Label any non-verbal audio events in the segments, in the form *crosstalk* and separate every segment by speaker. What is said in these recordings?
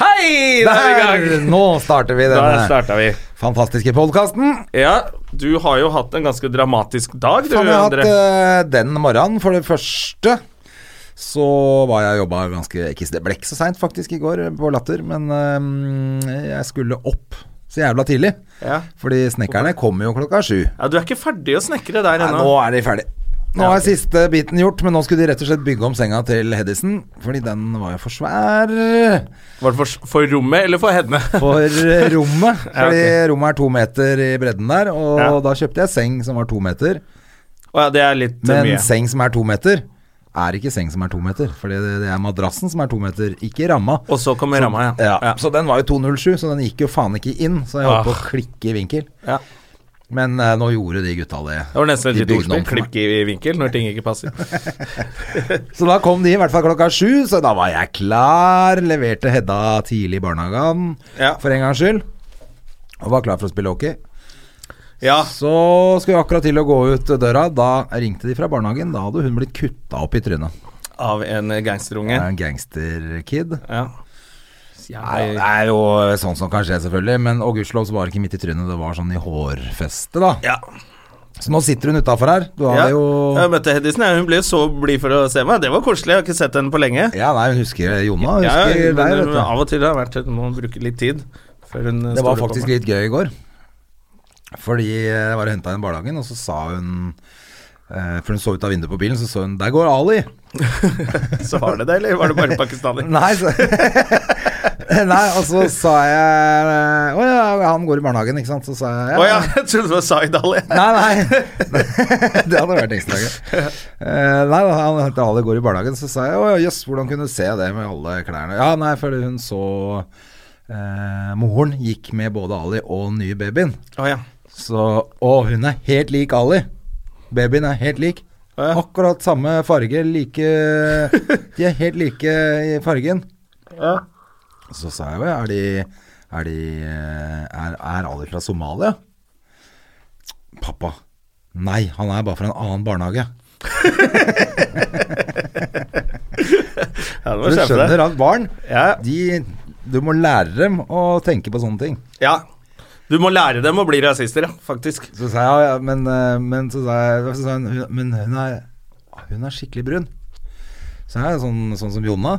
Speaker 1: Hei! Da er vi i gang.
Speaker 2: Nå starter vi
Speaker 1: Da
Speaker 2: denne
Speaker 1: starta vi.
Speaker 2: fantastiske podkasten.
Speaker 1: Ja, du har jo hatt en ganske dramatisk dag, du,
Speaker 2: Som jeg har hatt
Speaker 1: André.
Speaker 2: eh, den morgenen. For det første så var jeg og jobba ganske ikke, Det ble ikke så seint faktisk i går eh, på Latter, men eh, jeg skulle opp så jævla tidlig.
Speaker 1: Ja.
Speaker 2: Fordi snekkerne kommer jo klokka sju.
Speaker 1: Ja, du er ikke ferdig å snekre der
Speaker 2: Nei, nå
Speaker 1: ennå.
Speaker 2: er de ferdig. Nå er siste biten gjort, men nå skulle de rett og slett bygge om senga til Hedison. Fordi den var jo for svær.
Speaker 1: Var det for, for rommet eller for henne?
Speaker 2: *laughs* For eh, rommet.
Speaker 1: *laughs* Ja,
Speaker 2: Fordi rommet er to meter i bredden der, og
Speaker 1: Ja.
Speaker 2: da kjøpte jeg seng som var to meter.
Speaker 1: Å ja, det er litt eh,
Speaker 2: Men
Speaker 1: mye.
Speaker 2: seng som er to meter, er ikke seng som er to meter. Fordi det, det er madrassen som er to meter, ikke ramma.
Speaker 1: Og så kommer ramma, ja.
Speaker 2: Ja,
Speaker 1: Ja. Ah.
Speaker 2: Så den var jo 207, så den gikk jo faen ikke inn. Så jeg holdt på å klikke i vinkel.
Speaker 1: Ja.
Speaker 2: Men eh, nå gjorde de gutta det.
Speaker 1: Det var nesten et
Speaker 2: De
Speaker 1: lite
Speaker 2: bygde
Speaker 1: ordspill.
Speaker 2: om for meg.
Speaker 1: Klipp i i vinkel når ting ikke passer.
Speaker 2: *laughs* Så da kom de i hvert fall klokka sju, så da var jeg klar. Leverte Hedda tidlig i barnehagen
Speaker 1: Ja.
Speaker 2: for en gangs skyld. Og var klar for å spille hockey.
Speaker 1: Ja.
Speaker 2: Så skulle jeg akkurat til å gå ut døra. Da ringte de fra barnehagen. Da hadde hun blitt kutta opp i trynet.
Speaker 1: Av en eh, gangsterunge.
Speaker 2: Det er en gangsterkid.
Speaker 1: Ja.
Speaker 2: Nei,
Speaker 1: Jeg,
Speaker 2: det er jo sånn som kan skje, selvfølgelig. Men og gudskjelov så var det ikke midt i trynet, det var sånn i hårfestet, da.
Speaker 1: ja.
Speaker 2: Så nå sitter hun utafor her. Du
Speaker 1: Ja.
Speaker 2: har jo
Speaker 1: Jeg møtte Hedisen, ja, hun ble så blid for å se meg. Det var koselig, jeg har ikke sett henne på lenge.
Speaker 2: Ja, nei, hun husker Jonna. Hun
Speaker 1: Ja,
Speaker 2: husker
Speaker 1: men
Speaker 2: deg, vet du.
Speaker 1: Av og til har vært må bruke litt tid før hun eh,
Speaker 2: Det var
Speaker 1: stoler på
Speaker 2: faktisk
Speaker 1: meg.
Speaker 2: litt gøy i går. Fordi eh, jeg var og henta henne i barnehagen, og så sa hun eh, For hun så ut av vinduet på bilen, så så hun Der går Ali! *laughs*
Speaker 1: *laughs* Så var det det, eller var det bare pakistaner?
Speaker 2: Nei, så, *laughs* nei og så sa jeg eh, Å ja, han går i barnehagen, ikke sant? Så sa jeg
Speaker 1: Å ja, jeg trodde det var Zaid Ali.
Speaker 2: Nei, nei. *laughs* det hadde vært ekstra gøy. Eh, nei, da han henta Ali i går i barnehagen, så sa jeg å jøss, hvordan kunne du se det med alle klærne? Ja, nei, fordi hun så eh, Moren gikk med både Ali og den nye babyen.
Speaker 1: Å ja.
Speaker 2: Så Og hun er helt lik Ali. Babyen er helt lik.
Speaker 1: Ja.
Speaker 2: Akkurat samme farge, like De er helt like i fargen.
Speaker 1: Ja.
Speaker 2: Så sa jeg jo, er de, er, de eh, er, er Ali fra Somalia? Pappa. Nei, han er bare fra en annen barnehage.
Speaker 1: ja,
Speaker 2: Du
Speaker 1: det var skjønner.
Speaker 2: skjønner at barn,
Speaker 1: Ja.
Speaker 2: de, du må lære dem å tenke på sånne ting.
Speaker 1: ja. Du må lære dem å bli rasister, ja, faktisk.
Speaker 2: Så sa jeg, ja, ja, men, eh, men så sa jeg, så sa hun, hun- men hun er, hun er skikkelig brun. Så jeg, sånn, sånn som Jonna.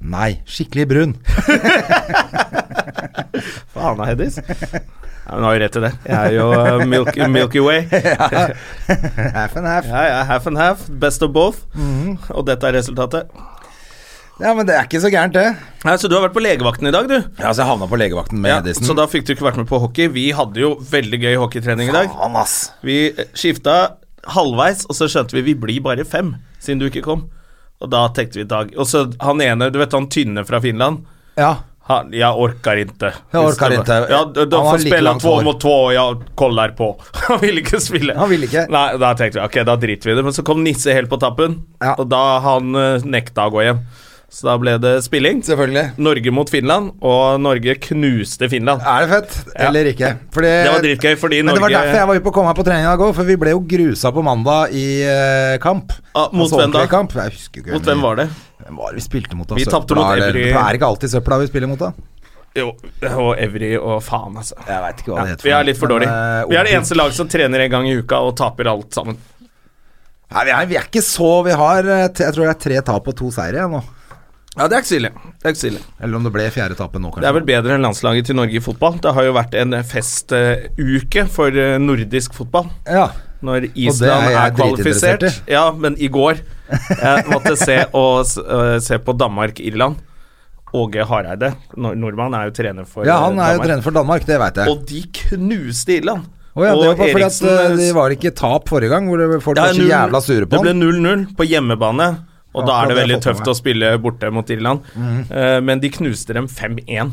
Speaker 2: Nei, skikkelig brun. *laughs*
Speaker 1: Faen av
Speaker 2: *laughs*
Speaker 1: Hedis. Ja, hun har jo rett til det. Jeg er jo eh, milk, Milky Way.
Speaker 2: Half and half.
Speaker 1: Ja, ja, half and half. Best of both.
Speaker 2: Mhm.
Speaker 1: Og dette er resultatet.
Speaker 2: Ja, men det er ikke så gærent, det.
Speaker 1: Nei, så du har vært på legevakten i dag, du.
Speaker 2: Ja, så jeg havna på legevakten med
Speaker 1: Ja,
Speaker 2: Hedisen.
Speaker 1: så da fikk du ikke vært med på hockey. Vi hadde jo veldig gøy hockeytrening i dag.
Speaker 2: Faen, ass.
Speaker 1: Vi skifta halvveis, og så skjønte vi vi blir bare fem, siden du ikke kom. Og da tenkte vi dag Og så han ene, du vet han tynne fra Finland.
Speaker 2: Ja.
Speaker 1: Han, jeg orker ikke.
Speaker 2: Jeg orker ikke.
Speaker 1: Ja, da
Speaker 2: Han har
Speaker 1: får
Speaker 2: like
Speaker 1: spille
Speaker 2: langt
Speaker 1: to
Speaker 2: hår.
Speaker 1: mot to, og jeg koller på. *laughs* Han vil ikke spille.
Speaker 2: Han vil ikke.
Speaker 1: Nei, Da tenkte vi ok, da driter vi i det. Men så kom Nisse helt på tappen,
Speaker 2: Ja.
Speaker 1: og da han eh, nekta å gå hjem. Så da ble det spilling.
Speaker 2: Selvfølgelig.
Speaker 1: Norge mot Finland, og Norge knuste Finland.
Speaker 2: Er det fett eller ikke? Fordi,
Speaker 1: Det var dritgøy, fordi
Speaker 2: Men det var
Speaker 1: Norge-
Speaker 2: derfor jeg var på, kom her på trening i dag òg, for vi ble jo grusa på mandag i eh, kamp.
Speaker 1: Ah, mot
Speaker 2: Altså
Speaker 1: hvem da?
Speaker 2: ordentlig Kamp. Jeg husker ikke
Speaker 1: Mot hvem var det?
Speaker 2: Hvem var det vi spilte mot? da?
Speaker 1: Vi
Speaker 2: Søpla,
Speaker 1: tapte mot
Speaker 2: eller-
Speaker 1: Evry.
Speaker 2: Det er ikke alltid søpla vi spiller mot, da.
Speaker 1: Jo, og Evry og faen, altså.
Speaker 2: Jeg veit ikke hva
Speaker 1: Ja,
Speaker 2: det heter.
Speaker 1: vi er litt for
Speaker 2: men,
Speaker 1: dårlige.
Speaker 2: eh,
Speaker 1: Vi er det
Speaker 2: Oppby-
Speaker 1: eneste lag som trener en gang i uka og taper alt sammen.
Speaker 2: Nei, vi er, vi er ikke så Vi har eh, t- Jeg tror det er tre tap og to seire igjen nå.
Speaker 1: Ja, det er ikke så ille. Det er, ikke så ille.
Speaker 2: Eller om det ble fjerde tapet nå, kanskje.
Speaker 1: det er vel bedre enn landslaget til Norge i fotball. Det har jo vært en festuke for eh, nordisk fotball.
Speaker 2: Ja.
Speaker 1: Når
Speaker 2: er
Speaker 1: Island er,
Speaker 2: jeg
Speaker 1: kvalifisert.
Speaker 2: dritinteressert
Speaker 1: Ja, men i går jeg måtte se, og, s- eh, se på Danmark-Irland. Åge Hareide, nor- nordmann, er jo trener for
Speaker 2: ja, han
Speaker 1: eh,
Speaker 2: er jo
Speaker 1: Danmark.
Speaker 2: trener for Danmark, det veit jeg.
Speaker 1: Og de knuste Irland.
Speaker 2: Å ja, det var
Speaker 1: og
Speaker 2: bare fordi at
Speaker 1: Eriksen,
Speaker 2: eh,
Speaker 1: eh,
Speaker 2: det var ikke tap forrige gang, hvor det- folk var så
Speaker 1: null-
Speaker 2: jævla sure på
Speaker 1: Det
Speaker 2: ham.
Speaker 1: ble 0-0 på hjemmebane Og da
Speaker 2: Akkurat
Speaker 1: er
Speaker 2: det
Speaker 1: det
Speaker 2: jeg
Speaker 1: veldig
Speaker 2: har fått med
Speaker 1: tøft å spille borte mot Irland.
Speaker 2: Mhm.
Speaker 1: Eh, men de knuste dem 5-1.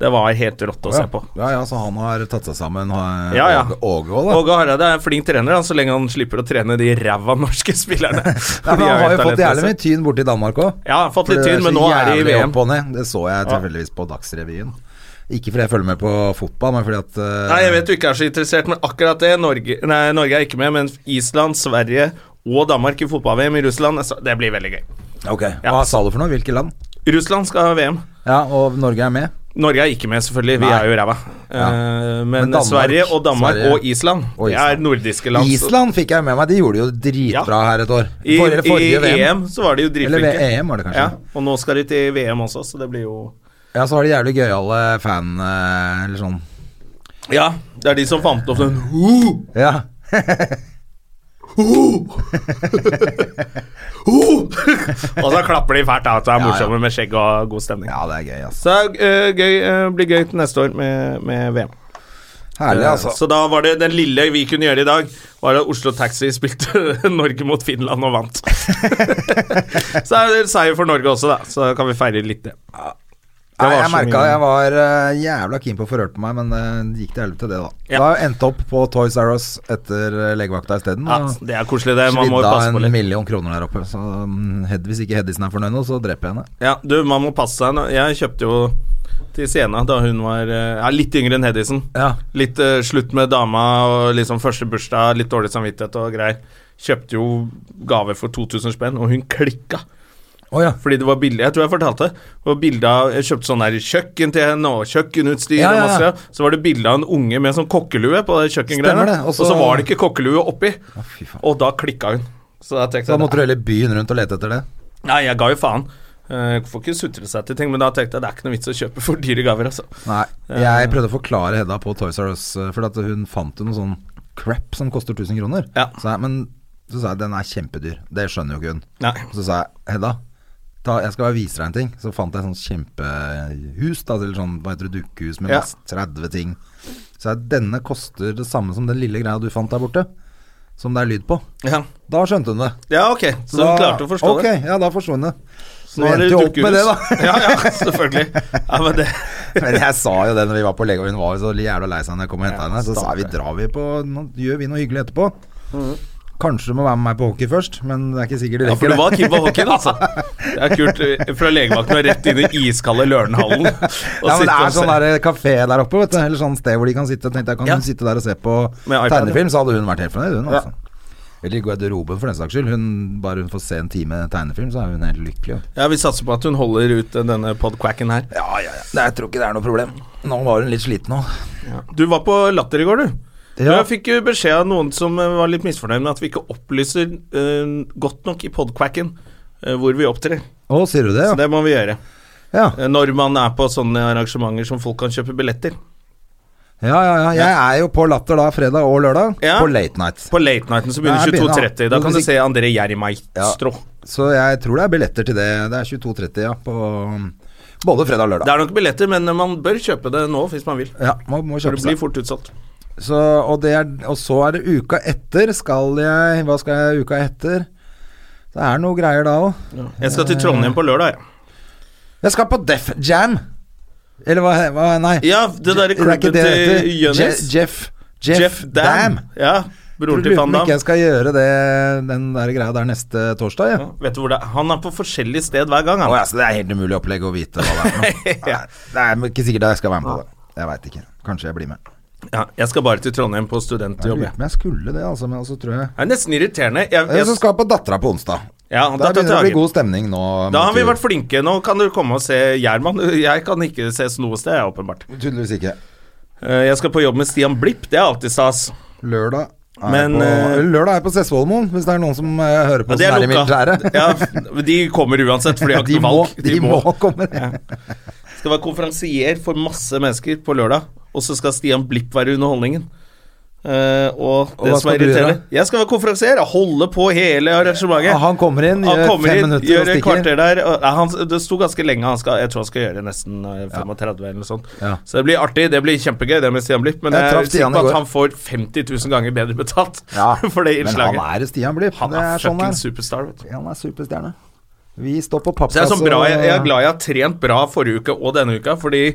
Speaker 1: Det var helt rått å se på.
Speaker 2: Ja, ja, så han har tatt seg sammen, ha-
Speaker 1: Ja, ja.
Speaker 2: Åge- Åge òg, da.
Speaker 1: Åge Hareide er en flink trener, han, så lenge han slipper å trene de ræva norske *laughs* spillerne.
Speaker 2: Ja, men
Speaker 1: *laughs* De er
Speaker 2: han har jo fått
Speaker 1: talentløse.
Speaker 2: jævlig mye tyn borti Danmark òg.
Speaker 1: Ja, fått litt tyn, men nå er de i VM.
Speaker 2: Opp og ned. Det så jeg tilfeldigvis på Dagsrevyen. Ikke fordi jeg følger med på fotball, men fordi at eh,
Speaker 1: Nei, jeg vet du ikke er så interessert, men akkurat det Norge, nei, Norge er ikke med, men Island, Sverige og Danmark i fotball-VM i Russland, jeg sa- det blir veldig gøy.
Speaker 2: Ok,
Speaker 1: Ja.
Speaker 2: Hva sa du for noe? Hvilke land?
Speaker 1: Russland skal ha VM.
Speaker 2: Ja, og Norge er med.
Speaker 1: Norge er ikke med, selvfølgelig. Vi
Speaker 2: Nei.
Speaker 1: er jo ræva. Eh, men
Speaker 2: Men Danmark-
Speaker 1: Sverige og Danmark
Speaker 2: Sverige
Speaker 1: og Island,
Speaker 2: og
Speaker 1: det
Speaker 2: Island.
Speaker 1: er nordiske land. så-
Speaker 2: Island fikk jeg med meg, de gjorde det jo dritbra
Speaker 1: Ja.
Speaker 2: her et år.
Speaker 1: I,
Speaker 2: Forrige- forrige
Speaker 1: I EM så var de jo
Speaker 2: Eller
Speaker 1: dritflinke.
Speaker 2: ved EM var det kanskje.
Speaker 1: Ja, og nå skal de til VM også, så det blir jo
Speaker 2: Ja, så har de jævlig gøyale fan... eh, Eller sånn
Speaker 1: Ja, det er de som fant
Speaker 2: *laughs*
Speaker 1: opp den
Speaker 2: Ja.
Speaker 1: *laughs* Og så klapper de fælt, da. Så er det
Speaker 2: ja.
Speaker 1: morsomme med skjegg og god stemning.
Speaker 2: ja, det er gøy, altså.
Speaker 1: Så det er, eh, gøy, eh, blir gøy til neste år med, med VM.
Speaker 2: Herlig,
Speaker 1: Eh,
Speaker 2: altså.
Speaker 1: Så da var det den lille vi kunne gjøre i dag, var at Oslo Taxi *laughs* spilte Norge mot Finland
Speaker 2: *laughs*
Speaker 1: og vant. så er det seier for Norge også, da. Så kan vi feire litt det.
Speaker 2: Nei,
Speaker 1: var
Speaker 2: jeg
Speaker 1: så
Speaker 2: merka
Speaker 1: mye-
Speaker 2: jeg var eh, jævla keen på å få rørt på meg, men eh, det gikk til helvete, det, da.
Speaker 1: Ja.
Speaker 2: Da endte opp på Toys R Us etter eh, legevakta isteden.
Speaker 1: Ja,
Speaker 2: og
Speaker 1: det er koselig, det. Man må jo
Speaker 2: Svidda
Speaker 1: passe på
Speaker 2: en
Speaker 1: litt.
Speaker 2: million kroner der oppe. Så mm, Hed, hvis ikke Hedisen er fornøyd nå, så dreper jeg henne.
Speaker 1: Ja, du, man må passe seg. nå. Jeg kjøpte jo til Siena da hun var eh, ja, litt yngre enn Hedisen.
Speaker 2: Ja.
Speaker 1: Litt eh, slutt med dama og liksom første bursdag, litt dårlig samvittighet og greier. Kjøpte jo gave for 2000 spenn, og hun klikka.
Speaker 2: Å ja.
Speaker 1: Fordi det var billig, jeg tror jeg fortalte det. Og bilde av, jeg kjøpte sånn her kjøkken til henne, og kjøkkenutstyr
Speaker 2: Ja, ja,
Speaker 1: og
Speaker 2: ja.
Speaker 1: masse. Så var det bilde av en unge med sånn kokkelue på det kjøkkengreiene.
Speaker 2: Stemmer det, og
Speaker 1: Og
Speaker 2: så-
Speaker 1: så var det ikke kokkelue oppi.
Speaker 2: fy faen.
Speaker 1: og da klikka hun. Så da tenkte
Speaker 2: Da
Speaker 1: jeg
Speaker 2: måtte du heller byen rundt og lete etter det.
Speaker 1: Nei, jeg ga jo faen. Eh, Jeg får ikke sutre seg til ting, men da tenkte jeg det er ikke noe vits å kjøpe for dyre gaver, altså.
Speaker 2: Nei, jeg prøvde å forklare Hedda på Toys R Us, eh, for at hun fant jo noe sånn crap som koster 1000 kroner.
Speaker 1: Ja.
Speaker 2: Så jeg, men så sa jeg den er kjempedyr, det skjønner jo ikke hun.
Speaker 1: Nei.
Speaker 2: Så sa jeg Hedda, ta, jeg skal bare vise deg en ting. Så fant jeg et sånt kjempehus, da, eller sånn, hva heter det, dukkehus med
Speaker 1: Ja.
Speaker 2: masse 30 ting. Så jeg, denne koster det samme som den lille greia du fant der borte, som det er lyd på.
Speaker 1: Ja,
Speaker 2: Da skjønte hun det.
Speaker 1: ja ok, så hun
Speaker 2: Da-
Speaker 1: klarte å forstå
Speaker 2: ok, Ja, da forsto hun det.
Speaker 1: det.
Speaker 2: Så vi endte jo opp med det, da.
Speaker 1: *laughs* ja, ja, selvfølgelig. Ja, men det
Speaker 2: *laughs* Men jeg sa jo det når vi var på lege, og hun var jo så jævla lei seg når jeg kom og henta
Speaker 1: Ja,
Speaker 2: henne. Så sa jeg vi drar vi på Nå gjør vi noe hyggelig etterpå. Mm. Kanskje du må være med meg på hockey først, men det er ikke sikkert det
Speaker 1: Ja, for
Speaker 2: rekker.
Speaker 1: du var keen på hockeyen, altså. Det er kult. Fra legevakten og rett inn i iskalde Lørenhallen. og
Speaker 2: *laughs* ja, men
Speaker 1: sitte
Speaker 2: det
Speaker 1: og
Speaker 2: er
Speaker 1: se.
Speaker 2: sånn der kafé der oppe, vet du. Eller sånn sted hvor de kan sitte. Jeg tenkte jeg kan
Speaker 1: Ja.
Speaker 2: hun sitte der og se på
Speaker 1: Med iPad, ja.
Speaker 2: tegnefilm, så hadde hun vært helt fornøyd, hun. Altså. Eller i garderoben, for den saks skyld. Hun, bare hun får se en time tegnefilm, så er hun helt lykkelig. hun.
Speaker 1: Ja, Vi satser på at hun holder ut eh, denne podquacken her.
Speaker 2: Ja, ja, ja. Nei, Jeg tror ikke det er noe problem. Nå var hun litt sliten òg.
Speaker 1: Du var på Latter i går, du.
Speaker 2: Ja.
Speaker 1: Jeg fikk jo beskjed av noen som eh, var litt misfornøyd med at vi ikke opplyser eh, godt nok i podquacken eh, hvor vi opptrer.
Speaker 2: Å, sier du det, ja?
Speaker 1: Så det må vi gjøre.
Speaker 2: Ja,
Speaker 1: Eh, Når man er på sånne arrangementer som folk kan kjøpe billetter.
Speaker 2: ja, ja. ja. Jeg er jo på Latter da fredag og lørdag,
Speaker 1: Ja.
Speaker 2: på late night.
Speaker 1: På late nighten så
Speaker 2: Nei,
Speaker 1: begynner
Speaker 2: jeg begynner,
Speaker 1: 22.30. Da
Speaker 2: men
Speaker 1: kan
Speaker 2: hvis
Speaker 1: du se André Gjermaistro.
Speaker 2: Så jeg tror det er billetter til det. Det er 22.30, ja. På um, både fredag og
Speaker 1: Det
Speaker 2: lørdag.
Speaker 1: er nok billetter, men man bør kjøpe det nå hvis man vil.
Speaker 2: Ja, må, må
Speaker 1: For
Speaker 2: kjøpe
Speaker 1: det blir
Speaker 2: seg.
Speaker 1: fort utsolgt.
Speaker 2: Så, og, det er, og så er det uka etter skal jeg Hva skal jeg uka etter? Det er noe greier da òg.
Speaker 1: Jeg skal til Trondheim på lørdag, jeg.
Speaker 2: Jeg skal på Def Jam! Eller hva, hva Nei.
Speaker 1: Ja, det derre
Speaker 2: er ikke
Speaker 1: klubben
Speaker 2: det det
Speaker 1: til
Speaker 2: heter?
Speaker 1: Jonis.
Speaker 2: Je- Jeff, Jeff,
Speaker 1: Jeff
Speaker 2: Dam.
Speaker 1: Dam. Ja, broren
Speaker 2: Lurer
Speaker 1: til
Speaker 2: på om
Speaker 1: Van
Speaker 2: ikke
Speaker 1: Dam.
Speaker 2: jeg skal gjøre det, den der greia der neste torsdag, jeg.
Speaker 1: Ja, Vet du hvor det er? Han er på forskjellig sted hver
Speaker 2: Å
Speaker 1: gang, han.
Speaker 2: ja, så det er helt umulig opplegg å vite hva det
Speaker 1: *laughs*
Speaker 2: er for noe.
Speaker 1: Ja.
Speaker 2: Nei, Det er ikke sikkert jeg skal være med på det. Jeg veit ikke. Kanskje jeg blir med.
Speaker 1: Ja, jeg skal bare til Trondheim på
Speaker 2: Jeg
Speaker 1: studentjobb.
Speaker 2: lurer
Speaker 1: jeg.
Speaker 2: på om jeg skulle det, altså, men så tror jeg
Speaker 1: Det er nesten irriterende. Jeg,
Speaker 2: Jeg som
Speaker 1: jeg,
Speaker 2: skal på Dattera på onsdag.
Speaker 1: ja,
Speaker 2: Der
Speaker 1: da tar
Speaker 2: begynner det å bli
Speaker 1: Tage.
Speaker 2: god stemning nå.
Speaker 1: da har vi
Speaker 2: mot-
Speaker 1: vært flinke. Nå kan du komme og se Gjerman. Jeg kan ikke ses noe sted, jeg, åpenbart.
Speaker 2: Tydeligvis ikke.
Speaker 1: Eh, Jeg skal på jobb med Stian Blipp, det er alltid stas.
Speaker 2: Lørdag er
Speaker 1: Men,
Speaker 2: på,
Speaker 1: eh,
Speaker 2: Lørdag er på Sessvollmoen, hvis det er noen som eh, hører på
Speaker 1: Ja, de
Speaker 2: som
Speaker 1: er
Speaker 2: er i militæret.
Speaker 1: lukka. Ja, f- de kommer uansett, for de
Speaker 2: *laughs*
Speaker 1: har
Speaker 2: de,
Speaker 1: ikke noe
Speaker 2: må,
Speaker 1: valg.
Speaker 2: de, må, komme.
Speaker 1: Skal være konferansier for masse mennesker på lørdag, og så skal Stian Blipp være underholdningen. Eh, og
Speaker 2: Og
Speaker 1: det
Speaker 2: hva
Speaker 1: som er
Speaker 2: skal du
Speaker 1: irriterende
Speaker 2: gjøre?
Speaker 1: Jeg skal være konferansier, og holde på hele arrangementet.
Speaker 2: Han kommer inn,
Speaker 1: Han
Speaker 2: gjør
Speaker 1: kommer
Speaker 2: fem
Speaker 1: inn,
Speaker 2: minutter
Speaker 1: gjør
Speaker 2: og
Speaker 1: et
Speaker 2: stikker.
Speaker 1: kvarter der. Og, nei, han, det sto ganske lenge. Han skal, jeg tror han skal gjøre nesten eh, 35 eller noe sånt.
Speaker 2: Ja.
Speaker 1: Så det blir artig. Det blir kjempegøy, det med Stian Blipp. Men
Speaker 2: Jeg
Speaker 1: jeg,
Speaker 2: traff
Speaker 1: er sikker
Speaker 2: Stian i
Speaker 1: på
Speaker 2: går.
Speaker 1: at han får 50 000 ganger bedre betalt
Speaker 2: Ja,
Speaker 1: *laughs* for det
Speaker 2: Men han
Speaker 1: innslaget.
Speaker 2: er Stian Blipp.
Speaker 1: Han
Speaker 2: det
Speaker 1: er
Speaker 2: er sånn
Speaker 1: fucking
Speaker 2: det er.
Speaker 1: superstar, vet du.
Speaker 2: Han er superstjerne. Vi står på
Speaker 1: Så jeg, er
Speaker 2: pappkasse
Speaker 1: sånn bra, jeg, jeg er glad jeg har trent bra forrige uke og denne uka, fordi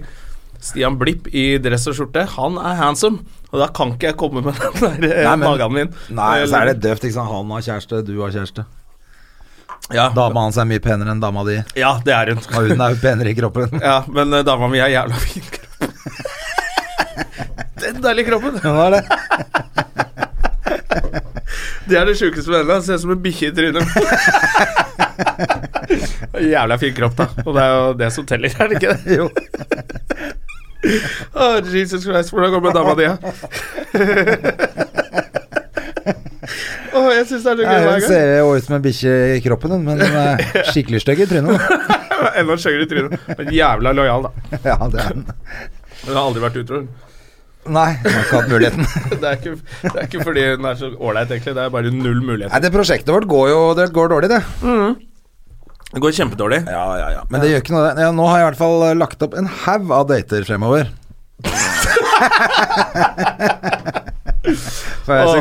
Speaker 1: Stian Blipp i dress og skjorte, han er handsome. Og da kan ikke jeg komme med *laughs* den der eh,
Speaker 2: Nei, men-
Speaker 1: magen min.
Speaker 2: Nei, så er det døvt. Ikke sant? Han har kjæreste, du har kjæreste.
Speaker 1: ja,
Speaker 2: Dama hans er mye penere enn dama di.
Speaker 1: ja, det er hun.
Speaker 2: Og hun er jo penere i kroppen.
Speaker 1: Ja, men eh, dama mi er jævla fin kropp. *laughs* Den deilige kroppen.
Speaker 2: *laughs* Hun har det.
Speaker 1: Det er det sjukeste med henne. Ser ut som en bikkje i trynet. *laughs* jævla fin kropp, da. Og det er jo det som teller, er det ikke det?
Speaker 2: Jo.
Speaker 1: Å, Jesus Christ, hvordan går det med dama
Speaker 2: *laughs*
Speaker 1: di? da? Å, jeg syns det er så
Speaker 2: Nei, hun
Speaker 1: gøy hver gang.
Speaker 2: ser jo ut som en bikkje i kroppen, hun, men hun er *laughs* skikkelig stygg i trynet. *laughs* da.
Speaker 1: Enda styggere i trynet. Men jævla lojal, da.
Speaker 2: Ja, det er hun.
Speaker 1: Hun har aldri vært utro. hun.
Speaker 2: Nei, hun har ikke hatt muligheten.
Speaker 1: *laughs* Det, er ikke- det er ikke fordi hun er så ålreit, egentlig. Det er bare null mulighet.
Speaker 2: Nei, det prosjektet vårt går jo det går dårlig, det.
Speaker 1: Mm. Det går kjempedårlig.
Speaker 2: Ja, ja, ja. Men det gjør ikke noe. det. Ja, nå har jeg i hvert fall eh, lagt opp en haug av dater *laughs* fremover. For jeg er så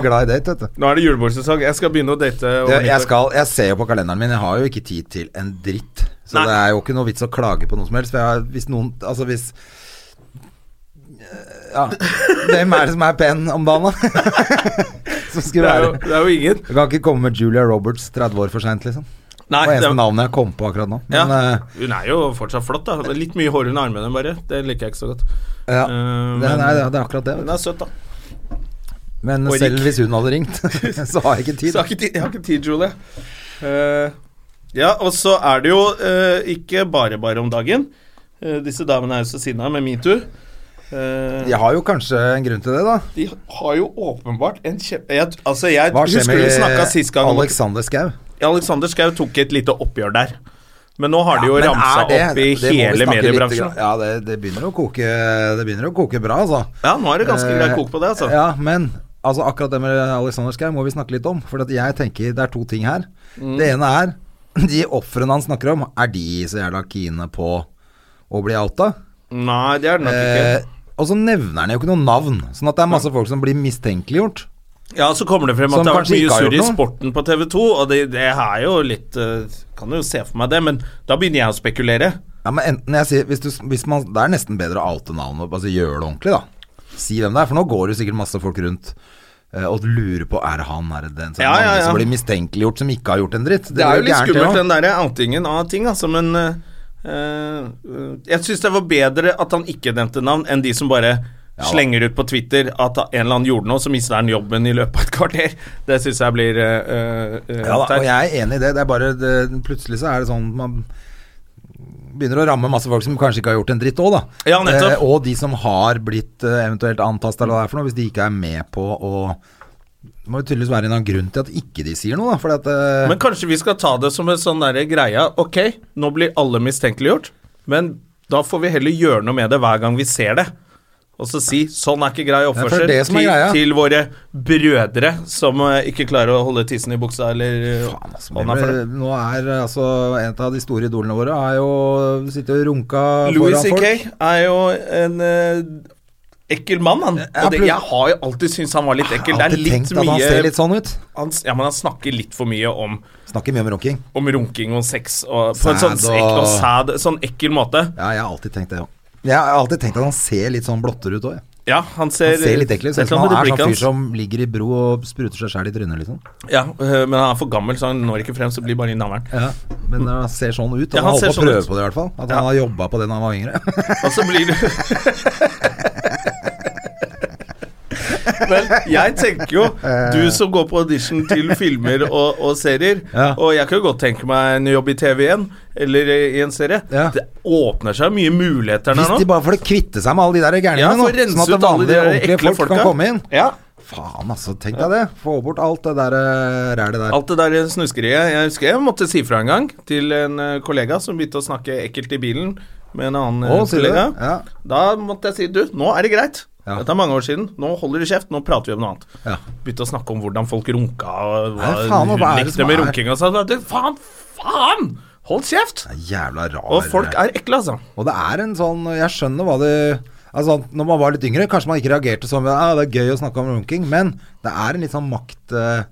Speaker 1: Åh.
Speaker 2: glad i date, vet du.
Speaker 1: Nå er det julebordsesong. Jeg skal begynne å date. over
Speaker 2: Jeg, jeg,
Speaker 1: nyttår.
Speaker 2: skal, jeg ser jo på kalenderen min, jeg har jo ikke tid til en dritt. Så
Speaker 1: Nei.
Speaker 2: det er jo ikke noe vits å klage på noe som helst. For jeg har, hvis noen Altså hvis eh, Ja. Hvem er det som er pen om dagen, da? *laughs* som
Speaker 1: det,
Speaker 2: skulle
Speaker 1: er jo,
Speaker 2: være
Speaker 1: det er jo ingen.
Speaker 2: Du kan ikke komme med Julia Roberts 30 år for seint, liksom. Det
Speaker 1: Nei,
Speaker 2: var
Speaker 1: det
Speaker 2: eneste
Speaker 1: er-
Speaker 2: navnet jeg kom på akkurat nå. Men
Speaker 1: ja.
Speaker 2: eh,
Speaker 1: Hun er jo fortsatt flott, da. Men Litt mye hår under armene, bare. Det liker jeg ikke så godt.
Speaker 2: ja.
Speaker 1: Eh,
Speaker 2: det,
Speaker 1: men-
Speaker 2: nei, det, er- det er akkurat det.
Speaker 1: Hun
Speaker 2: vet
Speaker 1: er søt, da.
Speaker 2: du. Men
Speaker 1: og rik.
Speaker 2: selv hvis hun hadde ringt, *laughs* så har jeg ikke tid.
Speaker 1: Så jeg har ikke tid, jeg har ikke tid Julie. Eh, ja, og så er det jo eh, ikke bare bare om dagen. Eh, disse damene er jo så sinna med metoo. Eh,
Speaker 2: Jeg har jo kanskje en grunn til det, da.
Speaker 1: De har jo åpenbart en kjempe... Jeg, altså, jeg
Speaker 2: Hva skjer
Speaker 1: husker vi snakka
Speaker 2: med
Speaker 1: sist
Speaker 2: eh,
Speaker 1: gang om
Speaker 2: Alexander Schou?
Speaker 1: Alexander Schou tok et lite oppgjør der. Men nå har de jo
Speaker 2: Men
Speaker 1: ramsa
Speaker 2: er det-
Speaker 1: opp i
Speaker 2: det må vi
Speaker 1: hele
Speaker 2: snakke litt
Speaker 1: mediebransjen.
Speaker 2: grann- Ja, det, det, begynner å koke, det begynner å koke bra, altså.
Speaker 1: Ja, nå er det ganske greit kok på det, altså.
Speaker 2: Eh, Ja, men altså, akkurat det med Alexander Schou må vi snakke litt om. For at jeg tenker det er to ting her.
Speaker 1: Mm.
Speaker 2: Det ene er *clears throat* de ofrene han snakker om, er de så jævla keene på å bli outa?
Speaker 1: Nei, det er det nok
Speaker 2: Eh,
Speaker 1: ikke.
Speaker 2: og så nevner han jo ikke noe navn. Sånn at det er masse folk som blir mistenkeliggjort.
Speaker 1: Ja, så kommer det frem at
Speaker 2: som
Speaker 1: det har vært
Speaker 2: kanskje ikke
Speaker 1: mye
Speaker 2: har
Speaker 1: surr i
Speaker 2: gjort noe.
Speaker 1: sporten på TV 2, og det, det er jo litt eh, Kan jo se for meg det, men da begynner jeg å spekulere.
Speaker 2: Ja, men enten jeg sier hvis du, hvis man, Det er nesten bedre å oute navnet. Altså gjøre det ordentlig, da. Si hvem det er. For nå går det jo sikkert masse folk rundt eh, og lurer på Er det han, er det den? Så er det
Speaker 1: Ja, ja,
Speaker 2: mange
Speaker 1: ja.
Speaker 2: som blir mistenkeliggjort, som ikke har gjort en dritt.
Speaker 1: Det er jo
Speaker 2: blir
Speaker 1: litt
Speaker 2: gærent, det
Speaker 1: skummelt,
Speaker 2: også.
Speaker 1: den derre outingen av ting, altså, men eh, eh, Jeg syns det var bedre at han ikke nevnte navn, enn de som bare slenger ut på Twitter at en eller annen gjorde noe, så mister han jobben i løpet av et kvarter. Det syns jeg blir eh, eh,
Speaker 2: Ja da,
Speaker 1: teit.
Speaker 2: og jeg er enig i det. Det er bare det, Plutselig så er det sånn at man begynner å ramme masse folk som kanskje ikke har gjort en dritt òg, da.
Speaker 1: Ja, nettopp.
Speaker 2: Eh, og de som har blitt eh, eventuelt antasta eller hva det er for noe, hvis de ikke er med på å Det må jo tydeligvis være en eller annen grunn til at ikke de sier noe, da. Fordi at eh,
Speaker 1: Men kanskje vi skal ta det som en sånn derre greia Ok, nå blir alle mistenkeliggjort, men da får vi heller gjøre noe med det hver gang vi ser det. Og så si 'sånn er ikke grei
Speaker 2: for
Speaker 1: oppførsel'
Speaker 2: det som er
Speaker 1: til,
Speaker 2: greia.
Speaker 1: til våre brødre som eh, ikke klarer å holde tissen i buksa eller eh,
Speaker 2: Faen, altså,
Speaker 1: hånda for det.
Speaker 2: nå er eh, altså en av de store idolene våre er jo sitter og runka
Speaker 1: Louis
Speaker 2: foran folk.
Speaker 1: C.K. er jo en eh, ekkel mann, han.
Speaker 2: Ja,
Speaker 1: Og det,
Speaker 2: plus-
Speaker 1: jeg har jo alltid syntes han var litt ekkel.
Speaker 2: Jeg
Speaker 1: Det
Speaker 2: har
Speaker 1: er
Speaker 2: alltid
Speaker 1: litt
Speaker 2: tenkt at han
Speaker 1: mye
Speaker 2: ser litt sånn ut.
Speaker 1: han, s- Ja, men han snakker litt for mye om,
Speaker 2: Snakker mye om runking.
Speaker 1: om runking og sex og, på en sånn,
Speaker 2: Sæd
Speaker 1: ek,
Speaker 2: og-
Speaker 1: og sæd, sånn ekkel måte.
Speaker 2: Ja, jeg har alltid tenkt det òg. Jeg har alltid tenkt at han ser litt sånn blottere ut òg, jeg.
Speaker 1: Ja, han ser,
Speaker 2: Han ser litt ekkel ut.
Speaker 1: Det
Speaker 2: Ser
Speaker 1: er
Speaker 2: ut som
Speaker 1: noe
Speaker 2: han
Speaker 1: med
Speaker 2: er
Speaker 1: blikket
Speaker 2: sånn fyr
Speaker 1: hans.
Speaker 2: som ligger i bro og spruter seg sjæl i trynet, liksom.
Speaker 1: Ja, øh, men han er for gammel, så han når ikke frem, så blir bare i navlen.
Speaker 2: Ja. Men han ser sånn ut. Og
Speaker 1: Ja,
Speaker 2: han
Speaker 1: han
Speaker 2: holdt
Speaker 1: ser
Speaker 2: på å
Speaker 1: sånn
Speaker 2: prøve
Speaker 1: ut.
Speaker 2: på det, i hvert fall. At
Speaker 1: Ja.
Speaker 2: han har jobba på det da han var yngre.
Speaker 1: Og så blir du *laughs* Men jeg tenker jo Du som går på audition til filmer og, og serier,
Speaker 2: Ja.
Speaker 1: og jeg kan jo godt tenke meg en jobb i TV igjen, eller i en serie
Speaker 2: Ja.
Speaker 1: Det åpner seg mye muligheter der
Speaker 2: Hvis de
Speaker 1: nå.
Speaker 2: bare får kvitte seg med alle de der
Speaker 1: Ja,
Speaker 2: gærningene
Speaker 1: for å
Speaker 2: nå, sånn
Speaker 1: rense
Speaker 2: at det
Speaker 1: ut alle de
Speaker 2: vanlige,
Speaker 1: der
Speaker 2: ordentlige
Speaker 1: ekle
Speaker 2: folk
Speaker 1: folka.
Speaker 2: kan komme inn.
Speaker 1: Ja,
Speaker 2: Faen, altså. Tenk deg det. Få bort alt det der eh, rælet der.
Speaker 1: Alt det der snuskeriet. Jeg husker jeg måtte si fra en gang til en eh, kollega som begynte å snakke ekkelt i bilen med en annen eh,
Speaker 2: Å, sier du
Speaker 1: kollega.
Speaker 2: det? Ja.
Speaker 1: Da måtte jeg si Du, nå er det greit.
Speaker 2: Ja.
Speaker 1: Dette er mange år siden. Nå holder du kjeft. Nå prater vi om noe annet.
Speaker 2: Ja.
Speaker 1: Begynte å snakke om hvordan folk runka og hva
Speaker 2: Nei, faen,
Speaker 1: hun
Speaker 2: og hva er det
Speaker 1: likte
Speaker 2: som
Speaker 1: med
Speaker 2: er?
Speaker 1: runking og sånn. Du, faen! Faen! Hold kjeft!
Speaker 2: Jævla rar
Speaker 1: Og folk er ekle, altså.
Speaker 2: Og det er en sånn Jeg skjønner hva det Altså, når man var litt yngre, kanskje man ikke reagerte sånn ah, Det er gøy å snakke om runking, men det er en litt sånn makt... eh,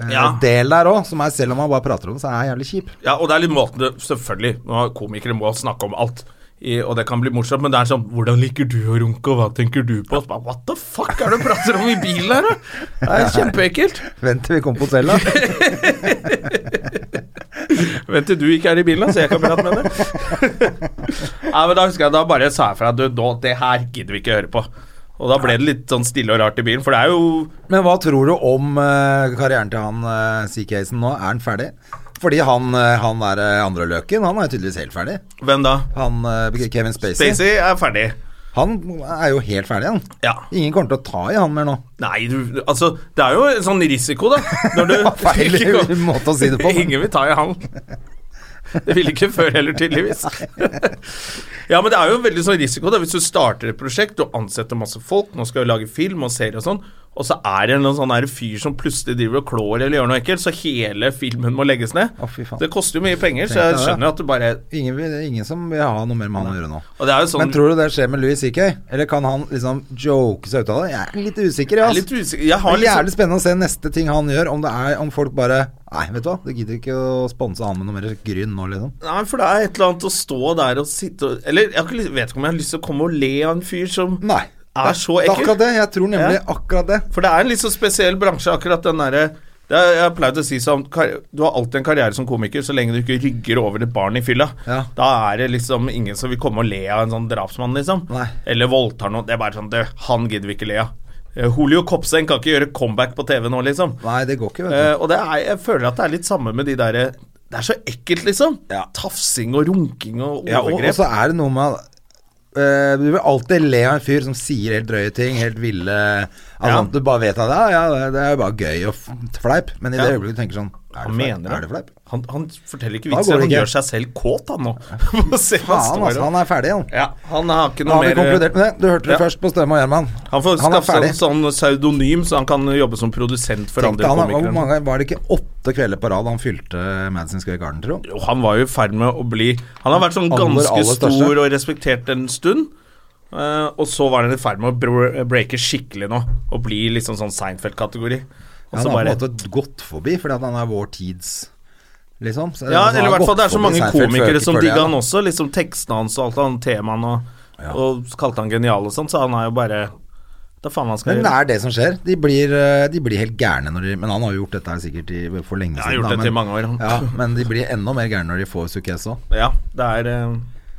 Speaker 2: eh,
Speaker 1: Ja.
Speaker 2: del der òg, som er selv om man bare prater om det, så er jeg jævlig kjip. *laughs*
Speaker 1: Ja, og det er litt måten det Selvfølgelig, nå, komikere må snakke om alt. I, og det kan bli morsomt, men det er sånn 'Hvordan liker du å runke, og hva tenker du på?' Og så bare, What the fuck er det du prater om i bilen her, da? Det er kjempeekkelt.
Speaker 2: Vent til vi kommer på cella.
Speaker 1: *laughs* Vent til du ikke er i bilen, da, så jeg kan prate med deg. *laughs* Nei, men da husker jeg da bare sa jeg fra du, nå, det her gidder vi ikke høre på. Og da ble det litt sånn stille og rart i bilen, for det er jo
Speaker 2: Men hva tror du om eh, karrieren til han eh, CK-en nå? Er han ferdig? Fordi han, eh, han der eh, andre løken, han er tydeligvis helt ferdig.
Speaker 1: Hvem da?
Speaker 2: Han eh, Kevin Spacey.
Speaker 1: Stacey er ferdig.
Speaker 2: Han er jo helt ferdig, han.
Speaker 1: Ja.
Speaker 2: Ingen kommer til å ta i han mer nå.
Speaker 1: Nei, du Altså, det er jo en sånn risiko, da.
Speaker 2: *laughs*
Speaker 1: Når du
Speaker 2: Feil
Speaker 1: ikke kom-
Speaker 2: måte å si det på. men-
Speaker 1: *laughs* Ingen vil ta i han. Det ville ikke før heller,
Speaker 2: *laughs*
Speaker 1: tydeligvis. Ja, men det er jo veldig sånn risiko da, hvis du starter et prosjekt, du ansetter masse folk, nå skal du lage film og serie og sånn, og så er det en sånn her fyr som plutselig driver og klår eller gjør noe ekkelt, så hele filmen må legges ned.
Speaker 2: Å, fy faen.
Speaker 1: Det koster jo mye penger, så
Speaker 2: Tenk deg
Speaker 1: jeg
Speaker 2: det.
Speaker 1: skjønner at du bare
Speaker 2: Ingen, vil- det er ingen som vil ha noe mer med han å gjøre nå.
Speaker 1: Og det er jo sånn
Speaker 2: Men tror du det skjer med Louis CK? Eller kan han liksom joke seg ut av det? Jeg er litt usikker,
Speaker 1: jeg
Speaker 2: ja.
Speaker 1: er litt usikker Jeg
Speaker 2: Det
Speaker 1: har liksom
Speaker 2: er
Speaker 1: litt sånn-
Speaker 2: jævlig spennende å se neste ting han gjør, om det er om folk bare Nei, vet du hva, det gidder ikke å sponse han med noe mer gryn nå, liksom.
Speaker 1: Nei, for det er et eller annet å stå der og sitte og Eller jeg har ikke, lyst- vet ikke om jeg har lyst til å komme og le av en fyr som
Speaker 2: Nei.
Speaker 1: er så
Speaker 2: Det er
Speaker 1: ekkel.
Speaker 2: Akkurat det. Jeg tror nemlig
Speaker 1: Ja.
Speaker 2: akkurat det.
Speaker 1: For det er en litt så spesiell bransje, akkurat den derre det er, jeg pleier til å si sånn kar- Du har alltid en karriere som komiker så lenge du ikke rygger over et barn i fylla.
Speaker 2: Ja.
Speaker 1: Da er det liksom ingen som vil komme og le av en sånn drapsmann, liksom.
Speaker 2: Nei.
Speaker 1: Eller voldtar noen. Det er bare sånn det, Han gidder vi ikke le av. Eh, Holio Kopsen kan ikke gjøre comeback på TV nå, liksom.
Speaker 2: Nei, det går ikke, vet du.
Speaker 1: Eh, og det er, jeg føler at det er litt samme med de derre Det er så ekkelt, liksom.
Speaker 2: Ja.
Speaker 1: Tafsing og runking og
Speaker 2: Ja, og, og
Speaker 1: overgrep.
Speaker 2: så er det noe med at, eh, Du vil alltid le av en fyr som sier helt drøye ting, helt ville altså,
Speaker 1: Ja.
Speaker 2: sånn at Du bare vet at ja, ja, det- det er jo bare gøy og f- fleip, men i det
Speaker 1: Ja.
Speaker 2: øyeblikket du tenker sånn Er det
Speaker 1: han
Speaker 2: fleip?
Speaker 1: mener
Speaker 2: Er det fleip?
Speaker 1: Han, han forteller ikke
Speaker 2: Da
Speaker 1: vitser.
Speaker 2: går det
Speaker 1: Han
Speaker 2: ikke.
Speaker 1: gjør seg selv kåt, han nå. *laughs* Se hva
Speaker 2: Faen,
Speaker 1: står
Speaker 2: altså.
Speaker 1: og-
Speaker 2: Han er ferdig, han.
Speaker 1: Ja, han har ikke
Speaker 2: Da
Speaker 1: noe
Speaker 2: har vi
Speaker 1: mer
Speaker 2: konkludert med det. Du hørte det
Speaker 1: Ja.
Speaker 2: først på Støme og Gjerman.
Speaker 1: Han får
Speaker 2: er
Speaker 1: skaffe
Speaker 2: ferdig.
Speaker 1: seg sånn pseudonym, så han kan jobbe som produsent for
Speaker 2: Tenkte
Speaker 1: andre
Speaker 2: han, hvor
Speaker 1: komikere.
Speaker 2: mange, var det ikke åtte kvelder på rad han fylte Madison Square Garden, tro?
Speaker 1: Jo, Han var jo i ferd med å bli Han har vært sånn
Speaker 2: Aller,
Speaker 1: ganske
Speaker 2: aller største.
Speaker 1: stor og respektert en stund. eh, og så var han i ferd med å br- breake skikkelig nå, og bli liksom sånn Seinfeld-kategori. Og
Speaker 2: Han
Speaker 1: så
Speaker 2: har på en
Speaker 1: bare
Speaker 2: måte gått forbi, fordi at han er vår tids Liksom. Så
Speaker 1: Ja,
Speaker 2: han
Speaker 1: eller i
Speaker 2: har
Speaker 1: hvert fall
Speaker 2: gått
Speaker 1: det er så
Speaker 2: forbi
Speaker 1: mange
Speaker 2: Seinfeld før-
Speaker 1: komikere som
Speaker 2: før det,
Speaker 1: digga
Speaker 2: da.
Speaker 1: han også. Liksom tekstene hans og alt han temaene, og, og kalte han genial og sånn, så han er jo bare Da faen hva han skal
Speaker 2: Men
Speaker 1: gjøre.
Speaker 2: det er det som skjer. De blir, eh, de blir helt gærne når de Men han har jo gjort dette her sikkert i, for lenge siden.
Speaker 1: Jeg har gjort
Speaker 2: da,
Speaker 1: dette
Speaker 2: men,
Speaker 1: i mange år, han.
Speaker 2: Ja, men de blir enda mer gærne når de får sukkess òg.
Speaker 1: Ja, det er eh,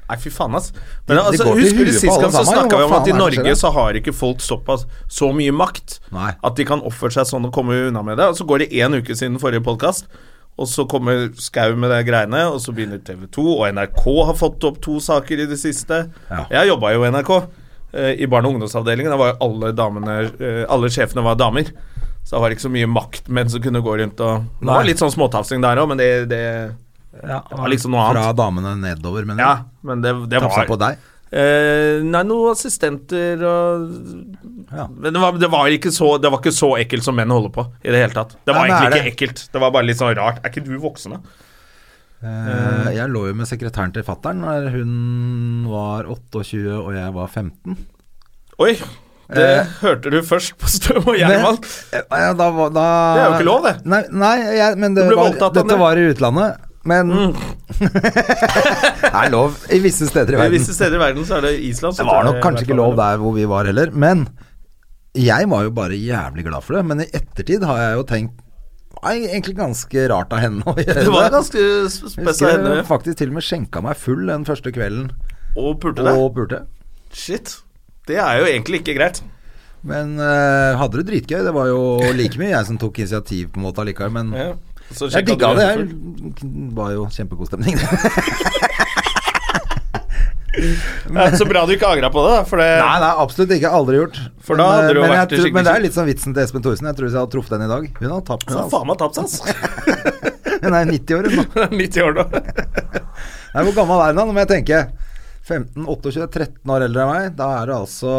Speaker 1: Nei, fy faen, ass. Men
Speaker 2: Det- det
Speaker 1: altså,
Speaker 2: går til
Speaker 1: husker
Speaker 2: huet
Speaker 1: du
Speaker 2: på
Speaker 1: sist
Speaker 2: alle
Speaker 1: gang så
Speaker 2: sammen, jo,
Speaker 1: snakka vi
Speaker 2: hva
Speaker 1: om
Speaker 2: faen
Speaker 1: at i
Speaker 2: er det som
Speaker 1: Norge
Speaker 2: skjer?
Speaker 1: så har ikke folk såpass så mye makt
Speaker 2: Nei.
Speaker 1: at de kan oppføre seg sånn og komme unna med det. Og så går det én uke siden forrige podkast, og så kommer Skau med de greiene, og så begynner TV 2, og NRK har fått opp to saker i det siste.
Speaker 2: Ja.
Speaker 1: Jeg jobba jo i NRK, eh, i barne- og ungdomsavdelingen. Da var jo alle damene eh, Alle sjefene var damer. Så det var ikke så mye maktmenn som kunne gå rundt og Det var
Speaker 2: Nei.
Speaker 1: litt sånn småtafsing der òg, men det, det, det var liksom noe annet.
Speaker 2: Fra damene nedover, men
Speaker 1: Ja, men det, det
Speaker 2: tafsa
Speaker 1: var
Speaker 2: på deg.
Speaker 1: Eh, nei, noen assistenter og
Speaker 2: Ja.
Speaker 1: Men det var, det, var ikke så, det var ikke så ekkelt som menn holder på i det hele tatt. Det
Speaker 2: Nei,
Speaker 1: var
Speaker 2: men
Speaker 1: egentlig
Speaker 2: er
Speaker 1: ikke ekkelt. Det var bare litt sånn rart. Er ikke du voksen, da?
Speaker 2: Eh, jeg lå jo med sekretæren til fattern da hun var 28 og jeg var 15.
Speaker 1: Oi! Det hørte du først på Støm og Gjerman.
Speaker 2: Eh. Men- ja, da, var- da,
Speaker 1: Det er jo ikke lov, det.
Speaker 2: Nei, nei jeg, men det
Speaker 1: Du ble
Speaker 2: var,
Speaker 1: voldtatt av
Speaker 2: dette
Speaker 1: det. Mm.
Speaker 2: var i utlandet. Men *laughs* Det er lov i visse steder i
Speaker 1: I
Speaker 2: verden.
Speaker 1: visse steder i verden så er det Island. så
Speaker 2: Det var
Speaker 1: tror
Speaker 2: nok
Speaker 1: jeg i
Speaker 2: kanskje
Speaker 1: hvert
Speaker 2: ikke
Speaker 1: fall
Speaker 2: lov der hvor vi var heller, men jeg var jo bare jævlig glad for det. Men i ettertid har jeg jo tenkt Nei, egentlig ganske rart av henne å gjøre det.
Speaker 1: *laughs* Det var ganske spes av
Speaker 2: Husker
Speaker 1: henne.
Speaker 2: jeg faktisk til og med skjenka meg full den første kvelden
Speaker 1: Og pulte deg.
Speaker 2: og pulte.
Speaker 1: Shit. Det er jo egentlig ikke greit.
Speaker 2: Men eh, hadde det dritgøy. Det var jo like mye jeg som tok initiativ på en måte allikevel, men
Speaker 1: Ja. Så
Speaker 2: jeg
Speaker 1: sjekka
Speaker 2: digga
Speaker 1: du
Speaker 2: det.
Speaker 1: henne først.
Speaker 2: Det var jo kjempegod stemning. *laughs*
Speaker 1: Ja, Så bra du ikke angra på det, da. For det
Speaker 2: Nei, nei, absolutt ikke. Aldri gjort.
Speaker 1: For da hadde
Speaker 2: men,
Speaker 1: du jo
Speaker 2: men,
Speaker 1: vært
Speaker 2: jeg, tror- men
Speaker 1: skikkelig
Speaker 2: det er litt sånn vitsen til Espen Thorsen. Jeg tror hvis jeg hadde truffet henne i dag Hun hadde tapt seg.
Speaker 1: Så
Speaker 2: Altså.
Speaker 1: faen meg tapt, ass.
Speaker 2: Hun er jo 90 år, hun nå.
Speaker 1: *laughs* 90 år nå.
Speaker 2: Nei, hvor gammel er hun da? Nå må jeg tenke. 15, 28, 13 år eldre enn meg. Da er det altså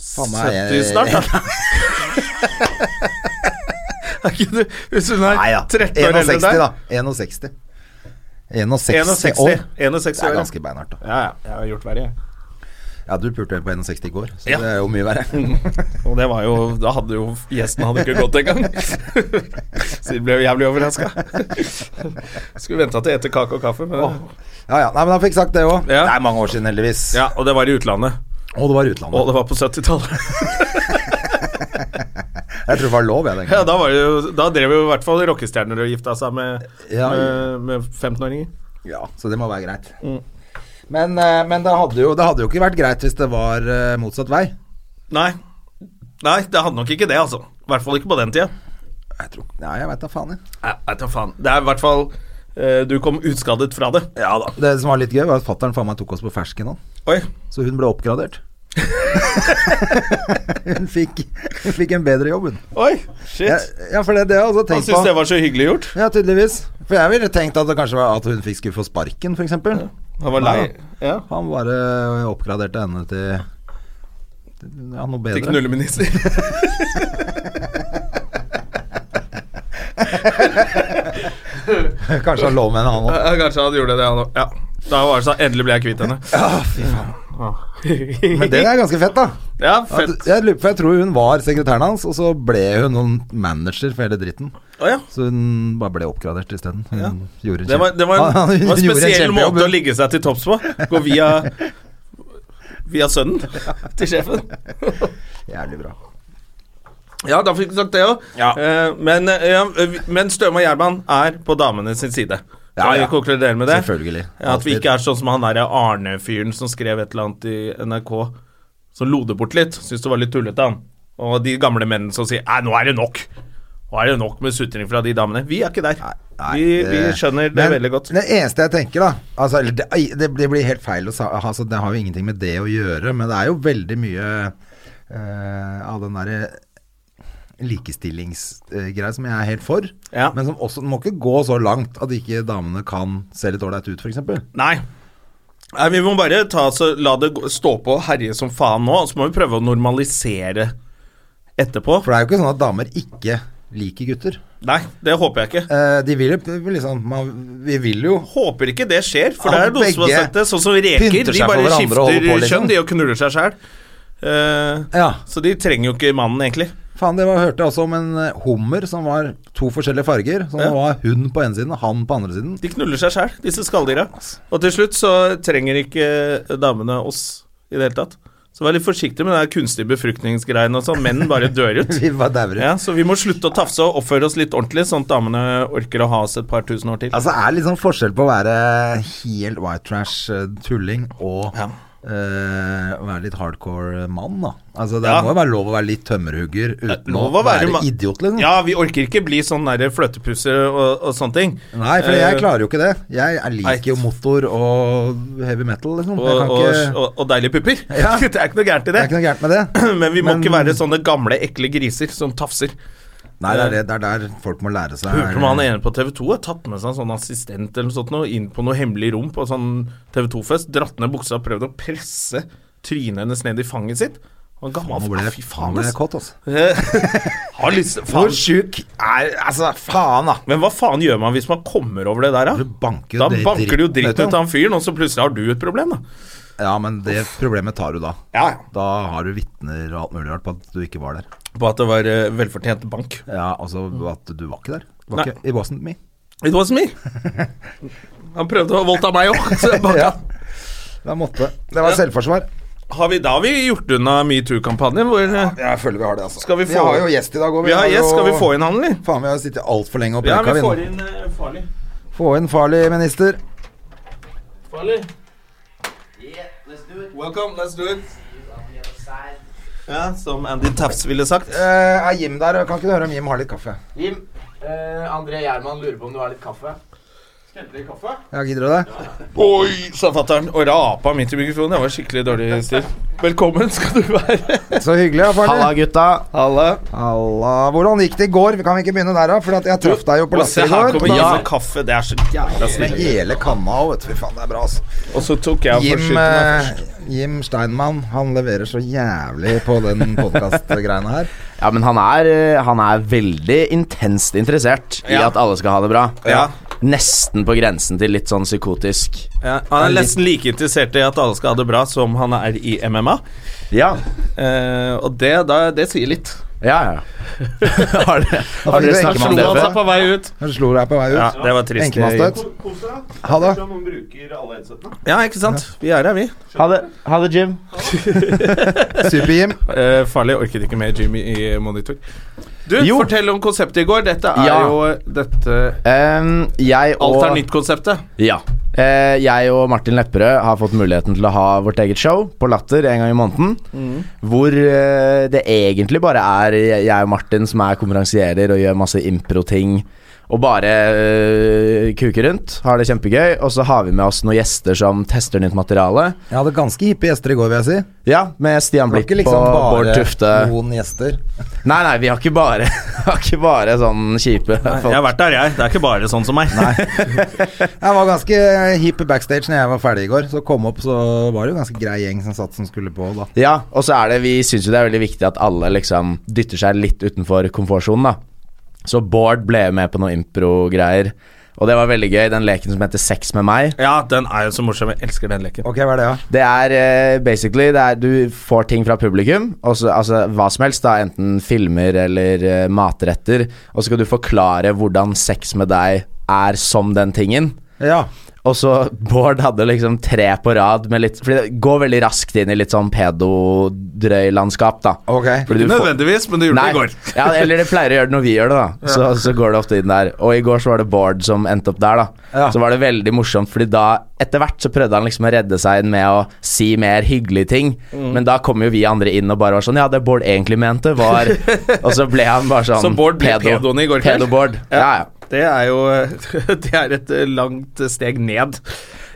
Speaker 2: faen meg,
Speaker 1: 70 snart,
Speaker 2: *laughs*
Speaker 1: da. Er ikke du Hvis hun er
Speaker 2: Nei da.
Speaker 1: 13 år
Speaker 2: 61,
Speaker 1: eldre enn deg
Speaker 2: da. 61. 61
Speaker 1: 61
Speaker 2: år.
Speaker 1: 61
Speaker 2: Det
Speaker 1: år.
Speaker 2: er
Speaker 1: ja.
Speaker 2: ganske beinhardt, da.
Speaker 1: Ja, ja. Jeg har gjort verre, jeg.
Speaker 2: Ja, du pulte på 61 i går, så
Speaker 1: Ja.
Speaker 2: det er jo mye verre. *laughs*
Speaker 1: Og det var jo Da hadde jo gjesten hadde ikke gått engang. *laughs* Så de ble jo jævlig overraska. *laughs* Skulle venta til etter kake og kaffe, men
Speaker 2: Ja, ja. Nei, men han fikk sagt det òg.
Speaker 1: Ja.
Speaker 2: Det er mange år siden, heldigvis.
Speaker 1: Ja, og det var i utlandet.
Speaker 2: Og det var utlandet.
Speaker 1: Og det var på 70-tallet.
Speaker 2: Jeg tror det var lov, jeg, den
Speaker 1: *laughs* Ja,
Speaker 2: gangen.
Speaker 1: da, var det jo, da drev jo i hvert fall rockestjerner og gifta seg med,
Speaker 2: Ja.
Speaker 1: med, med 15-åringer.
Speaker 2: Ja, så det må være greit.
Speaker 1: Mm.
Speaker 2: Men, eh, men det, hadde jo, det hadde jo ikke vært greit hvis det var eh, motsatt vei.
Speaker 1: Nei. Nei, det hadde nok ikke det, altså. I hvert fall ikke på den tida.
Speaker 2: Jeg tror Nei, jeg veit da faen, jeg.
Speaker 1: Nei, vet du faen. Det er i hvert fall eh, Du kom utskadet fra det. Ja da.
Speaker 2: Det som var litt gøy, var at fattern faen meg tok oss på fersken nå.
Speaker 1: Oi.
Speaker 2: Så hun ble
Speaker 1: *laughs*
Speaker 2: oppgradert. hun, fikk, hun fikk en bedre jobb, hun.
Speaker 1: Oi, shit.
Speaker 2: Ja, ja, for det, det har jeg også
Speaker 1: Han
Speaker 2: tenkt på.
Speaker 1: syntes det var så hyggelig gjort.
Speaker 2: Ja, tydeligvis. For jeg ville tenkt at det kanskje var at hun fikk skulle få sparken, f.eks.
Speaker 1: Han var lei. Ja.
Speaker 2: Han bare oppgraderte henne til til- ja, noe
Speaker 1: Til
Speaker 2: bedre.
Speaker 1: *laughs* knulleminister.
Speaker 2: *laughs* Kanskje han lå med henne, han òg.
Speaker 1: Ja, Kanskje han gjorde det, han òg. Ja. Da var det sånn Endelig ble jeg kvitt henne.
Speaker 2: Ja, fy faen.
Speaker 1: Ja,
Speaker 2: Men det er ganske fett, da.
Speaker 1: ja
Speaker 2: At,
Speaker 1: *laughs* fett.
Speaker 2: jeg, lurer på- jeg tror hun var sekretæren hans, og så ble hun noen manager for hele dritten.
Speaker 1: Å ja.
Speaker 2: Så hun bare ble oppgradert isteden. Hun gjorde en
Speaker 1: Det var,
Speaker 2: kjempe-
Speaker 1: det
Speaker 2: *laughs*
Speaker 1: var en,
Speaker 2: Ja, hun
Speaker 1: det var en
Speaker 2: gjorde
Speaker 1: spesiell
Speaker 2: kjempejobb,
Speaker 1: måte å
Speaker 2: hun.
Speaker 1: ligge seg til topps på. Gå via Via sønnen til sjefen. *laughs*
Speaker 2: Jævlig bra.
Speaker 1: Ja, da fikk du sagt det òg. men eh, ja, vi- men Støme og Gjerman er på damene sin side. Kan
Speaker 2: Ja, ja.
Speaker 1: vi konkludere med det?
Speaker 2: Selvfølgelig.
Speaker 1: Ja, at vi
Speaker 2: Alltid.
Speaker 1: ikke er sånn som han derre Arne-fyren som skrev et eller annet i NRK, som lo det bort litt. Syns det var litt tullete, han. Og de gamle mennene som sier 'Nei, nå er det nok'. Nå er det nok med sutring fra de damene. Vi er ikke der.
Speaker 2: Nei,
Speaker 1: vi,
Speaker 2: det-
Speaker 1: vi skjønner det
Speaker 2: Men
Speaker 1: veldig godt.
Speaker 2: Det eneste jeg tenker, da altså, eller det, ai, det blir- blir helt feil å sa altså, Det har jo ingenting med det å gjøre, men det er jo veldig mye eh, av den derre likestillingsgreia som jeg er helt for,
Speaker 1: Ja.
Speaker 2: men som også den må ikke gå så langt at ikke damene kan se litt ålreit ut, f.eks.
Speaker 1: Nei. Nei, Vi må bare ta, så la det gå- stå på og herje som faen nå, og så må vi prøve å normalisere etterpå.
Speaker 2: For det er jo ikke sånn at damer ikke liker gutter.
Speaker 1: Nei, det håper jeg ikke.
Speaker 2: Eh, de vil jo liksom man, Vi vil jo
Speaker 1: Håper ikke det skjer, for det
Speaker 2: At
Speaker 1: er noen som har
Speaker 2: begge
Speaker 1: sett det. Sånn som reker,
Speaker 2: pynter
Speaker 1: de
Speaker 2: seg for
Speaker 1: bare
Speaker 2: hverandre og
Speaker 1: skifter
Speaker 2: holder på, liksom.
Speaker 1: kjønn, de og knuller seg sjæl.
Speaker 2: Ja.
Speaker 1: Så de trenger jo ikke mannen, egentlig.
Speaker 2: Faen, det var, hørte jeg også om en eh, hummer som var to forskjellige farger. Så det
Speaker 1: Ja.
Speaker 2: var hun på ene siden og han på andre siden.
Speaker 1: De knuller seg sjæl, disse skalldyra. Og til slutt så trenger ikke damene oss i det hele tatt. Så vær litt forsiktig med den der kunstige befruktningsgreiene og sånn. Menn bare dør
Speaker 2: *laughs*
Speaker 1: ut.
Speaker 2: Vi bare dauer ut.
Speaker 1: Ja, så vi må slutte å tafse og oppføre oss litt ordentlig, sånn at damene orker å ha oss et par tusen år til.
Speaker 2: Altså, er det litt sånn forskjell på å være helt white trash eh, tulling og
Speaker 1: Ja.
Speaker 2: eh, å være litt hardcore mann, da. Altså, det
Speaker 1: Ja.
Speaker 2: må jo være lov å være litt tømmerhugger uten å
Speaker 1: Lov å
Speaker 2: være,
Speaker 1: ma-
Speaker 2: idiot, liksom.
Speaker 1: Ja, vi orker ikke bli sånn derre fløtepusser og, og sånne ting.
Speaker 2: Nei, for jeg
Speaker 1: Eh,
Speaker 2: klarer jo ikke det. Jeg, jeg
Speaker 1: nei.
Speaker 2: liker jo motor og heavy metal, liksom.
Speaker 1: Og,
Speaker 2: Jeg kan
Speaker 1: og,
Speaker 2: ikke,
Speaker 1: og, og deilige pupper.
Speaker 2: Ja.
Speaker 1: *laughs* det er ikke noe gærent
Speaker 2: det
Speaker 1: i det.
Speaker 2: er ikke noe gærent med det.
Speaker 1: *clears throat* Men vi må
Speaker 2: Men-
Speaker 1: ikke være sånne gamle, ekle griser som tafser.
Speaker 2: Nei, det er, det, det er der folk må lære seg
Speaker 1: Hørte om han ene på TV 2 har tatt med seg en sånn assistent eller noe sånt nå, inn på noe hemmelig rom på sånn TV 2-fest, dratt ned buksa og prøvd å presse trynet hennes ned i fanget sitt. Han gammel,
Speaker 2: Nå ble
Speaker 1: Ah,
Speaker 2: jeg, faen, ble
Speaker 1: ass.
Speaker 2: jeg kåt, altså.
Speaker 1: Har lyst
Speaker 2: Hvor
Speaker 1: faen.
Speaker 2: sjuk er Altså, faen, da.
Speaker 1: Men hva faen gjør man hvis man kommer over det der,
Speaker 2: Du
Speaker 1: da?
Speaker 2: banker
Speaker 1: Da
Speaker 2: jo det
Speaker 1: banker du jo dritten
Speaker 2: vet
Speaker 1: ut av han fyren, og så plutselig har du et problem, da.
Speaker 2: Ja, men det problemet tar du da.
Speaker 1: Ja, ja.
Speaker 2: Da har du vitner og alt mulig rart på at du ikke var der.
Speaker 1: På at det var eh, velfortjent bank.
Speaker 2: Ja, altså at du var ikke der. Du
Speaker 1: Nei.
Speaker 2: Var ikke, it wasn't me.
Speaker 1: It was me. Han prøvde å voldta meg òg, så jeg banka.
Speaker 2: Da måtte Det var
Speaker 1: Ja.
Speaker 2: selvforsvar.
Speaker 1: Har vi da har vi gjort unna metoo-kampanjen? Hvor eh,
Speaker 2: Jeg føler vi har det, altså.
Speaker 1: Skal vi få-
Speaker 2: har jo gjest i dag òg.
Speaker 1: vi har gjest, skal vi få inn han, eller?
Speaker 2: Faen, vi har sittet altfor lenge og
Speaker 1: Ja,
Speaker 2: preka,
Speaker 1: vi
Speaker 2: vi.
Speaker 1: får inn eh, Farlig.
Speaker 2: nå. Få inn farlig minister.
Speaker 1: Farlig. Welcome, let's do it. Ja, som Andy Tafs ville sagt.
Speaker 2: Eh, er Jim der? Kan ikke du høre om Jim har litt kaffe?
Speaker 3: Jim, eh, André Gjerman lurer på om du har litt kaffe. Skjente litt kaffe?
Speaker 2: Ja, gidder du det?
Speaker 1: Oi, sa fatter'n og rapa midt i mikrofonen. Det var skikkelig dårlig stil. Velkommen skal du være.
Speaker 2: Så hyggelig, ja,
Speaker 3: Halla,
Speaker 2: farlig.
Speaker 3: gutta.
Speaker 1: Halla.
Speaker 2: Halla. Hvordan gikk det i går? Kan vi ikke begynne der, da? For at jeg traff deg jo på
Speaker 1: Og se
Speaker 2: latter i
Speaker 1: her
Speaker 2: går.
Speaker 1: kommer Jim
Speaker 2: Da-
Speaker 1: med kaffe. Det er så jævla
Speaker 2: Med
Speaker 1: snill.
Speaker 2: hele kanna òg, vet du. Fy faen, det er bra, altså.
Speaker 1: Og så tok jeg og
Speaker 2: Jim,
Speaker 1: forskyldte meg først.
Speaker 2: eh, Jim Steinmann, han leverer så jævlig på den podkast-greiene her.
Speaker 3: Ja, men han er, eh, han er veldig intenst interessert i
Speaker 1: Ja.
Speaker 3: at alle skal ha det bra.
Speaker 1: Ja.
Speaker 4: nesten på grensen til litt sånn psykotisk.
Speaker 1: Ja, han er nesten like interessert i at alle skal ha det bra som han er i MMA.
Speaker 4: Ja,
Speaker 1: Eh, og det, da, det sier litt.
Speaker 4: ja, *laughs* ja. har dere, har
Speaker 2: fikk
Speaker 4: dere
Speaker 2: du
Speaker 4: snakket om det
Speaker 2: enkemann,
Speaker 4: før?
Speaker 2: altså.
Speaker 1: på vei ut.
Speaker 2: Han slo deg på vei ut.
Speaker 1: Ja, det var trist.
Speaker 2: Enkemaststøt.
Speaker 3: Kos deg. da.
Speaker 2: Ha det.
Speaker 3: Kanskje noen bruker alle headsetene.
Speaker 1: Ja, ikke sant. Vi er her, vi.
Speaker 4: Ha det, ha det Jim.
Speaker 2: Super-Jim.
Speaker 1: Eh, farlig. Orket ikke mer Jimmy i monitor. Du,
Speaker 4: Jo.
Speaker 1: fortell om konseptet i går. Dette er
Speaker 4: Ja.
Speaker 1: jo dette
Speaker 4: Ehm, jeg og
Speaker 1: Alt er nytt-konseptet.
Speaker 4: Ja. Eh, jeg og Martin Lepperød har fått muligheten til å ha vårt eget show på Latter en gang i måneden. Hvor eh, det egentlig bare er jeg og Martin som er konferansierer og gjør masse impro-ting. Og bare eh, kuker rundt. Har det kjempegøy. Og så har vi med oss noen gjester som tester nytt materiale.
Speaker 2: Jeg hadde ganske hippe gjester i går, vil jeg si.
Speaker 4: Ja, med Stian
Speaker 2: Det var
Speaker 4: Blipp
Speaker 2: ikke liksom
Speaker 4: og Bård Tufte.
Speaker 2: bare noen gjester.
Speaker 4: Nei, nei, vi har ikke bare, *laughs* har ikke bare sånn kjipe folk.
Speaker 1: Jeg har vært der, jeg. Det er ikke bare sånn som meg.
Speaker 2: Jeg var ganske eh, hipp backstage når jeg var ferdig i går. Så kom opp, så var det jo ganske grei gjeng som satt som skulle på da.
Speaker 4: Ja, og så er det Vi syns jo det er veldig viktig at alle liksom dytter seg litt utenfor komfortsonen, da. Så Bård ble med på noe impro-greier, og det var veldig gøy. Den leken som heter Sex med meg.
Speaker 1: *laughs* Ja, den er jo så morsom. Jeg elsker den leken.
Speaker 2: Ok, hva er det, da?
Speaker 4: Det er eh, basically det er, Du får ting fra publikum, og så- altså hva som helst, da, enten filmer eller eh, matretter, og så skal du forklare hvordan sex med deg er som den tingen.
Speaker 2: Ja.
Speaker 4: Og så *laughs* Bård hadde liksom tre på rad med litt Fordi det går veldig raskt inn i litt sånn pedodrøylandskap, da.
Speaker 2: Ok.
Speaker 4: Fordi du får-
Speaker 1: Nødvendigvis, men det gjorde
Speaker 4: Nei.
Speaker 1: det i går.
Speaker 4: ja, eller det pleier å gjøre det når vi gjør det, da. Så, så går det ofte inn der. Og i går så var det Bård som endte opp der, da.
Speaker 2: Ja.
Speaker 4: Så var det veldig morsomt, Fordi da etter hvert så prøvde han liksom å redde seg inn med å si mer hyggelige ting.
Speaker 1: Mm.
Speaker 4: Men da kom jo vi andre inn og bare var sånn Ja, det Bård egentlig
Speaker 1: *laughs*
Speaker 4: mente, var Og så ble han bare sånn
Speaker 1: Så Bård ble pedoen i går kveld?
Speaker 4: Pedo-Bård. Ja, ja.
Speaker 1: Det er jo *laughs* Det er et eh, langt steg ned.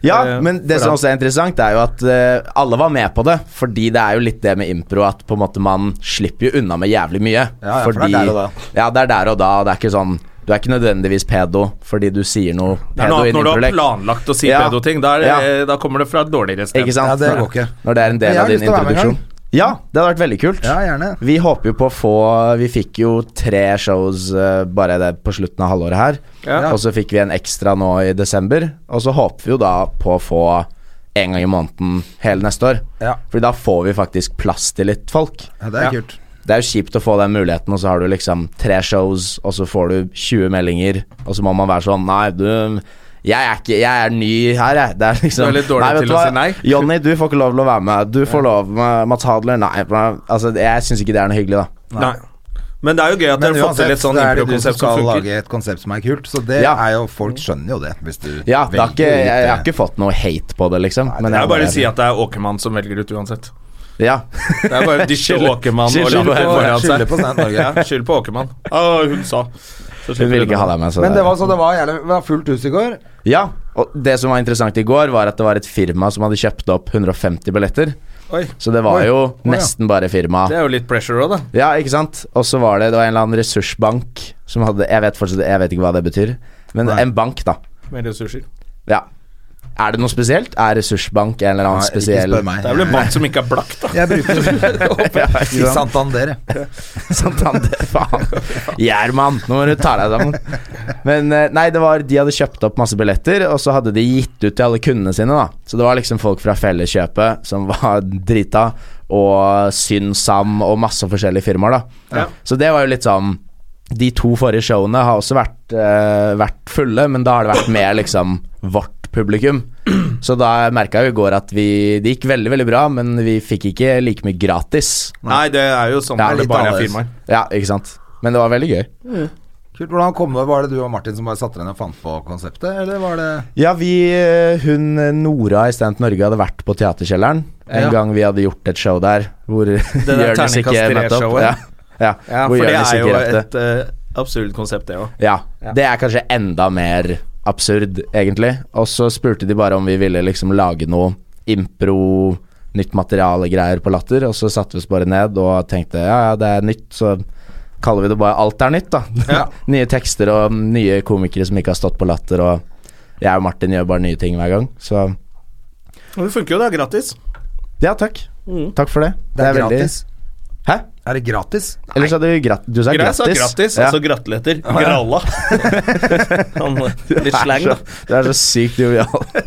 Speaker 4: Ja,
Speaker 1: Eh,
Speaker 4: men det
Speaker 1: for
Speaker 4: som
Speaker 1: at-
Speaker 4: også er interessant, er jo at eh, alle var med på det. Fordi det er jo litt det med impro at på en måte man slipper jo unna med jævlig mye.
Speaker 2: Ja, ja, for det er der og da.
Speaker 4: Ja, det er der og da. og Det er ikke sånn Du er ikke nødvendigvis pedo fordi du sier noe
Speaker 1: Det er noe
Speaker 4: pedo
Speaker 1: annet
Speaker 4: i en
Speaker 1: når du har
Speaker 4: improlek.
Speaker 1: planlagt å si
Speaker 4: Ja.
Speaker 1: pedo-ting. Da, er det- da kommer det fra et dårligere sted.
Speaker 4: Ikke sant?
Speaker 2: Ja, det går ikke.
Speaker 4: Når det er en
Speaker 2: Men jeg
Speaker 4: del
Speaker 2: har
Speaker 4: av din
Speaker 2: lyst til å være med en
Speaker 4: introduksjon.
Speaker 2: gang.
Speaker 4: Ja, det hadde vært veldig kult.
Speaker 2: Ja, gjerne.
Speaker 4: Vi håper jo på å få Vi fikk jo tre shows eh, bare det, på slutten av halvåret her.
Speaker 1: Ja.
Speaker 4: Og så fikk vi en ekstra nå i desember. Og så håper vi jo da på å få en gang i måneden hele neste år.
Speaker 2: Ja.
Speaker 4: Fordi da får vi faktisk plass til litt folk.
Speaker 2: ja det er
Speaker 1: Ja.
Speaker 2: kult.
Speaker 4: Det er jo kjipt å få den muligheten, og så har du liksom tre shows, og så får du 20 meldinger, og så må man være sånn Nei, du jeg er, ikke, jeg er ny her, jeg. Det er liksom
Speaker 1: Du er litt dårlig
Speaker 4: vet
Speaker 1: til
Speaker 4: du
Speaker 1: å
Speaker 4: hva?
Speaker 1: si nei. *laughs*
Speaker 4: Jonny, du får ikke lov til å være med. Du får lov med Mats Hadler. Nei. men, Altså, jeg syns ikke det er noe hyggelig, da.
Speaker 1: Nei. Men det er jo gøy at
Speaker 2: Men
Speaker 1: dere har fått til
Speaker 2: uansett,
Speaker 1: et sånn
Speaker 2: så er det du som
Speaker 1: impro-konsept som
Speaker 2: skal
Speaker 1: funker.
Speaker 2: lage et konsept som er kult, så det
Speaker 4: Ja.
Speaker 2: er jo Folk skjønner jo det, hvis du
Speaker 4: Ja, det
Speaker 2: velger
Speaker 4: har ikke, jeg,
Speaker 2: ut
Speaker 4: jeg
Speaker 2: det.
Speaker 4: har ikke fått noe hate på det, liksom.
Speaker 1: Det er jo bare å si at det er Åkermann som velger ut uansett.
Speaker 4: Ja.
Speaker 1: Det er bare å dytte Åkermann og la
Speaker 4: skylder
Speaker 1: det
Speaker 4: på-
Speaker 1: foran
Speaker 2: skylder
Speaker 1: seg.
Speaker 2: på Stand Norge.
Speaker 1: Ja, *laughs* Skyld på Åkermann. Å, hun sa. Så
Speaker 4: Hun ville ikke ha deg med, så
Speaker 2: Men det var så det var jævlig Det var fullt hus i går.
Speaker 4: Ja, og det som var interessant i går, var at det var et firma som hadde kjøpt opp 150 billetter.
Speaker 1: Oi.
Speaker 4: Så det var
Speaker 2: Oi.
Speaker 4: jo
Speaker 2: ja.
Speaker 4: nesten bare firma.
Speaker 1: Det er jo litt pressure òg, da.
Speaker 4: Ja, ikke sant? Og så var det, det var en eller annen ressursbank som hadde Jeg vet fortsatt jeg vet ikke hva det betyr, men
Speaker 2: Nei.
Speaker 4: en bank, da.
Speaker 1: Med ressurser.
Speaker 4: Ja. Er det noe spesielt? Er ressursbank en eller annen
Speaker 2: Nei,
Speaker 4: spesiell
Speaker 2: Ikke spør meg.
Speaker 1: Det er vel en bank som ikke er blakk, da.
Speaker 2: Jeg
Speaker 1: *laughs*
Speaker 2: *laughs* brukte I Santander, jeg.
Speaker 4: *laughs* Sånn Santander, faen. Gjerman, nå må du ta deg sammen. Men eh, nei, det var de hadde kjøpt opp masse billetter, og så hadde de gitt ut til alle kundene sine, da. Så det var liksom folk fra Felleskjøpet som var *laughs* drita, og Synsam og masse forskjellige firmaer, da.
Speaker 1: Ja.
Speaker 4: Så det var jo litt sånn De to forrige showene har også vært, eh, vært fulle, men da har det vært mer liksom vårt publikum. Så da merka jeg jo i går at vi Det gikk veldig, veldig bra, men vi fikk ikke like mye gratis.
Speaker 1: Nei, det er jo sånn
Speaker 4: Ja,
Speaker 1: når det
Speaker 4: litt
Speaker 1: bare er
Speaker 2: annerledes.
Speaker 1: firmaer.
Speaker 4: Ja, ikke sant. Men det var veldig gøy.
Speaker 2: Kult, hvordan kom det? Var det du og Martin som bare satte dere ned og fant på konseptet, eller var det
Speaker 4: Ja, vi, eh, hun eh, Nora i Stent Norge hadde vært på Teaterkjelleren en
Speaker 2: Ja.
Speaker 4: gang vi hadde gjort et show der hvor *laughs* Jonis ikke
Speaker 1: terningkast
Speaker 4: møtte opp.
Speaker 1: tre-showet.
Speaker 4: Ja, ja,
Speaker 1: Ja,
Speaker 4: hvor
Speaker 1: for det
Speaker 4: Jonis
Speaker 1: er
Speaker 4: ikke
Speaker 1: jo
Speaker 4: rakk det.
Speaker 1: et eh, absurd konsept, det òg.
Speaker 4: Ja,
Speaker 1: Ja.
Speaker 4: det er kanskje enda mer absurd, egentlig. Og så spurte de bare om vi ville liksom lage noe impro, nytt materiale-greier på Latter, og så satte vi oss bare ned og tenkte ja, ja, det er nytt, så kaller vi det bare alt er nytt, da.
Speaker 1: Ja.
Speaker 4: *laughs* nye tekster og nye komikere som ikke har stått på Latter, og jeg og Martin gjør bare nye ting hver gang, så
Speaker 1: Det funker jo, det er gratis. Mm.
Speaker 4: ja, takk. Takk for det.
Speaker 2: Det er
Speaker 4: veldig-
Speaker 2: gratis.
Speaker 4: Hæ?
Speaker 2: Er det gratis?
Speaker 4: Eller sa du grat... Du sa
Speaker 1: Grei
Speaker 4: grattis.
Speaker 1: sa grattis,
Speaker 4: Ja.
Speaker 1: altså grattletter.
Speaker 2: *laughs*
Speaker 1: Gralla. Han, eh, litt slang,
Speaker 4: *laughs*
Speaker 1: da.
Speaker 4: Du er så sykt jovial. *laughs*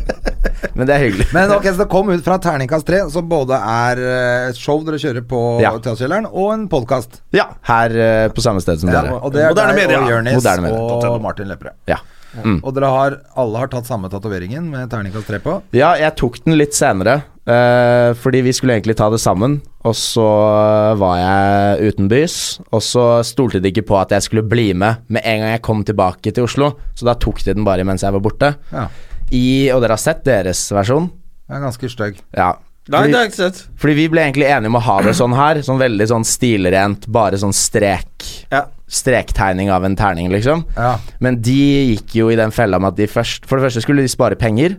Speaker 4: Men det er hyggelig.
Speaker 2: Men ok, så det kom ut fra Terningkast 3, som både er eh, et show dere kjører på
Speaker 4: Ja.
Speaker 2: Teaterkjelleren, og en podkast.
Speaker 4: Ja, her eh, på samme sted som dere.
Speaker 2: og det er
Speaker 1: Moderne
Speaker 2: deg
Speaker 1: media.
Speaker 2: og Jonis
Speaker 4: Moderne media.
Speaker 2: og Martin Lepperød.
Speaker 4: Ja.
Speaker 2: Og dere har, alle har tatt samme tatoveringen med terningkast 3 på.
Speaker 4: ja, jeg tok den litt senere. eh, fordi vi skulle egentlig ta det sammen, og så eh, var jeg utenbys. Og så stolte de ikke på at jeg skulle bli med med en gang jeg kom tilbake til Oslo. Så da tok de den bare mens jeg var borte.
Speaker 2: Ja.
Speaker 4: I, og dere har sett deres versjon?
Speaker 2: Det er ganske stygg.
Speaker 4: Ja.
Speaker 1: Nei,
Speaker 4: Fordi-
Speaker 1: det har jeg ikke sett.
Speaker 4: Fordi vi ble egentlig enige om å ha det sånn her. Sånn veldig sånn stilrent, bare sånn strek.
Speaker 2: *laughs*
Speaker 1: Ja.
Speaker 4: Strektegning av en terning, liksom.
Speaker 2: Ja.
Speaker 4: Men de gikk jo i den fella med at de først For det første skulle de spare penger,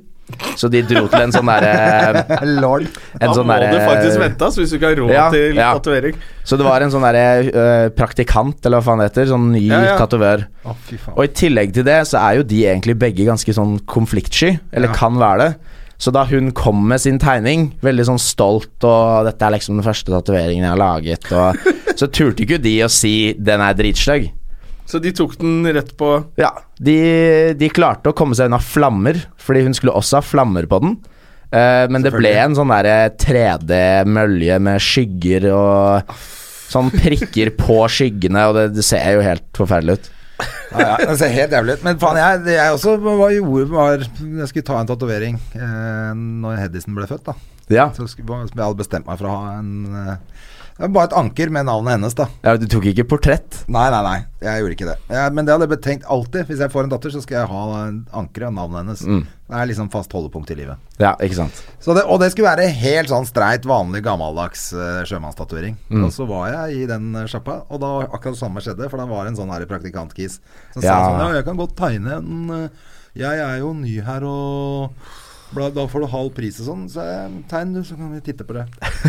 Speaker 4: så de dro til en
Speaker 1: *laughs*
Speaker 4: sånn derre
Speaker 2: Lord.
Speaker 4: En
Speaker 1: Da
Speaker 4: sånn
Speaker 1: må du faktisk
Speaker 4: derre
Speaker 1: vente ass, hvis du ikke har råd
Speaker 4: Ja,
Speaker 1: til
Speaker 4: ja.
Speaker 1: tatovering.
Speaker 4: Så det var en sånn derre eh, praktikant, eller hva faen det heter. Sånn ny
Speaker 1: Ja, ja.
Speaker 4: tatovør.
Speaker 2: Å, fy faen.
Speaker 4: Og i tillegg til det så er jo de egentlig begge ganske sånn konfliktsky, eller kan være det. Så da hun kom med sin tegning, veldig sånn stolt og 'dette er liksom den første tatoveringen jeg har laget',
Speaker 1: *laughs*
Speaker 4: og så turte ikke de å si 'den er dritsløgg'.
Speaker 1: Så de tok den rett på
Speaker 4: Ja, de, de klarte å komme seg unna flammer, fordi hun skulle også ha flammer på den. Eh, men det ble en sånn derre 3D-mølje med skygger og sånn prikker på skyggene, og det, det ser jo helt forferdelig ut.
Speaker 2: Ja, ja, det ser helt jævlig ut. Men faen, jeg, det- jeg også var, gjorde, var Jeg skulle ta en tatovering eh, når Hedison ble født, da.
Speaker 4: Ja,
Speaker 2: Så skulle, jeg hadde bestemt meg for å ha en eh, det var Bare et anker med navnet hennes, da.
Speaker 4: ja du tok ikke portrett?
Speaker 2: Nei, nei, nei. Jeg gjorde ikke det. Jeg, men det hadde jeg betenkt alltid. Hvis jeg får en datter, så skal jeg ha en ankeret og navnet hennes. Det er liksom fast holdepunkt i livet.
Speaker 4: Ja, ikke sant.
Speaker 2: Så det, og det skulle være helt sånn streit, vanlig, gammeldags uh, sjømannstatuering.
Speaker 4: Mm.
Speaker 2: Og så var jeg i den eh, sjappa, og da var akkurat det samme skjedde. For da var det en sånn her praktikantkis som sa
Speaker 4: Ja.
Speaker 2: sånn Ja, jeg kan godt tegne en eh, Jeg er jo ny her, og bla, da får du halv pris og sånn. Så jeg, tegn, du, så kan vi titte på det.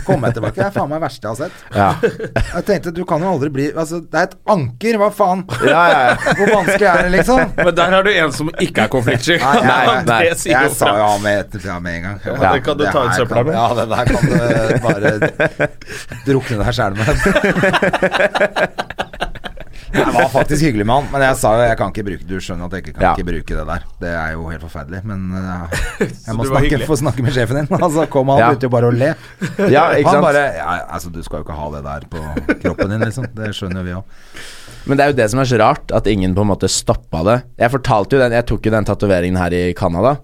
Speaker 2: Kom jeg tilbake. Det er faen meg det verste jeg har sett.
Speaker 4: Ja.
Speaker 2: Jeg tenkte, du kan jo aldri bli Altså, det er et anker, hva faen?
Speaker 4: Ja, ja, ja.
Speaker 2: Hvor vanskelig er det, liksom?
Speaker 1: Men der har du en som ikke er konfliktsky.
Speaker 2: *laughs* Nei, nei,
Speaker 4: nei.
Speaker 1: Det sier jo
Speaker 2: Jeg sa
Speaker 1: fra.
Speaker 2: jo ja med, etter, ja, med en gang.
Speaker 1: Ja, det kan du ta ut
Speaker 2: her
Speaker 1: søpla
Speaker 2: kan-
Speaker 1: med.
Speaker 2: Ja, det der kan du bare drukne deg sjæl med.
Speaker 4: *laughs*
Speaker 2: Det var faktisk hyggelig med han, men jeg sa jo jeg kan ikke bruke Du skjønner at jeg ikke kan
Speaker 4: Ja.
Speaker 2: ikke bruke det der. Det er jo helt forferdelig, men ja,
Speaker 1: *laughs*
Speaker 2: jeg må
Speaker 1: du var
Speaker 2: snakke,
Speaker 1: hyggelig.
Speaker 2: få snakke med sjefen din. *laughs* Og så kom han og
Speaker 4: Ja.
Speaker 2: begynte jo bare å le.
Speaker 4: Ja, ikke
Speaker 2: han
Speaker 4: sant?
Speaker 2: bare ja, Altså, du skal jo ikke ha det der på kroppen din, liksom. Det skjønner jo vi òg.
Speaker 4: Men det er jo det som er så rart, at ingen på en måte stoppa det. Jeg fortalte jo den, jeg tok jo den tatoveringen her i Canada.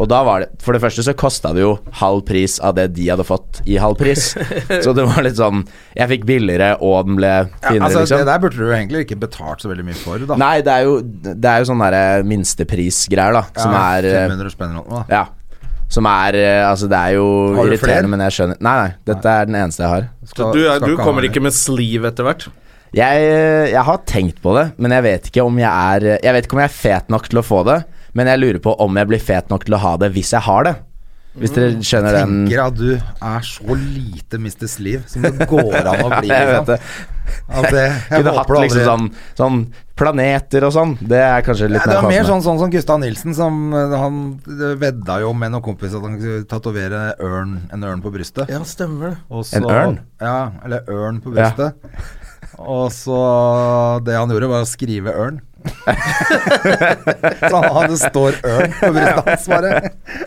Speaker 4: Og da var det, For det første så kosta det jo halv pris av det de hadde fått i halv
Speaker 2: *laughs*
Speaker 4: pris. Så det var litt sånn Jeg fikk billigere, og den ble finere,
Speaker 2: Ja, altså, Det
Speaker 4: liksom.
Speaker 2: der burde du jo egentlig ikke betalt så veldig mye for, da.
Speaker 4: Nei, det er jo, det er jo sånne der eh, minsteprisgreier, da, som
Speaker 2: Ja,
Speaker 4: er eh,
Speaker 2: 500 spenn eller noe, da.
Speaker 4: Ja. Som er eh, Altså, det er jo
Speaker 2: Har du flere?
Speaker 4: irriterende, men jeg skjønner Nei, nei. Dette er den eneste jeg har.
Speaker 2: Skal-
Speaker 1: Du, er-
Speaker 2: skal
Speaker 1: du
Speaker 2: ha
Speaker 1: kommer
Speaker 2: det.
Speaker 1: ikke med sleeve etter hvert.
Speaker 4: Jeg, eh, jeg har tenkt på det, men jeg vet ikke om jeg er eh, Jeg vet ikke om jeg er fet nok til å få det. Men jeg lurer på om jeg blir fet nok til å ha det hvis jeg har det. Hvis dere skjønner den
Speaker 2: Mm. tenker at du er så lite Mr. Sleeve som det går an å
Speaker 4: Ja,
Speaker 2: bli.
Speaker 4: *laughs*
Speaker 2: liksom.
Speaker 4: jeg vet det.
Speaker 2: At det, jeg
Speaker 4: Kunne hatt
Speaker 2: håper du
Speaker 4: liksom
Speaker 2: aldri-
Speaker 4: sånn, sånn planeter og sånn. Det er kanskje
Speaker 2: Nei,
Speaker 4: litt
Speaker 2: det var mer
Speaker 4: passende.
Speaker 2: sånn, sånn som Gustav Nilsen, som eh, han eh, vedda jo med noen kompiser at han skulle tatovere ørn, en ørn på brystet.
Speaker 1: Ja, stemmer det.
Speaker 2: Og
Speaker 4: En ørn?
Speaker 2: Ja, eller ørn på brystet. Og så Det han gjorde, var å skrive ørn. *laughs* så han, han det står ørn på brystet hans, bare.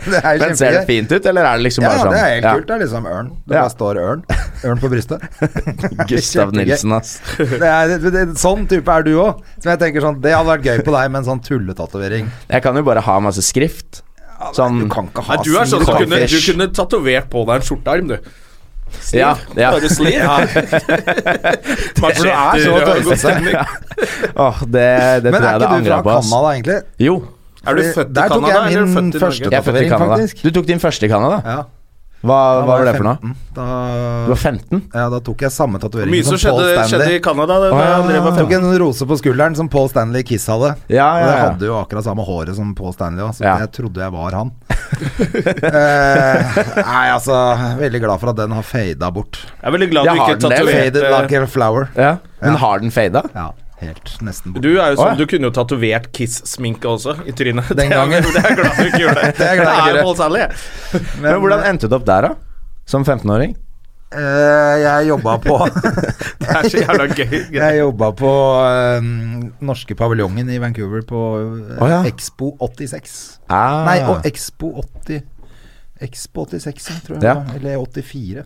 Speaker 2: Det er jo
Speaker 4: Men ser det
Speaker 2: kjempegøy.
Speaker 4: fint ut, eller er det liksom
Speaker 2: Ja,
Speaker 4: bare
Speaker 2: ja,
Speaker 4: sånn?
Speaker 2: det er helt kult. Det er liksom ørn. Det
Speaker 4: Ja.
Speaker 2: bare står ørn. Ørn på brystet. *laughs*
Speaker 4: *laughs* Gustav
Speaker 2: Kjempegøy.
Speaker 4: Nilsen, ass.
Speaker 2: Det er, det, det, sånn type er du òg. Som jeg tenker sånn Det hadde vært gøy på deg med en sånn tulletatovering.
Speaker 4: Jeg kan jo bare ha masse skrift. Sånn
Speaker 2: Du kan ikke
Speaker 1: Nei,
Speaker 2: ha
Speaker 1: du er sånn, du
Speaker 4: Sleeve.
Speaker 1: kunne, du kunne tatovert på deg en skjortearm, du.
Speaker 4: Ja, ja.
Speaker 1: Bare sleeve. *laughs*
Speaker 4: For du
Speaker 2: er så tøysete.
Speaker 1: Ja.
Speaker 4: Åh, det, det
Speaker 2: Men er ikke
Speaker 4: tror jeg det
Speaker 2: du fra
Speaker 4: angrer på. ass.
Speaker 2: Canada, egentlig?
Speaker 4: Jo,
Speaker 1: Er du
Speaker 2: Fordi
Speaker 1: født i
Speaker 2: der tok
Speaker 1: Canada,
Speaker 2: jeg
Speaker 1: eller er du
Speaker 2: min
Speaker 1: født i
Speaker 2: første-
Speaker 1: Norge?
Speaker 4: jeg er født i
Speaker 2: Tatovering,
Speaker 4: Canada.
Speaker 2: faktisk.
Speaker 4: Du tok din første i Canada.
Speaker 2: Ja.
Speaker 4: Hva,
Speaker 2: Da
Speaker 4: hva var det
Speaker 2: jeg
Speaker 4: for noe?
Speaker 2: 15. Da,
Speaker 4: Du var 15?
Speaker 2: ja, da tok jeg samme tatovering
Speaker 1: Mye som skjedde, skjedde i Canada. Det,
Speaker 2: Ja,
Speaker 1: det,
Speaker 2: jeg tok en rose på skulderen som Paul Stanley i Kiss hadde.
Speaker 4: Ja, ja,
Speaker 2: Og jeg
Speaker 4: ja.
Speaker 2: hadde jo akkurat samme håret som Paul Stanley også, så
Speaker 4: Ja.
Speaker 2: jeg trodde jeg
Speaker 4: *laughs*
Speaker 2: var han. eh, nei, altså Veldig glad for at den har fada bort.
Speaker 1: jeg er veldig glad
Speaker 4: Jeg
Speaker 1: du
Speaker 4: har
Speaker 1: ikke
Speaker 4: den, det er
Speaker 2: Faded like
Speaker 1: tatoverte
Speaker 2: a flower.
Speaker 4: Ja. Men har den fada?
Speaker 2: Ja, helt nesten
Speaker 1: Du
Speaker 2: bort.
Speaker 1: er jo
Speaker 4: Å,
Speaker 1: sånn,
Speaker 4: ja.
Speaker 1: du kunne jo tatovert Kiss-sminke også, i trynet.
Speaker 2: Den gangen.
Speaker 1: *laughs* Det er jeg glad du ikke gjorde.
Speaker 2: Det er jeg glad jeg ikke
Speaker 1: Det
Speaker 2: gjorde.
Speaker 1: Paul Stanley.
Speaker 4: Men hvordan endte du opp der, da? Som 15-åring?
Speaker 2: Eh, jeg jobba på
Speaker 1: *laughs* Det er så jævla
Speaker 2: *laughs*
Speaker 1: gøy.
Speaker 2: Jeg jobba på eh, norske paviljongen i Vancouver på eh,
Speaker 4: Å, ja.
Speaker 2: Expo 86.
Speaker 4: Ah.
Speaker 2: Nei, og Expo 80 Expo 86, ja, tror jeg.
Speaker 4: Ja.
Speaker 2: det var. Eller 84.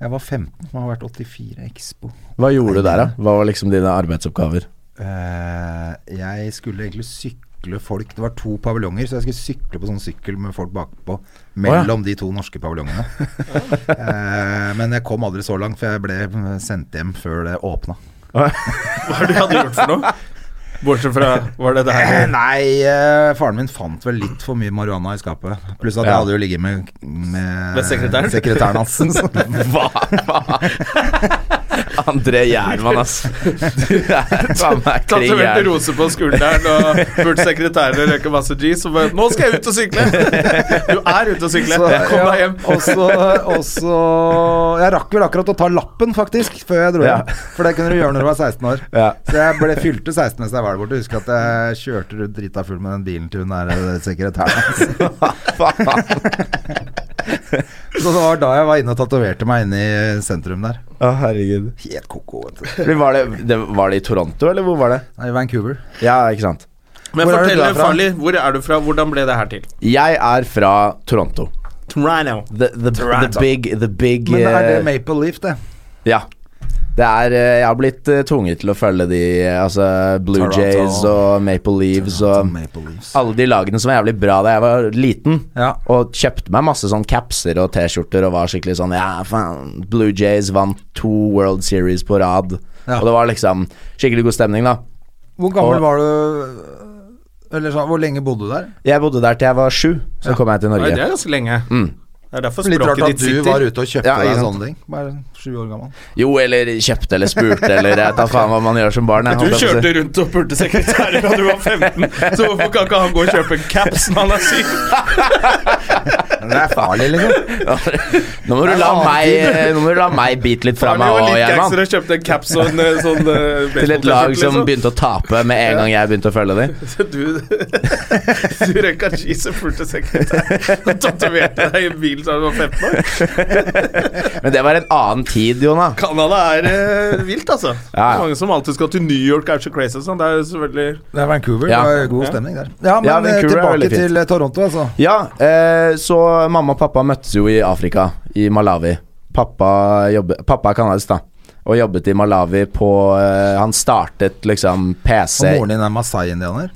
Speaker 2: Jeg var 15, må ha vært 84 Expo.
Speaker 4: Hva gjorde du der, da? Hva var liksom dine arbeidsoppgaver?
Speaker 2: Eh, jeg skulle egentlig sykle folk Det var to paviljonger, så jeg skulle sykle på sånn sykkel med folk bakpå mellom de to norske paviljongene. Eh, men jeg kom aldri så langt, for jeg ble sendt hjem før det åpna.
Speaker 1: Hva er det du hadde gjort for noe? Bortsett fra Var det
Speaker 2: *laughs*
Speaker 1: det
Speaker 2: Eh,
Speaker 1: her
Speaker 2: Nei, eh, faren min fant vel litt for mye marihuana i skapet. Pluss at jeg
Speaker 4: Ja.
Speaker 2: hadde jo ligget med, med,
Speaker 1: Med sekretæren?
Speaker 2: sekretæren hans. så-
Speaker 4: Hva? André Gjerman, *laughs* ass. Du er faen meg klin
Speaker 1: Tatoverte
Speaker 4: gæren.
Speaker 1: roser på skulderen og burde sekretæren røyke masse G, så bare 'Nå skal jeg ut og sykle!' Du er ute og sykle.
Speaker 2: Så-
Speaker 1: Kom deg
Speaker 2: ja,
Speaker 1: hjem.
Speaker 2: og så- og så Jeg rakk vel akkurat å ta lappen, faktisk, før jeg dro
Speaker 4: Ja.
Speaker 2: hjem. For det kunne du gjøre når du var 16 år.
Speaker 4: Ja.
Speaker 2: Så jeg ble fylte 16 mens jeg var der borte. Husker at jeg kjørte rundt drita full med den bilen til hun der eh, sekretæren hans.
Speaker 4: Faen.
Speaker 2: Så det var da jeg var inne og tatoverte meg inne i sentrum der.
Speaker 4: Å, herregud.
Speaker 2: Helt koko, vet du.
Speaker 4: Men Var det, det, var det i Toronto, eller hvor var det?
Speaker 2: Nei, Vancouver.
Speaker 4: Ja, ikke sant.
Speaker 1: Men
Speaker 4: Hvor er du
Speaker 1: fortell,
Speaker 4: da fra?
Speaker 1: Farley, hvor er du fra? Hvordan ble det her til?
Speaker 4: Jeg er fra Toronto.
Speaker 1: Toronto.
Speaker 4: The, the,
Speaker 1: Toronto.
Speaker 4: the big, the big
Speaker 2: Men er
Speaker 4: eh,
Speaker 2: det Maple Leaf, det?
Speaker 4: Ja. Det er, eh, jeg har blitt eh, tvunget til å følge de eh, altså Blue
Speaker 2: Toronto.
Speaker 4: Jays og Maple Leaves
Speaker 2: Sånn
Speaker 4: og
Speaker 2: Maple Leafs.
Speaker 4: alle de lagene som var jævlig bra da jeg var liten.
Speaker 2: Ja.
Speaker 4: Og kjøpte meg masse sånn capser og T-skjorter og var skikkelig sånn Ja, faen. Blue Jays vant to World Series på rad.
Speaker 2: Ja.
Speaker 4: Og det var liksom skikkelig god stemning, da.
Speaker 2: Hvor gammel
Speaker 4: Og-
Speaker 2: var du Eller sånn, hvor lenge bodde du der?
Speaker 4: Jeg bodde der til jeg var sju, så kom jeg til
Speaker 1: Nei, det
Speaker 4: Norge.
Speaker 1: er ganske lenge. Det er derfor
Speaker 2: Litt rart
Speaker 1: språket
Speaker 2: at
Speaker 1: ditt
Speaker 2: du
Speaker 1: sitter.
Speaker 2: var ute og kjøpte
Speaker 4: Ja, ikke
Speaker 2: deg
Speaker 4: sant.
Speaker 2: sånne ting. Bare sju år gammel.
Speaker 4: Jo, eller kjøpte eller spurte eller jeg tar faen hva man gjør som barn. jeg,
Speaker 1: Du
Speaker 4: holdt jeg på å si.
Speaker 1: kjørte rundt og pulte sekretærer da du var 15, så hvorfor kan ikke han gå og kjøpe en caps når han er syk?
Speaker 2: Det er farlig,
Speaker 4: *laughs*
Speaker 2: liksom.
Speaker 4: Nå må du la meg eh, Nå må du la meg bite litt fra
Speaker 1: Han
Speaker 4: meg
Speaker 1: var
Speaker 4: òg,
Speaker 1: litt
Speaker 4: Gjerman.
Speaker 1: gangster og kjøpte en caps og en eh, sånn eh,
Speaker 4: Til et lag
Speaker 1: baseball-t-skjorte,
Speaker 4: som
Speaker 1: liksom.
Speaker 4: begynte å tape med en gang jeg begynte å følge dem.
Speaker 1: Så *laughs* Du, du røyka cheese og pulte sekretær og tatoverte deg i en bil da du var 15 år.
Speaker 4: Men det var en annen tid, Jona.
Speaker 1: Canada er eh, vilt, altså. Det
Speaker 4: Ja, ja.
Speaker 1: er Mange som alltid skal til New York, er så crazy og sånn. Det er jo selvfølgelig
Speaker 4: *laughs*
Speaker 2: Det er Vancouver.
Speaker 4: Ja.
Speaker 2: Det var god stemning der. Ja, men
Speaker 4: Ja,
Speaker 2: eh,
Speaker 4: Vancouver er
Speaker 2: tilbake
Speaker 4: veldig fint.
Speaker 2: til eh, Toronto, altså.
Speaker 4: Ja, eh, så mamma og pappa møttes jo i Afrika, i Malawi. Pappa, jobbe, pappa er kanadisk, da. Og jobbet i Malawi på eh, Han startet liksom PC
Speaker 2: Og moren din er masai-indianer.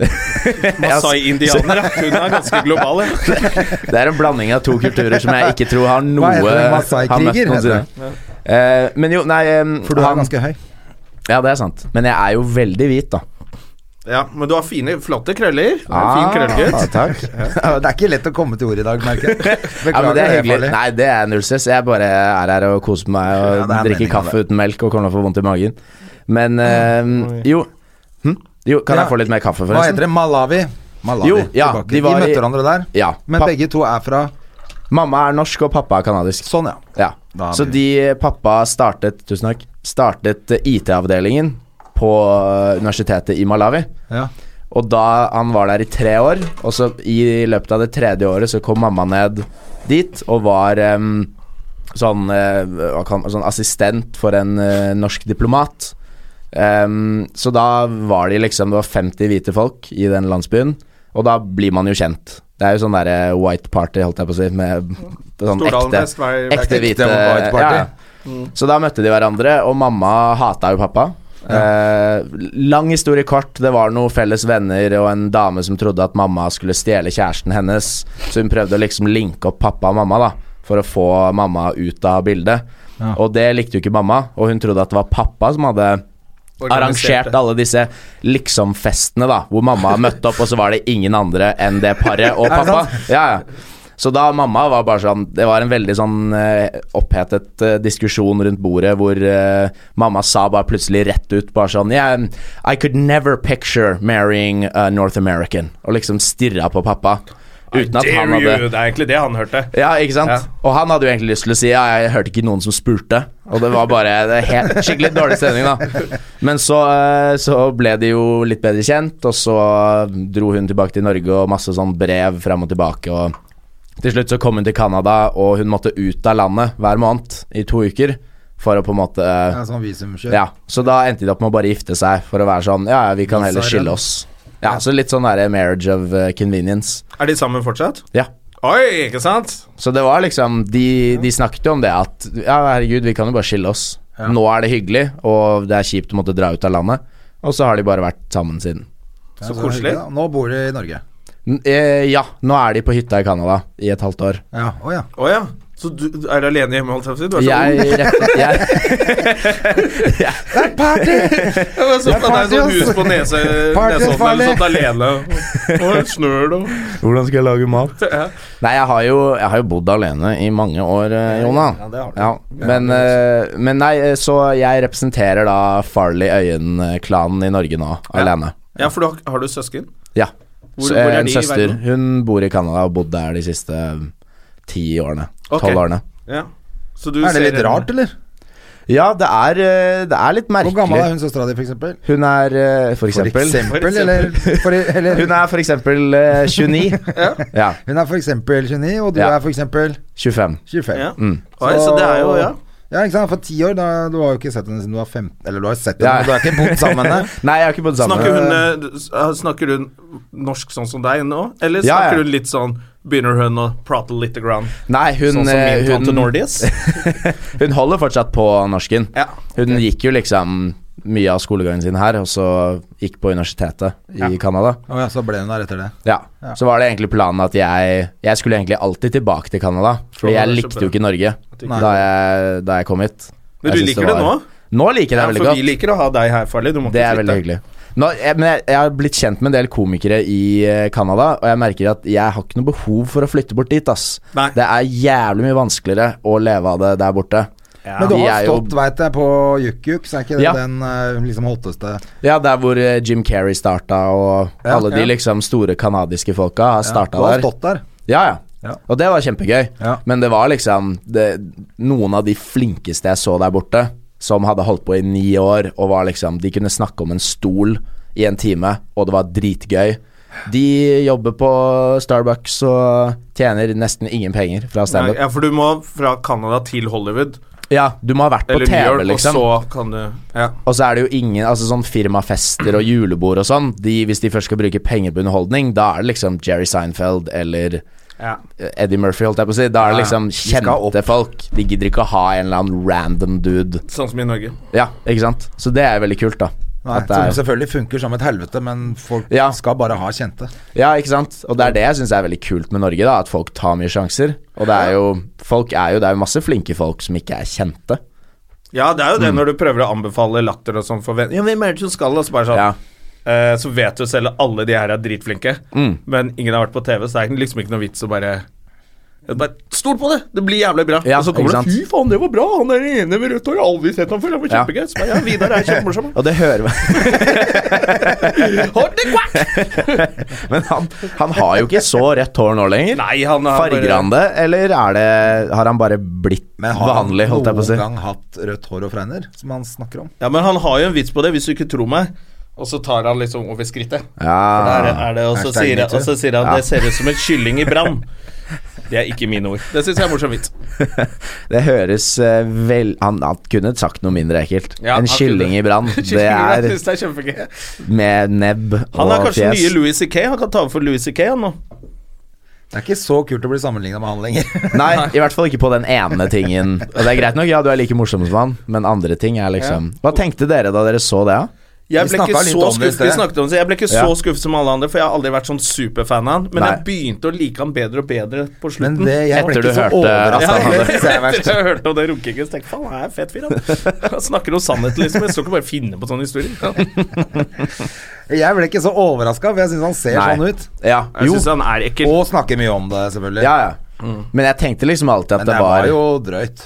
Speaker 1: Masai-indianere. Hun er ganske global, ja.
Speaker 4: *laughs* Det er en blanding av to kulturer som jeg ikke tror har noe
Speaker 2: Hva heter det? Masai-kriger,
Speaker 4: har møtt
Speaker 2: heter
Speaker 4: noensinne. Eh, men jo, nei eh,
Speaker 2: For du er
Speaker 4: han-
Speaker 2: ganske høy.
Speaker 4: Ja, det er sant. Men jeg er jo veldig hvit, da.
Speaker 1: ja. Men du har fine, flotte krøller. Du er en
Speaker 4: Ah,
Speaker 1: Fin krøllgutt.
Speaker 4: *laughs* ja, takk.
Speaker 2: *laughs* Det er ikke lett å komme til ord i dag, merker jeg.
Speaker 4: *laughs* Ja,
Speaker 2: Beklager,
Speaker 4: men det er
Speaker 2: farlig.
Speaker 4: hyggelig. Nei, det er null stress. Jeg bare er her og koser meg og
Speaker 2: Ja, det er
Speaker 4: drikker
Speaker 2: meningen,
Speaker 4: kaffe uten melk og kommer til å få vondt i magen. Men eh, jo. Hm? jo Kan
Speaker 2: Ja.
Speaker 4: jeg få litt mer kaffe,
Speaker 2: Hva heter
Speaker 4: forresten?
Speaker 2: det? Malawi? Malawi.
Speaker 4: Jo, ja,
Speaker 2: tilbake.
Speaker 4: de
Speaker 2: Vi
Speaker 4: var i-
Speaker 2: møtte hverandre der.
Speaker 4: Ja.
Speaker 2: Men
Speaker 4: pap-
Speaker 2: begge to er fra
Speaker 4: Mamma er norsk, og pappa er kanadisk.
Speaker 2: Sånn, ja.
Speaker 4: Ja.
Speaker 2: Da er
Speaker 4: Så
Speaker 2: vi-
Speaker 4: de eh, Pappa startet Tusen takk. Startet eh, IT-avdelingen på eh, universitetet i Malawi.
Speaker 2: ja.
Speaker 4: Og da han var der i tre år, og så i løpet av det tredje året så kom mamma ned dit og var em, sånn, eh, hva kan- sånn assistent for en eh, norsk diplomat. Em, så da var de liksom Det var 50 hvite folk i den landsbyen, og da blir man jo kjent. Det er jo sånn derre white party, holdt jeg på å si, med sånn
Speaker 1: Stordalen
Speaker 4: ekte
Speaker 1: Vest var
Speaker 4: Ekte hvite
Speaker 2: white party.
Speaker 4: ja. Så da møtte de hverandre, og mamma hata jo pappa. Eh, lang historie kort, det var noen felles venner og en dame som trodde at mamma skulle stjele kjæresten hennes, så hun prøvde å liksom linke opp pappa og mamma, da, for å få mamma ut av bildet.
Speaker 2: Ja.
Speaker 4: Og det likte jo ikke mamma, og hun trodde at det var pappa som hadde arrangert alle disse liksom-festene, da, hvor mamma møtte opp, og så var det ingen andre enn det paret og pappa. Ja, ja. Så da mamma var bare sånn Det var en veldig sånn eh, opphetet eh, diskusjon rundt bordet hvor eh, mamma sa bare plutselig rett ut bare sånn yeah, I could never picture marrying a North American. Og liksom stirra på pappa. Uten at han hadde
Speaker 1: Det er egentlig det han hørte.
Speaker 4: ja, ikke sant?
Speaker 1: Ja.
Speaker 4: Og han hadde jo egentlig lyst til å si ja, jeg hørte ikke noen som spurte. Og det var bare det er helt, skikkelig dårlig stemning, da. Men så, eh, så ble de jo litt bedre kjent, og så dro hun tilbake til Norge og masse sånn brev fram og tilbake. Og til slutt så kom hun til Canada, og hun måtte ut av landet hver måned i to uker for å på en måte
Speaker 2: Ja, sånn visumkjør.
Speaker 4: Ja, så da endte de opp med å bare gifte seg for å være sånn Ja, ja, vi kan heller
Speaker 2: Vise
Speaker 4: skille
Speaker 2: den.
Speaker 4: oss. Ja, så litt sånn derre marriage of eh, convenience.
Speaker 1: Er de sammen fortsatt?
Speaker 4: Ja.
Speaker 1: Oi, ikke sant?
Speaker 4: Så det var liksom De, de snakket jo om det at Ja, herregud, vi kan jo bare skille oss. Nå er det hyggelig, og det er kjipt å måtte dra ut av landet. Og så har de bare vært sammen siden.
Speaker 2: Ja,
Speaker 1: Så
Speaker 2: det er
Speaker 1: koselig.
Speaker 2: hyggelig, da. Nå bor de i Norge.
Speaker 4: N eh, ja, nå er de på hytta i Canada i et halvt år.
Speaker 2: Ja, å ja.
Speaker 1: Å ja. Så du du er alene hjemme, holdt jeg på å si? Du er så ung.
Speaker 4: Jeg, rett, jeg *laughs*
Speaker 2: *laughs*
Speaker 1: Ja, men så
Speaker 2: Jeg
Speaker 1: faen, Det er sånn
Speaker 2: party,
Speaker 1: hus
Speaker 2: ass.
Speaker 1: på nese,
Speaker 2: *laughs* Party,
Speaker 1: nesodden
Speaker 2: farlig.
Speaker 1: eller sånt sånn
Speaker 2: *laughs*
Speaker 1: alene. Og og et snøl og
Speaker 4: Hvordan skal jeg lage mat?
Speaker 1: Ja.
Speaker 4: Nei, jeg har jo, jeg har jo bodd alene i mange år, eh, Jona.
Speaker 2: Ja, det har du.
Speaker 4: Ja, men, eh, men nei, eh, så jeg representerer da Farley Øyen-klanen i Norge nå, alene.
Speaker 1: Ja, for du har, har du søsken?
Speaker 4: Ja.
Speaker 1: Hvor-
Speaker 4: Så,
Speaker 1: hvor er
Speaker 4: eh, en
Speaker 1: de i
Speaker 4: søster.
Speaker 1: verden?
Speaker 4: Hun bor i Canada og har bodd der de siste um, ti årene. Tolv
Speaker 1: Ok.
Speaker 4: årene.
Speaker 1: Ja. Så du
Speaker 2: Er det
Speaker 1: ser
Speaker 2: litt
Speaker 1: henne.
Speaker 2: rart, eller?
Speaker 4: Ja, det er, eh, det er litt merkelig.
Speaker 2: Hvor gammel er hun søstera di, for eksempel?
Speaker 4: Hun er eh, for
Speaker 2: For
Speaker 4: eksempel *laughs*
Speaker 2: eksempel, eller, for, eller
Speaker 4: Hun er for eksempel
Speaker 1: *laughs*
Speaker 4: eh, 29. ja.
Speaker 2: Hun er for eksempel 29, og du
Speaker 4: Ja.
Speaker 2: er for eksempel
Speaker 4: 25.
Speaker 2: 25.
Speaker 1: Ja.
Speaker 4: Mm.
Speaker 1: Oi, så det er jo Ja.
Speaker 2: Ja, ikke sant. For ti år, da, du har jo ikke sett henne siden du var 15 Eller du har sett henne,
Speaker 4: Ja.
Speaker 2: men du har ikke bodd sammen med henne.
Speaker 4: *laughs* Nei, jeg har ikke bodd sammen.
Speaker 1: Snakker
Speaker 4: med
Speaker 1: hun,
Speaker 4: henne.
Speaker 1: eh, du- s- eh, snakker hun norsk sånn som deg nå? Eller
Speaker 4: Ja,
Speaker 1: snakker
Speaker 4: ja.
Speaker 1: hun litt sånn Begynner hun å prate litt grann?
Speaker 4: Nei, hun
Speaker 1: sånn som
Speaker 4: eh,
Speaker 1: min tante
Speaker 4: hun- *laughs*
Speaker 1: Nordis?
Speaker 4: Hun holder fortsatt på norsken.
Speaker 1: Ja.
Speaker 4: Hun gikk jo liksom mye av skolegangen sin her, og så gikk på universitetet i Canada.
Speaker 2: Å ja, så ble hun der etter det.
Speaker 4: Ja. Så var det egentlig planen at jeg Jeg skulle egentlig alltid tilbake til Canada, fordi
Speaker 1: Tror
Speaker 4: jeg
Speaker 1: det er så
Speaker 4: likte
Speaker 1: bra.
Speaker 4: jo ikke Norge
Speaker 1: ikke-
Speaker 4: da jeg, da jeg kom hit.
Speaker 1: Men
Speaker 4: Jeg
Speaker 1: du
Speaker 4: synes
Speaker 1: liker det
Speaker 4: var-
Speaker 1: nå?
Speaker 4: Nå liker jeg det
Speaker 1: Ja,
Speaker 4: veldig
Speaker 1: for vi
Speaker 4: godt.
Speaker 1: liker å ha deg her, Farley. Du må ikke
Speaker 4: Det er
Speaker 1: flytte.
Speaker 4: veldig hyggelig. Nå, jeg, men jeg, jeg har blitt kjent med en del komikere i eh, Canada, og jeg merker at jeg har ikke noe behov for å flytte bort dit, ass.
Speaker 1: Nei.
Speaker 4: Det er jævlig mye vanskeligere å leve av det der borte.
Speaker 2: Men du
Speaker 4: Vi
Speaker 2: har
Speaker 4: er jo-
Speaker 2: stått, veit jeg, på Jukkjukk, så er ikke det
Speaker 4: Ja.
Speaker 2: den eh, liksom hotteste
Speaker 4: Ja, der hvor eh, Jim Carrey starta, og
Speaker 2: Ja,
Speaker 4: alle de
Speaker 2: ja.
Speaker 4: liksom store kanadiske folka har
Speaker 2: Du
Speaker 4: starta
Speaker 2: har
Speaker 4: der.
Speaker 2: stått der.
Speaker 4: Ja, ja.
Speaker 2: Ja.
Speaker 4: Og det var kjempegøy.
Speaker 2: Ja.
Speaker 4: Men det var liksom det, noen av de flinkeste jeg så der borte, som hadde holdt på i ni år, og var liksom De kunne snakke om en stol i en time, og det var dritgøy. De jobber på Starbucks og tjener nesten ingen penger fra
Speaker 1: Nei,
Speaker 4: standup.
Speaker 1: ja, for du må fra Canada til Hollywood,
Speaker 4: Ja, du må ha vært på
Speaker 1: eller New
Speaker 4: TV,
Speaker 1: York,
Speaker 4: liksom.
Speaker 1: og så kan du Ja.
Speaker 4: Og så er det jo ingen Altså sånn firmafester og julebord og sånn de, Hvis de først skal bruke penger på underholdning Da er det liksom Jerry Seinfeld eller
Speaker 1: ja.
Speaker 4: eh, Eddie Murphy holdt jeg på å si Da er
Speaker 2: Ja,
Speaker 4: det liksom
Speaker 2: skal opp.
Speaker 4: kjente folk De gidder ikke å ha en eller annen random dude
Speaker 1: Sånn som i Norge.
Speaker 4: Ja, ikke sant? Så det er veldig kult da
Speaker 2: Nei,
Speaker 4: At det
Speaker 2: som
Speaker 4: er,
Speaker 2: selvfølgelig funker som et helvete, men folk
Speaker 4: Ja.
Speaker 2: skal bare ha kjente.
Speaker 4: Ja, ikke sant? Og det er det jeg synes er veldig kult med Norge da At folk tar mye sjanser Og det er jo Folk er jo Det er jo masse flinke folk som ikke er kjente
Speaker 1: Ja, det er jo
Speaker 4: Mm.
Speaker 1: det når du prøver å anbefale latter og sånn for venner. Ja, hvem er det som skal og så bare sånn
Speaker 4: Ja
Speaker 1: eh, Så vet du selv at alle de her er dritflinke,
Speaker 4: Mm.
Speaker 1: men ingen har vært på TV, så det er liksom ikke noe vits å bare bare, Stol på det! Det blir jævlig bra.
Speaker 4: Ja,
Speaker 1: og så kommer
Speaker 4: ikke
Speaker 1: det Fy faen, det var bra! Han er den ene med rødt hår. Jeg har aldri sett ham før. Han var
Speaker 4: Ja.
Speaker 1: kjempegøy. Så bare, Ja, Vidar er kjempemorsom.
Speaker 4: *laughs* Og det hører man
Speaker 1: Hold det quack!
Speaker 4: Men han, han har jo ikke så rødt hår nå lenger
Speaker 1: Nei, han er
Speaker 4: Farger han det, eller er det, har han bare blitt
Speaker 2: Men har
Speaker 4: vanlig, holdt jeg på å si?
Speaker 2: noen gang hatt rødt hår og fregner, som han snakker om?
Speaker 1: Ja, men han har jo en vits på det, hvis du ikke tror meg. Og så tar han liksom over skrittet. For
Speaker 4: Ja,
Speaker 1: der er det, og, så
Speaker 2: Ah, Hashtag
Speaker 1: sier, han-
Speaker 2: me too.
Speaker 1: og så sier han det ser ut som en kylling i brann. Det er ikke mine ord. Det syns jeg er morsom vits.
Speaker 4: *laughs* det høres eh, vel han, han kunne sagt noe mindre ekkelt.
Speaker 1: Ja,
Speaker 4: en
Speaker 1: han
Speaker 4: kylling
Speaker 1: kunne.
Speaker 4: i
Speaker 1: *laughs*
Speaker 4: brann. Det
Speaker 1: Jeg
Speaker 4: er
Speaker 1: synes det er kjempegøy.
Speaker 4: med nebb
Speaker 1: Han er
Speaker 4: og
Speaker 1: kanskje den nye
Speaker 4: fjes.
Speaker 1: Louis C.K. Han kan ta over for Louis C.K. han nå.
Speaker 2: Det er ikke så kult å bli sammenligna med han lenger. *laughs*
Speaker 4: *laughs* Nei, i hvert fall ikke på den ene tingen. Og det er greit nok, ja, du er like morsom som han, men andre ting er liksom Hva tenkte dere da dere så det? da?
Speaker 1: Jeg
Speaker 2: Vi
Speaker 1: ble ikke
Speaker 2: snakket litt
Speaker 1: så
Speaker 2: om det i
Speaker 1: skuffet, vi
Speaker 2: sted.
Speaker 1: snakket om det, så jeg ble ikke
Speaker 4: Ja.
Speaker 1: så skuffet som alle andre, for jeg har aldri vært sånn superfan av han. Men
Speaker 4: Nei.
Speaker 1: jeg begynte å like han bedre og bedre på
Speaker 2: Men
Speaker 1: slutten.
Speaker 2: det, jeg ble
Speaker 4: Etter
Speaker 2: ikke
Speaker 4: du
Speaker 2: så
Speaker 4: hørte-
Speaker 2: overrasket
Speaker 1: *laughs* Ja,
Speaker 2: av det.
Speaker 1: jeg,
Speaker 2: synes jeg er verst.
Speaker 1: etter jeg hørte om det runkingen, så tenkte jeg faen, han *laughs* er en fet fyr, han. Han snakker om sannhet, liksom. Jeg skal ikke bare finne på sånne historier.
Speaker 2: *laughs* Jeg ble ikke så overraska, for jeg syns han ser sånn ut.
Speaker 4: Ja,
Speaker 1: Jeg
Speaker 4: jo.
Speaker 1: syns han er ekkel.
Speaker 2: Og snakker mye om det, selvfølgelig.
Speaker 4: Ja, ja. Men jeg tenkte liksom alltid at
Speaker 2: Men det
Speaker 4: det
Speaker 2: var jo drøyt.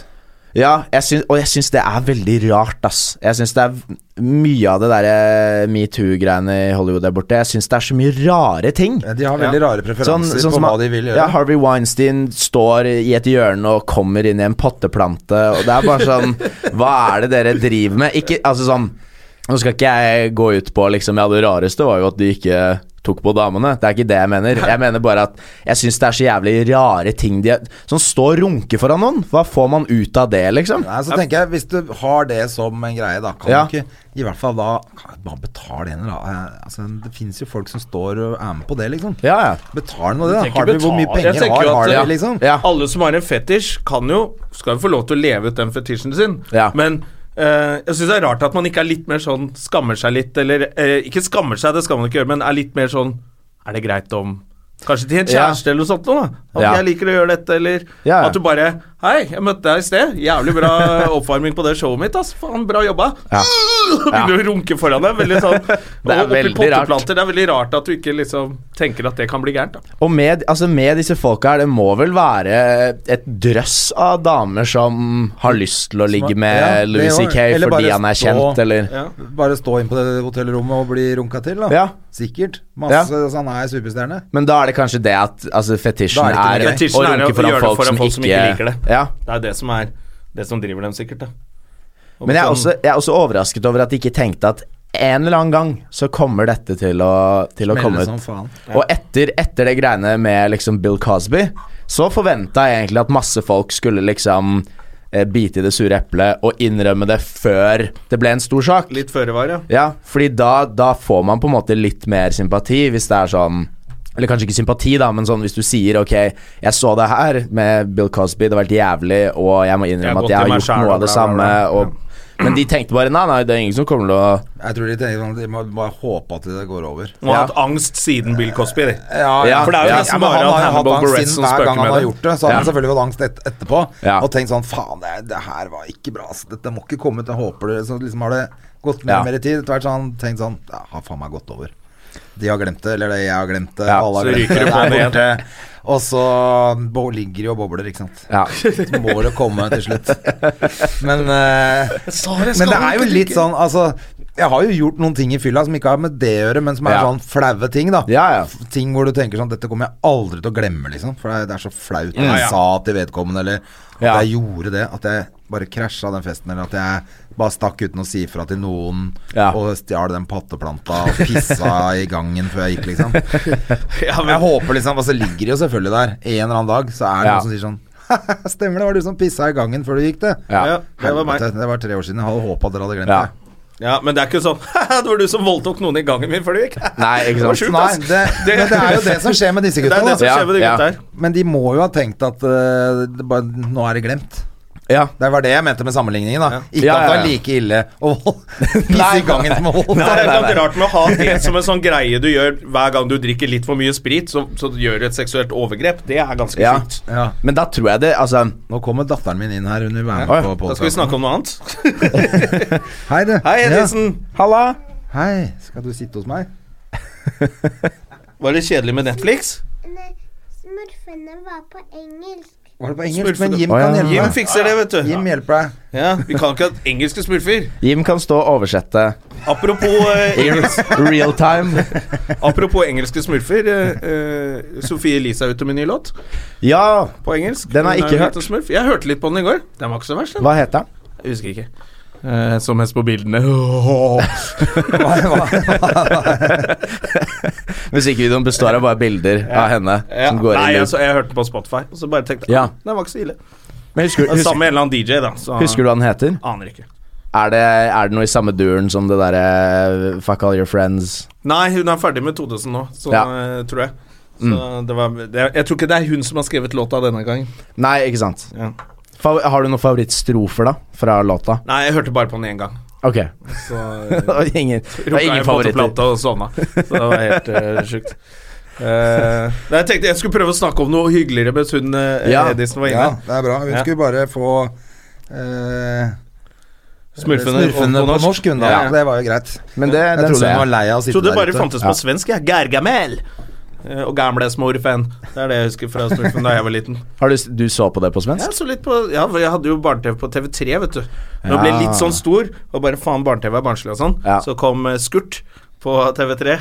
Speaker 4: Ja, jeg syns- og jeg syns det er veldig rart, ass. Jeg syns det er v- mye av det derre metoo-greiene i Hollywood der borte. Jeg syns det er så mye rare ting.
Speaker 2: De har veldig rare preferanser på
Speaker 4: Sånn- som
Speaker 2: hva
Speaker 4: han-
Speaker 2: de vil
Speaker 4: Ja,
Speaker 2: gjøre.
Speaker 4: Harvey Weinstein står i et hjørne og kommer inn i en potteplante, og det er bare
Speaker 2: *laughs*
Speaker 4: sånn Hva er det dere driver med? Ikke Altså sånn Nå skal ikke jeg gå ut på liksom Ja, det rareste var jo at de ikke tok på damene. Det er ikke det jeg mener. Jeg mener bare at jeg syns det er så jævlig rare ting de Sånn stå og runke foran noen. Hva får man ut av det, liksom?
Speaker 2: Nei, så tenker jeg, Hvis du har det som en greie, da kan
Speaker 4: Ja.
Speaker 2: du ikke I hvert fall da kan du Bare betale en eller annen altså, Det finnes jo folk som står og er med på det, liksom.
Speaker 4: Ja, ja.
Speaker 2: Betal noe, da.
Speaker 1: tenker
Speaker 2: Har du hvor mye
Speaker 1: betale. Jeg
Speaker 2: penger
Speaker 1: tenker
Speaker 2: har,
Speaker 1: jo at-
Speaker 2: har du,
Speaker 1: ja.
Speaker 2: liksom?
Speaker 4: Ja.
Speaker 1: Alle som har en fetisj, kan jo skal jo få lov til å leve ut den fetisjen sin.
Speaker 4: Ja.
Speaker 1: Men eh, jeg syns det er rart at man ikke er litt mer sånn skammer seg litt, eller eh, Ikke skammer seg, det skal man ikke gjøre, men er litt mer sånn Er det greit om Kanskje til en
Speaker 4: Ja.
Speaker 1: kjæreste eller noe sånt noe, da. At
Speaker 4: Ja.
Speaker 1: jeg liker å gjøre dette, eller
Speaker 4: Ja, ja.
Speaker 1: at du bare Hei, jeg møtte deg i sted. Jævlig bra
Speaker 4: *laughs*
Speaker 1: oppvarming på det showet mitt, ass. Faen, bra jobba.
Speaker 4: Ja.
Speaker 1: Så *laughs* begynner du å runke foran deg. Veldig sånn
Speaker 4: *laughs* er
Speaker 1: og oppi
Speaker 4: veldig rart.
Speaker 1: potteplater, Det er veldig rart at du ikke liksom tenker at det kan bli gærent, da.
Speaker 4: Og med, altså med disse folka her, det må vel være et drøss av damer som har lyst til å ligge med
Speaker 2: Ja, det
Speaker 4: Louis
Speaker 2: jo.
Speaker 4: C.K.
Speaker 2: Eller
Speaker 4: fordi
Speaker 2: bare
Speaker 4: han er
Speaker 2: stå-
Speaker 4: kjent, eller
Speaker 1: Ja.
Speaker 2: Bare stå inn på det hotellrommet og bli runka til, da.
Speaker 4: Ja.
Speaker 2: Sikkert. Masse, altså, Han er superstjerne.
Speaker 4: Men da er det kanskje det at altså, fetisjen
Speaker 2: Da er
Speaker 4: er,
Speaker 2: det
Speaker 1: ikke noe gøy.
Speaker 4: å
Speaker 1: Fetisjen er å
Speaker 4: runke
Speaker 1: gjøre
Speaker 4: foran
Speaker 1: det
Speaker 4: folk,
Speaker 1: foran
Speaker 4: som,
Speaker 1: folk
Speaker 4: ikke,
Speaker 1: som ikke liker det.
Speaker 4: Ja.
Speaker 1: Det er det som er det som driver dem sikkert, da. Og
Speaker 4: Men jeg er,
Speaker 1: sånn-
Speaker 4: også, jeg er også overrasket over at de ikke tenkte at en eller annen gang så kommer dette til å, til å
Speaker 2: Melde
Speaker 4: komme ut.
Speaker 2: som faen.
Speaker 4: Og etter, etter det greiene med liksom Bill Cosby, så forventa jeg egentlig at masse folk skulle liksom eh, bite i det sure eplet og innrømme det før det ble en stor sak.
Speaker 1: Litt føre var, ja.
Speaker 4: Ja, fordi da, da får man på en måte litt mer sympati hvis det er sånn eller kanskje ikke sympati, da, men sånn hvis du sier ok, jeg så det her med Bill Cosby, det var helt jævlig, og jeg må
Speaker 1: Jeg har
Speaker 4: innrømme
Speaker 1: gått
Speaker 4: at jeg
Speaker 1: i
Speaker 4: har
Speaker 1: meg
Speaker 4: gjort
Speaker 1: selv,
Speaker 4: noe
Speaker 1: bla,
Speaker 4: av det
Speaker 1: bla,
Speaker 4: samme.
Speaker 1: bla.
Speaker 4: Og, men de tenkte bare nei, nei, det er ingen som kommer til å
Speaker 2: Jeg tror de tenker sånn De må bare håpe at det går over.
Speaker 1: Og har
Speaker 4: Ja.
Speaker 1: hatt angst siden Bill Cosby, de.
Speaker 4: ja.
Speaker 1: For det er jo
Speaker 4: Ja,
Speaker 1: nesten
Speaker 2: men
Speaker 1: bare
Speaker 2: han
Speaker 1: at
Speaker 2: har jo hatt
Speaker 1: Hannibal
Speaker 2: angst
Speaker 1: Goretz
Speaker 2: siden
Speaker 1: som
Speaker 2: hver gang
Speaker 1: spøker
Speaker 2: han
Speaker 1: med
Speaker 2: har
Speaker 1: det.
Speaker 2: gjort det. Så har han
Speaker 4: Ja.
Speaker 2: selvfølgelig fått angst et, etterpå
Speaker 4: Ja.
Speaker 2: og tenkt sånn Faen, det, det her var ikke bra. ass. dette må ikke komme ut. Jeg håper det Så liksom har det gått mer
Speaker 4: Ja.
Speaker 2: og mer i tid. Etter hvert så har han tenkt sånn Det har faen meg gått over. De har glemt det, eller det, jeg har glemt det,
Speaker 4: Ja,
Speaker 2: alle
Speaker 1: så
Speaker 2: har glemt
Speaker 1: ryker det
Speaker 2: det
Speaker 1: på
Speaker 2: er
Speaker 1: den igjen.
Speaker 2: borte. Og så bo- ligger de og bobler, ikke sant.
Speaker 4: Ja.
Speaker 2: Så må det komme til slutt. Men, eh, men det er jo litt sånn Altså, jeg har jo gjort noen ting i fylla som ikke har med det å gjøre, men som er
Speaker 4: Ja.
Speaker 2: sånn flaue ting, da
Speaker 4: Ja, ja.
Speaker 2: ting hvor du tenker sånn Dette kommer jeg aldri til å glemme, liksom. For det er- det er så flaut når
Speaker 1: Mm. Ja,
Speaker 2: jeg
Speaker 1: ja.
Speaker 2: sa til vedkommende, eller at
Speaker 4: Ja.
Speaker 2: jeg gjorde det. At jeg bare krasja den festen, eller at jeg bare stakk uten å si ifra til noen,
Speaker 4: Ja.
Speaker 2: og stjal den patteplanta og pissa i gangen før jeg gikk,
Speaker 1: *laughs*
Speaker 2: liksom.
Speaker 1: *laughs* Ja,
Speaker 2: Jeg
Speaker 1: men,
Speaker 2: håper liksom Og så ligger de jo selvfølgelig der. En eller annen dag så er det
Speaker 4: Ja.
Speaker 2: noen som sier sånn *laughs* Stemmer det, var du som pissa i gangen før du gikk, det.
Speaker 4: Ja.
Speaker 1: ja, det var meg.
Speaker 2: Helvete, det var tre år siden. Jeg hadde håpa dere hadde glemt
Speaker 4: Ja.
Speaker 2: det.
Speaker 1: Ja, men *laughs* det er ikke sånn *laughs* Haha, det var du som voldtok noen i gangen min før du gikk. *laughs*
Speaker 4: Nei, ikke
Speaker 1: Det var
Speaker 4: sant.
Speaker 1: sjukt,
Speaker 2: Nei,
Speaker 1: ass.
Speaker 2: det, men det er jo det som skjer med disse
Speaker 1: Det
Speaker 2: gutta. altså. da.
Speaker 1: er det som
Speaker 4: Ja,
Speaker 1: skjer med de
Speaker 4: ja.
Speaker 1: gutta her.
Speaker 2: Men de må jo ha tenkt at eh, det bare, nå er det glemt.
Speaker 4: Ja.
Speaker 2: Det var det jeg mente med sammenligningen. da Ikke
Speaker 4: Ja, ja,
Speaker 2: at det var
Speaker 4: ja.
Speaker 2: like ille å
Speaker 1: *laughs*
Speaker 2: pisse i gangen som å
Speaker 1: Det er et
Speaker 2: voldta.
Speaker 1: eller annet rart med å ha det som en sånn greie du gjør hver gang du drikker litt for mye sprit, så, så du gjør et seksuelt overgrep. Det er ganske
Speaker 4: Ja.
Speaker 1: sjukt.
Speaker 2: Ja.
Speaker 4: Men da tror jeg det Altså,
Speaker 2: Nå kommer datteren min inn her. Hun vil være
Speaker 4: Oi,
Speaker 2: med på
Speaker 1: Da skal vi
Speaker 2: podcasten.
Speaker 1: snakke om noe annet.
Speaker 2: Hei, du.
Speaker 1: Hei,
Speaker 2: Ja.
Speaker 1: Edisen.
Speaker 4: halla!
Speaker 2: Hei, skal du sitte hos meg?
Speaker 1: Var det kjedelig med Netflix?
Speaker 5: Smurfene var på engelsk.
Speaker 2: Var det på engelsk?
Speaker 1: Smurfer
Speaker 2: Men
Speaker 1: du?
Speaker 2: Jim
Speaker 4: Å, ja.
Speaker 2: kan
Speaker 1: Jim
Speaker 2: hjelpe deg.
Speaker 1: fikser det, vet du.
Speaker 2: Jim hjelper deg.
Speaker 1: Ja, Vi kan ikke ha engelske smurfer.
Speaker 4: Jim kan stå og oversette
Speaker 1: Apropos, eh,
Speaker 4: in *laughs* real time.
Speaker 1: apropos engelske smurfer. Eh, eh, Sofie Elise er ute med ny låt
Speaker 4: Ja,
Speaker 1: på engelsk.
Speaker 4: Den har
Speaker 1: Hun er
Speaker 4: jeg ikke
Speaker 1: jo
Speaker 4: hørt.
Speaker 1: litt av Smurf. Jeg hørte litt på den i går. Den var ikke så verst, den.
Speaker 4: hva heter han?
Speaker 1: Jeg husker ikke. Eh, så mest på
Speaker 4: *laughs*
Speaker 1: bildene.
Speaker 4: Musikkvideoen består av bare bilder av henne
Speaker 1: Ja.
Speaker 4: som går
Speaker 1: Nei,
Speaker 4: inn i
Speaker 1: altså, jeg hørte den på Spotify, og så bare tenkte jeg "Ah,
Speaker 4: Ja.
Speaker 1: den var ikke så ille.
Speaker 4: Men husker,
Speaker 1: Det er
Speaker 4: husker,
Speaker 1: Sammen med en eller annen DJ, da. Så
Speaker 4: husker du hva den heter?
Speaker 1: Aner ikke.
Speaker 4: Er det, er det noe i samme duren som det derre Fuck all your friends?
Speaker 1: Nei, hun er ferdig med 2000 nå, så,
Speaker 4: Ja. Mm.
Speaker 1: eh, tror jeg. Så det var, det, jeg tror ikke det er hun som har skrevet låta denne gangen.
Speaker 4: Nei, ikke sant.
Speaker 1: Ja.
Speaker 4: Fa- har du noen favorittstrofer, da? Fra låta?
Speaker 1: Nei, jeg hørte bare på den én gang.
Speaker 4: *laughs* Ok.
Speaker 1: Så
Speaker 4: Det var ingen, det var
Speaker 1: rukka
Speaker 4: ingen
Speaker 1: jeg båteplata
Speaker 4: favoritter.
Speaker 1: og sovna. Så det var helt *laughs* uh, sjukt. Eh, nei, jeg tenkte jeg skulle prøve å snakke om noe hyggeligere mens hun eh,
Speaker 4: Ja.
Speaker 1: Edisen var
Speaker 2: Ja,
Speaker 1: inne.
Speaker 2: det er bra. Hun
Speaker 1: Ja.
Speaker 2: skulle bare få eh,
Speaker 1: Smurfene,
Speaker 2: smurfene på norsk, hun da.
Speaker 1: Ja.
Speaker 2: Det var jo greit.
Speaker 4: Men det,
Speaker 2: Jeg
Speaker 4: den
Speaker 2: trodde
Speaker 4: ser
Speaker 2: hun var
Speaker 4: jeg.
Speaker 2: lei av å sitte
Speaker 1: Trodde det
Speaker 2: der
Speaker 1: bare
Speaker 2: ute.
Speaker 1: fantes på svensk, jeg. Gargamel. Eh, og gamle smurfen. Det er det jeg husker fra smurfen da jeg var liten.
Speaker 4: Har du, s- du så på det på svensk?
Speaker 1: Jeg så litt på Ja, for jeg hadde jo barne-TV på TV3, vet du. Når jeg ble
Speaker 4: Ja.
Speaker 1: litt sånn stor, og bare faen, barne-TV er barnslig og sånn,
Speaker 4: Ja.
Speaker 1: så kom eh, Skurt på TV3.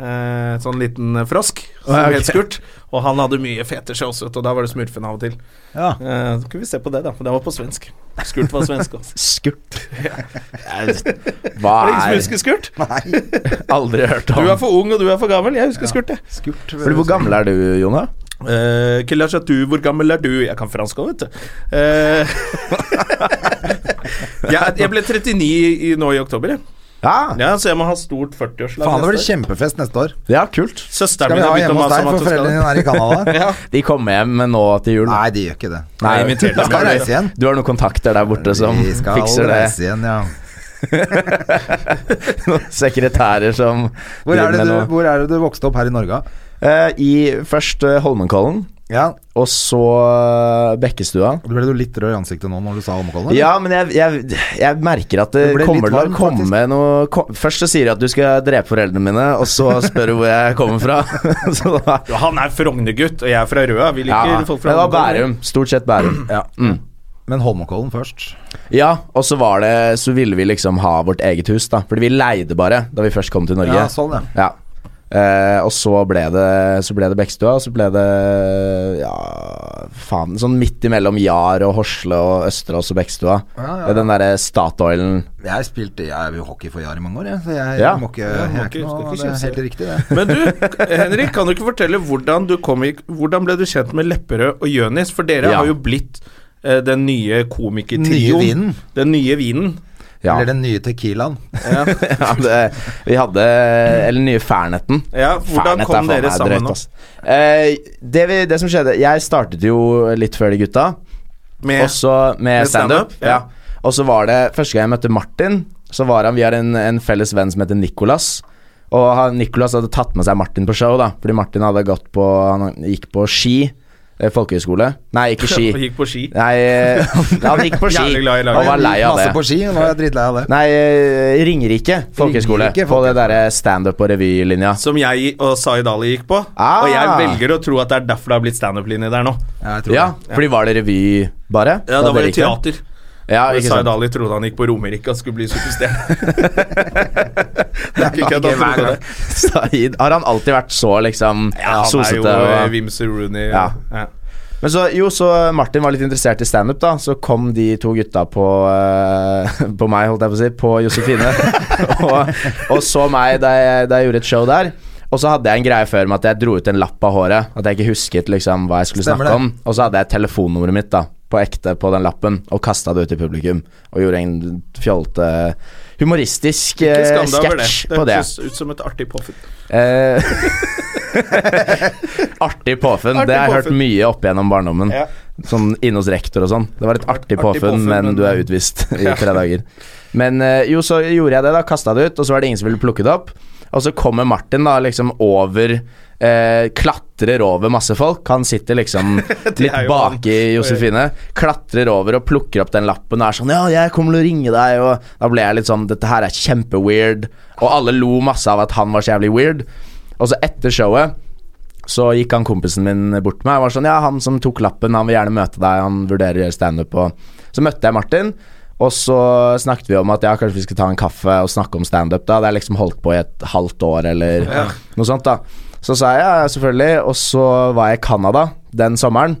Speaker 1: Eh, sånn liten eh, frosk som
Speaker 4: Å, ja, ok.
Speaker 1: het Skurt. Og han hadde mye fete shows, vet du, og da var det Smurfen av og til.
Speaker 2: Ja.
Speaker 1: Eh, så kunne vi se på det, da. Men det var på svensk. Skurt var svensk
Speaker 4: *laughs*
Speaker 1: også.
Speaker 4: Skurt.
Speaker 1: *laughs*
Speaker 4: Hva
Speaker 1: Var det ingen som
Speaker 4: er
Speaker 1: husker Skurt?
Speaker 2: Nei.
Speaker 4: Aldri hørt
Speaker 1: Du
Speaker 4: om.
Speaker 1: er for ung, og du er for gammel. Jeg husker Skurt, jeg.
Speaker 2: Skurt.
Speaker 4: Fordi, hvor gammel er du, Jonah?
Speaker 1: Eh, Killa Chatou, hvor gammel er du? Jeg kan fransk òg, vet du. Eh, *laughs* jeg, jeg ble 39 i, nå i oktober, jeg.
Speaker 4: Ja,
Speaker 1: Ja, så jeg må ha stort 40-årslag.
Speaker 2: Faen, det blir
Speaker 1: neste år.
Speaker 2: kjempefest neste år.
Speaker 4: ja kult.
Speaker 1: Søsteren
Speaker 2: Skal vi
Speaker 1: min
Speaker 2: ha
Speaker 1: har begynt å
Speaker 2: hjemme hos
Speaker 1: mase
Speaker 2: deg,
Speaker 1: om at
Speaker 2: for
Speaker 1: hun skal
Speaker 2: foreldrene dine er i Canada.
Speaker 4: De kommer hjem men nå til jul.
Speaker 2: Nei, de gjør ikke det.
Speaker 4: Nei,
Speaker 1: Jeg inviterte
Speaker 2: De skal
Speaker 1: dem.
Speaker 2: reise igjen.
Speaker 4: Du har noen kontakter der borte som
Speaker 2: De skal
Speaker 4: *laughs* fikser det.
Speaker 2: reise igjen, ja.
Speaker 4: Noen sekretærer som
Speaker 2: Hvor er,
Speaker 4: driver
Speaker 2: det
Speaker 4: med
Speaker 2: du,
Speaker 4: noe.
Speaker 2: hvor er det du vokste opp her i Norge?
Speaker 4: Eh, I først eh, Holmenkollen,
Speaker 2: Ja,
Speaker 4: og så eh, Bekkestua.
Speaker 2: Ble du litt rød i ansiktet nå når du sa Holmenkollen? eller?
Speaker 4: Ja, men jeg, jeg, jeg merker at det
Speaker 2: Du ble litt
Speaker 4: kommer til å
Speaker 2: varm,
Speaker 4: komme
Speaker 2: faktisk.
Speaker 4: noe ko- Først så sier de at du skal drepe foreldrene mine, og så spør du hvor jeg kommer fra. *laughs* så da
Speaker 1: Ja, han er Frogner-gutt, og jeg er fra Røa. Vi liker
Speaker 4: ja,
Speaker 1: folk
Speaker 4: Det
Speaker 1: fra
Speaker 4: var
Speaker 1: Holmenkollen.
Speaker 4: Bærum. Stort sett Bærum.
Speaker 2: Ja.
Speaker 4: Mm.
Speaker 2: Men Holmenkollen først.
Speaker 4: Ja, og så var det Så ville vi liksom ha vårt eget hus, da. Fordi vi leide bare da vi først kom til Norge.
Speaker 2: Ja, sånn, ja.
Speaker 4: Ja. Eh, og så ble det Så ble det Bekkestua, og så ble det Ja, faen. Sånn midt imellom Jar og Horsle og Østerås og Bekkestua.
Speaker 2: Ja, ja, ja.
Speaker 4: Den derre Statoilen.
Speaker 2: Jeg spilte jeg er jo hockey for Jar i mange år, jeg. Så jeg,
Speaker 4: Ja.
Speaker 2: må ikke, jeg
Speaker 1: må
Speaker 2: er
Speaker 1: ikke-
Speaker 2: ikke noe,
Speaker 1: skal ikke
Speaker 2: det er
Speaker 1: kimse.
Speaker 2: helt riktig, det.
Speaker 1: Men du, Henrik, kan du ikke fortelle hvordan du kom i Hvordan ble du kjent med Lepperød og Jønis? For dere
Speaker 4: Ja.
Speaker 1: har jo blitt eh, den nye
Speaker 2: Nye
Speaker 1: komikertrioen.
Speaker 2: vinen.
Speaker 1: Den nye vinen.
Speaker 4: Ja.
Speaker 2: Eller den nye Tequilaen.
Speaker 4: *laughs*
Speaker 2: *laughs*
Speaker 4: ja, det, vi hadde Eller nye Fernetten.
Speaker 1: Ja, hvordan
Speaker 4: Fernet er
Speaker 1: kom
Speaker 4: faen
Speaker 1: dere
Speaker 4: meg
Speaker 1: sammen
Speaker 4: drøyt,
Speaker 1: nå?
Speaker 4: ass. Eh, det, vi, det som skjedde Jeg startet jo litt før de gutta,
Speaker 1: Med
Speaker 4: også med
Speaker 1: Med
Speaker 4: standup.
Speaker 1: stand-up, ja.
Speaker 4: Ja. Og så var det første gang jeg møtte Martin, så var han Vi har en, en felles venn som heter Nicolas. Og han, Nicolas hadde tatt med seg Martin på show, da fordi Martin hadde gått på Han gikk på ski. eh, Folkehøyskole. Nei, ikke
Speaker 1: *laughs*
Speaker 4: ski.
Speaker 1: og gikk på ski.
Speaker 4: Nei, eh, han gikk på ski
Speaker 1: *laughs* Jævlig glad i laget.
Speaker 4: og var lei av det.
Speaker 2: Masse på ski, og nå er jeg dritlei av det.
Speaker 4: Nei, eh, Ringerike folkehøgskole.
Speaker 2: Ringerike
Speaker 4: På det derre standup- og revylinja.
Speaker 1: Som jeg og Zaid Ali gikk på.
Speaker 4: Ah.
Speaker 1: Og jeg velger å tro at det er derfor det har blitt standup-linje der nå.
Speaker 2: Jeg tror
Speaker 4: Ja, fordi var det revy, bare?
Speaker 1: Ja, da var
Speaker 4: dere
Speaker 1: det
Speaker 4: gikk der?
Speaker 1: teater.
Speaker 4: Ja,
Speaker 1: Og
Speaker 4: ikke
Speaker 1: Zaid
Speaker 4: sant.
Speaker 1: Ali trodde han gikk på Romerike og skulle bli
Speaker 2: *laughs*
Speaker 1: superstjerne. det er
Speaker 2: ikke
Speaker 1: ikke kødd,
Speaker 2: hver
Speaker 1: han
Speaker 2: gang.
Speaker 1: trodde det.
Speaker 4: *laughs* Said, har han alltid vært så liksom
Speaker 1: Ja, han er
Speaker 4: sosete?
Speaker 1: jo eh,
Speaker 4: og-
Speaker 1: Vimser Rooney.
Speaker 4: Ja. Eh, Men så, jo, så Martin var litt interessert i standup, da. Så kom de to gutta på eh, *laughs* På meg, holdt jeg på å si. På Josefine. *laughs* og, og så meg da jeg, da jeg gjorde et show der. Og så hadde jeg en greie før med at jeg dro ut en lapp av håret. At jeg ikke husket liksom hva jeg skulle
Speaker 2: Stemmer
Speaker 4: snakke
Speaker 2: det.
Speaker 4: om. Og så hadde jeg telefonnummeret mitt da på ekte på den lappen og kasta det ut i publikum. Og gjorde en fjolte humoristisk eh,
Speaker 1: Ikke skam deg over det.
Speaker 4: sketsj
Speaker 1: Det
Speaker 4: på det.
Speaker 1: høres ut som et artig påfunn. *laughs*
Speaker 4: Eh, artig påfunn.
Speaker 1: Artig
Speaker 4: det har jeg hørt
Speaker 1: påfunn.
Speaker 4: mye opp gjennom barndommen.
Speaker 1: Ja.
Speaker 4: Sånn inne hos rektor og sånn. Det var et artig,
Speaker 1: artig
Speaker 4: påfunn,
Speaker 1: påfunn,
Speaker 4: men
Speaker 1: men-
Speaker 4: du er utvist i tre dager. Men eh, jo, så gjorde jeg det, da. Kasta det ut, og så var det ingen som ville plukke det opp. Og så kommer Martin da liksom over eh, Klatrer over masse folk. Han sitter
Speaker 1: *laughs*
Speaker 4: liksom litt
Speaker 1: er jo han.
Speaker 4: bak i Josefine. Klatrer over og plukker opp den lappen og er sånn Ja, jeg kommer til å ringe deg. Og da ble jeg litt sånn Dette her er kjempeweird. Og alle lo masse av at han var så jævlig weird. Og så etter showet så gikk han kompisen min bort til meg og var sånn Ja, han som tok lappen, han vil gjerne møte deg, han vurderer å gjøre standup og Så møtte jeg Martin, og så snakket vi om at ja, kanskje vi skal ta en kaffe og snakke om standup, da. Det er liksom holdt på i et halvt år eller noe sånt, da. Så sa jeg ja, selvfølgelig, og så var jeg i Canada den sommeren.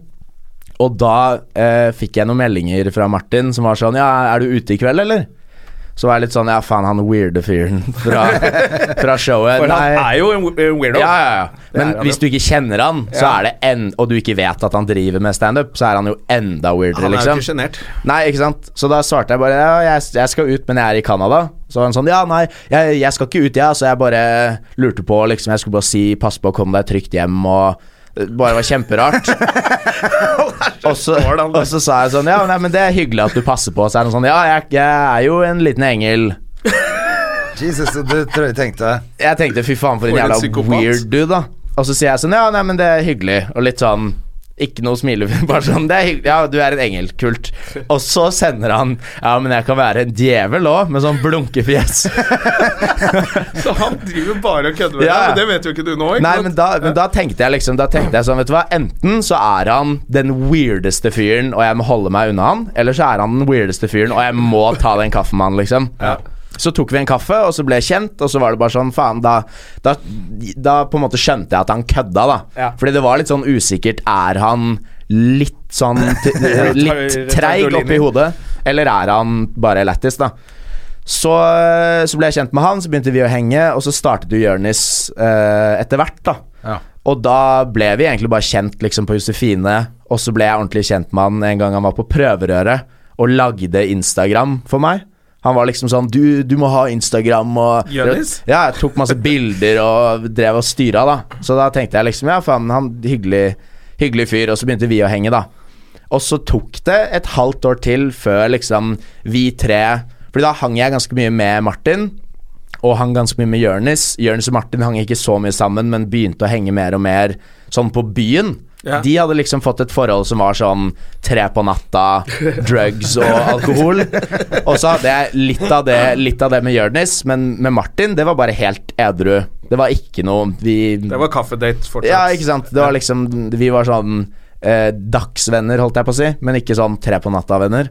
Speaker 4: Og da eh, fikk jeg noen meldinger fra Martin som var sånn Ja, er du ute i kveld, eller? Så var jeg litt sånn Ja, faen, han weirde fyren *laughs* fra, fra
Speaker 1: For
Speaker 4: showet.
Speaker 1: han
Speaker 4: Nei.
Speaker 1: er jo en we- en weirdo. *laughs*
Speaker 4: Ja, ja, ja. Men
Speaker 1: Det er han
Speaker 4: hvis du ikke kjenner han, så
Speaker 1: Ja.
Speaker 4: er det en, og du ikke vet at han driver med standup, så er han jo enda weirdere,
Speaker 1: Han er jo
Speaker 4: liksom.
Speaker 1: ikke sjenert.
Speaker 4: Nei, ikke sant? Så da svarte jeg bare ja, jeg, jeg skal ut, men jeg er i Canada. Så var han sånn ja, nei, jeg, jeg skal ikke ut, jeg, ja, så jeg bare lurte på, liksom. Jeg skulle bare si pass på å komme deg trygt hjem og det bare var kjemperart. og, så, og så sa jeg sånn Ja, nei, men det er hyggelig at du passer på. Så er han sånn Ja, jeg, jeg er jo en liten engel.
Speaker 2: Jesus, så du tror jeg tenkte
Speaker 4: Jeg tenkte fy faen for
Speaker 1: For
Speaker 4: en
Speaker 1: en
Speaker 4: jævla
Speaker 1: psykopat.
Speaker 4: weird dude da Og så sier jeg sånn, ja nei men det er hyggelig Og litt sånn, ikke noe smile *laughs* Bare sånn, det er hyggelig, ja du er en engel, kult Og så sender han Ja men jeg kan være en djevel også Med sånn blunkefjes
Speaker 1: Så han driver bare og kødder med
Speaker 4: Ja, ja.
Speaker 1: deg, men det vet jo ikke du nå. Ikke
Speaker 4: Nei
Speaker 1: sant?
Speaker 4: men da, men da tenkte jeg liksom Da tenkte jeg sånn, vet du hva Enten så er han den weirdeste fyren Og jeg må holde meg unna han Eller så er han den weirdeste fyren Og jeg må ta den kaffen med han liksom Så tok vi en kaffe, og så ble jeg kjent, og så var det bare sånn Faen, da, da, da på en måte skjønte jeg at han kødda, da.
Speaker 1: Ja.
Speaker 4: Fordi det var litt sånn usikkert. Er han litt
Speaker 1: *laughs*
Speaker 4: sånn t Litt treig oppi hodet, eller er han bare lættis, da? Så, eh, så ble jeg kjent med han, så begynte vi å henge, og så startet jo Jonis eh, etter hvert, da.
Speaker 2: Ja.
Speaker 4: Og da ble vi egentlig bare kjent liksom, på Josefine, og så ble jeg ordentlig kjent med han en gang han var på prøverøret og lagde Instagram for meg. Han var liksom sånn Du, du må ha Instagram og
Speaker 1: Jonis?
Speaker 4: Ja, jeg tok masse bilder og drev og styra, da. Så da tenkte jeg liksom ja, faen, han hyggelig, hyggelig fyr. Og så begynte vi å henge, da. Og så tok det et halvt år til før liksom vi tre Fordi da hang jeg ganske mye med Martin. Og hang ganske mye med Jørnis. Jørnis og Martin hang ikke så mye sammen, men begynte å henge mer og mer sånn på byen.
Speaker 1: Ja.
Speaker 4: De hadde liksom fått et forhold som var sånn tre på natta, drugs og alkohol. Og så hadde jeg litt av det, litt av det med Jørnis, men med Martin, det var bare helt edru. Det var ikke noe vi
Speaker 1: Det var kaffedate fortsatt.
Speaker 4: ja, ikke sant. Det var liksom Vi var sånn eh, dagsvenner, holdt jeg på å si, men ikke sånn tre på natta-venner.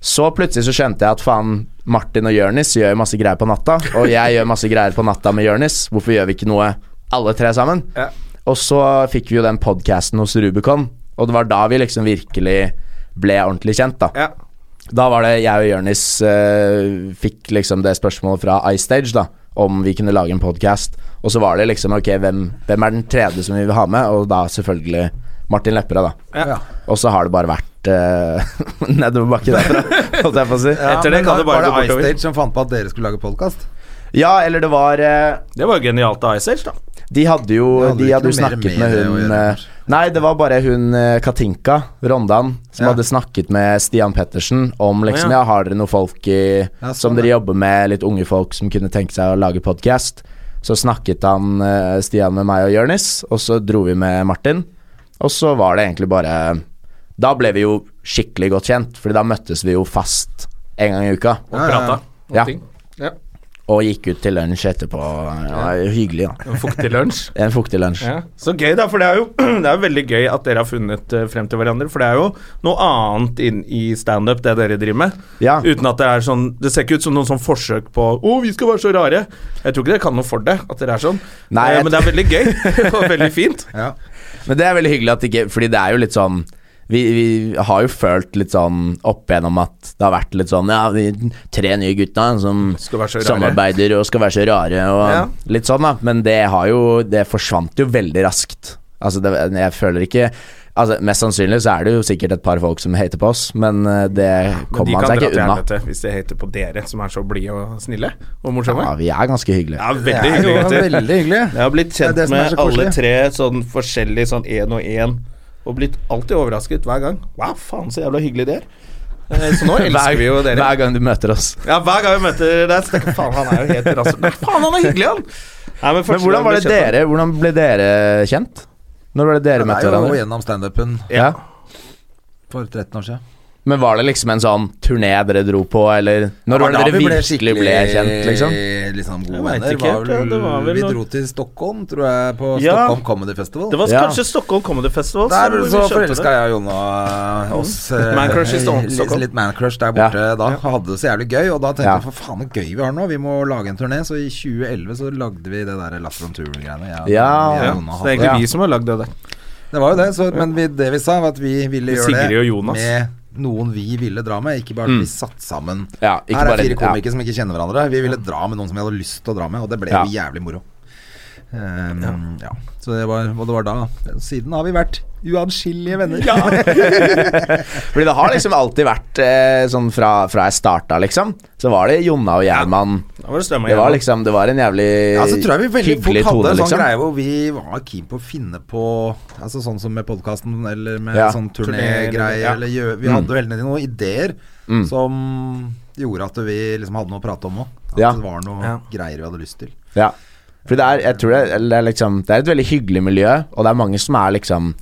Speaker 4: Så plutselig så skjønte jeg at faen, Martin og Jørnis gjør masse greier på natta, og jeg gjør masse greier på natta med Jørnis. Hvorfor gjør vi ikke noe alle tre sammen?
Speaker 1: Ja.
Speaker 4: Og så fikk vi jo den podkasten hos Rubicon, og det var da vi liksom virkelig ble ordentlig kjent, da.
Speaker 1: Ja.
Speaker 4: Da var det jeg og Jørnis eh, fikk liksom det spørsmålet fra iStage, da, om vi kunne lage en podkast. Og så var det liksom ok, hvem, hvem er den tredje som vi vil ha med? Og da selvfølgelig Martin Lepperød, da.
Speaker 1: Ja.
Speaker 4: Og så har det bare vært eh, *laughs* nedover bakken derfra, holdt jeg på å si.
Speaker 2: Ja,
Speaker 1: Etter det
Speaker 2: men
Speaker 1: kan det bare
Speaker 2: var det
Speaker 1: gå bortover.
Speaker 2: iStage som fant på at dere skulle lage podkast?
Speaker 4: Ja, eller det var eh,
Speaker 1: Det var jo genialt av Ice Age, da.
Speaker 4: De hadde jo,
Speaker 2: Det hadde
Speaker 4: de
Speaker 2: ikke
Speaker 4: hadde jo
Speaker 2: noe mer
Speaker 4: snakket
Speaker 2: med
Speaker 4: med
Speaker 2: det å
Speaker 4: hun
Speaker 2: gjøre,
Speaker 4: eh,
Speaker 2: kanskje.
Speaker 4: Nei, det var bare hun eh, Katinka Rondan som
Speaker 2: Ja.
Speaker 4: hadde snakket med Stian Pettersen om liksom
Speaker 1: Å, ja.
Speaker 4: ja. har dere noen folk i,
Speaker 2: Ja, sånn,
Speaker 4: som dere
Speaker 2: ja.
Speaker 4: jobber med, litt unge folk som kunne tenke seg å lage podkast? Så snakket han eh, Stian med meg og Jørnis, og så dro vi med Martin. Og så var det egentlig bare Da ble vi jo skikkelig godt kjent, Fordi da møttes vi jo fast en gang i uka.
Speaker 1: Og prata om
Speaker 4: Ja.
Speaker 1: ting.
Speaker 4: Og gikk ut til lunsj etterpå. Det var hyggelig, da.
Speaker 1: En fuktig lunsj.
Speaker 4: En fuktig lunsj.
Speaker 1: Ja. Så gøy, da. For det er jo *clears throat* det er jo veldig gøy at dere har funnet eh, frem til hverandre. For det er jo noe annet inn i standup, det dere driver med.
Speaker 4: Ja.
Speaker 1: Uten at det er sånn Det ser ikke ut som noen sånn forsøk på Å, vi skal være så rare. Jeg tror ikke dere kan noe for det, at dere er sånn.
Speaker 4: Nei,
Speaker 1: Eh,
Speaker 4: jeg
Speaker 1: Men det er veldig gøy, *laughs* og veldig fint.
Speaker 2: Ja.
Speaker 4: Men det er veldig hyggelig at det ikke Fordi det er jo litt sånn vi, vi har jo følt litt sånn opp igjennom at det har vært litt sånn Ja, de tre nye gutta som
Speaker 1: Skal være så rare.
Speaker 4: samarbeider og skal være så rare og
Speaker 1: Ja.
Speaker 4: litt sånn, da. Men det har jo Det forsvant jo veldig raskt. Altså, det, jeg føler ikke Altså, Mest sannsynlig så er det jo sikkert et par folk som hater på oss, men eh, det
Speaker 1: Men
Speaker 4: *laughs* kommer
Speaker 1: de
Speaker 4: man
Speaker 1: kan dra
Speaker 4: seg ikke
Speaker 1: til
Speaker 4: unna.
Speaker 1: helvete hvis de hater på dere, som er så blide og snille og morsomme.
Speaker 4: Ja, vi er ganske hyggelige.
Speaker 1: Ja,
Speaker 2: Det er
Speaker 1: veldig
Speaker 2: jo
Speaker 1: hyggelig, gutter.
Speaker 2: veldig hyggelig.
Speaker 1: Jeg har blitt kjent
Speaker 2: Det er det som er
Speaker 1: med
Speaker 2: så koselig.
Speaker 1: alle tre sånn forskjellig, sånn én og én, og blitt alltid overrasket hver gang. Wow, faen så jævla hyggelig det er. Eh, Så nå elsker vi jo dere.
Speaker 4: Hver gang du møter oss.
Speaker 1: Ja, hver gang vi møter deg, så tenker jeg faen, han er jo helt rasshøl. Nei, faen, han er hyggelig, han! Nei, men,
Speaker 4: Men hvordan var det dere Hvordan ble dere kjent? Når ble det dere
Speaker 2: Det
Speaker 4: møtte
Speaker 2: er jo
Speaker 4: hverandre?
Speaker 2: gjennom standupen
Speaker 4: Ja.
Speaker 2: for 13 år siden.
Speaker 4: Men var det liksom en sånn turné dere dro på, eller Når var det
Speaker 2: da
Speaker 4: dere
Speaker 2: vi ble
Speaker 4: virkelig ble
Speaker 2: skikkelig,
Speaker 4: kjent, liksom?
Speaker 2: liksom
Speaker 1: Jeg
Speaker 2: gode
Speaker 1: vet
Speaker 2: venner.
Speaker 1: ikke
Speaker 2: Var
Speaker 1: helt, ja,
Speaker 2: vel,
Speaker 1: det var vel
Speaker 2: vi
Speaker 1: noe-
Speaker 2: dro til Stockholm, tror jeg, på
Speaker 1: Ja.
Speaker 2: Stockholm Comedy Festival.
Speaker 1: Det var
Speaker 4: Ja.
Speaker 1: kanskje Stockholm Comedy Festival.
Speaker 2: der
Speaker 1: hvor vi
Speaker 2: så
Speaker 1: skjønte
Speaker 2: forelska
Speaker 1: det.
Speaker 2: jeg og Jonna eh, oss. eh,
Speaker 1: Man-crush i Stockholm.
Speaker 2: *laughs* litt, litt man-crush der borte da. Hadde det så jævlig gøy. Og da tenkte
Speaker 4: Ja.
Speaker 2: jeg for faen så gøy vi har nå, vi må lage en turné. Så i 2011 så lagde vi det der Latter on Tour-greiene. jeg og-
Speaker 4: Ja.
Speaker 2: jeg og
Speaker 1: Ja,
Speaker 2: Jonna
Speaker 1: så
Speaker 2: hadde.
Speaker 1: det er egentlig
Speaker 4: Ja.
Speaker 1: vi som har lagd det der.
Speaker 2: Det var jo det, så, men vi, det vi sa, var at vi ville
Speaker 1: Med
Speaker 2: gjøre
Speaker 1: Sigrid og
Speaker 2: det
Speaker 1: Jonas.
Speaker 2: med noen vi ville dra med, ikke bare at vi satt sammen.
Speaker 4: Ja, ikke
Speaker 2: Her er
Speaker 4: bare-
Speaker 2: fire komikere
Speaker 4: ja.
Speaker 2: som ikke kjenner hverandre. Vi ville dra med noen som vi hadde lyst til å dra med, og det ble
Speaker 4: Ja.
Speaker 2: jo jævlig moro. Ehm, ja. Så det var, og det var da. Siden har vi vært uatskillelige venner.
Speaker 4: *laughs* Fordi det har liksom alltid vært eh, sånn fra, fra jeg starta, liksom. Så var det Jonna og Gjerman.
Speaker 1: Da var det Strømme
Speaker 4: Det var
Speaker 1: igjen.
Speaker 4: liksom Det var en jævlig
Speaker 2: Ja, så Altså, tror jeg vi veldig fort
Speaker 4: hyggelig
Speaker 2: hadde
Speaker 4: tone,
Speaker 2: en sånn
Speaker 4: liksom.
Speaker 2: greie hvor vi var keen på å finne på Altså Sånn som med podkasten eller med
Speaker 4: Ja, Mm.
Speaker 2: sånn
Speaker 1: turné,
Speaker 2: turnégreie.
Speaker 1: ja.
Speaker 2: eller gjø- Vi hadde jo hele tiden noen ideer som gjorde at vi liksom hadde noe å prate om òg. At
Speaker 4: Ja.
Speaker 2: det var noe
Speaker 1: Ja.
Speaker 2: greier vi hadde lyst til.
Speaker 4: Ja. For det er, jeg tror det, er- det er liksom Det er et veldig hyggelig miljø, og det er mange som er liksom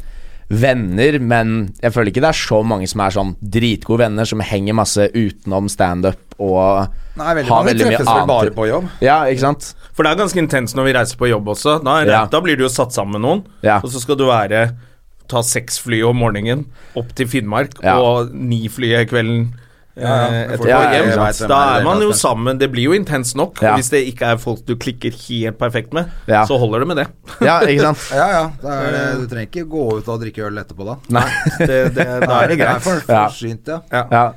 Speaker 4: venner, men jeg føler ikke det er så mange som er sånn dritgode venner som henger masse utenom standup og
Speaker 2: Nei, veldig
Speaker 4: har
Speaker 2: mange
Speaker 4: veldig mye
Speaker 2: treffes vel
Speaker 4: annet.
Speaker 2: bare på jobb.
Speaker 4: Ja, ikke sant?
Speaker 1: For det er ganske intenst når vi reiser på jobb også. Da, er det,
Speaker 4: Ja.
Speaker 1: da blir du jo satt sammen med noen,
Speaker 4: Ja.
Speaker 1: og så skal du være Ta seks fly om morgenen opp til Finnmark
Speaker 4: Ja.
Speaker 1: og ni fly i kvelden
Speaker 2: ja,
Speaker 1: eh,
Speaker 2: det får
Speaker 1: etterpå
Speaker 2: du.
Speaker 4: Ja,
Speaker 1: hjem.
Speaker 4: jeg
Speaker 2: vet hvem
Speaker 1: Da
Speaker 2: det er,
Speaker 1: er man
Speaker 2: det
Speaker 1: jo
Speaker 2: er.
Speaker 1: sammen. Det blir jo intenst nok.
Speaker 4: Ja.
Speaker 1: Hvis det ikke er folk du klikker helt perfekt med,
Speaker 4: Ja.
Speaker 1: så holder det med
Speaker 4: *laughs*
Speaker 1: det.
Speaker 4: Ja, ikke
Speaker 2: *laughs*
Speaker 4: sant?
Speaker 2: Ja, ja. Da er det, du trenger ikke gå ut og drikke øl
Speaker 4: *laughs*
Speaker 2: etterpå, da.
Speaker 4: Nei.
Speaker 1: det, Eh. det da er det
Speaker 2: Nei,
Speaker 1: greit.
Speaker 2: for-
Speaker 4: Ja.
Speaker 2: Forsynt, ja.
Speaker 4: Ja.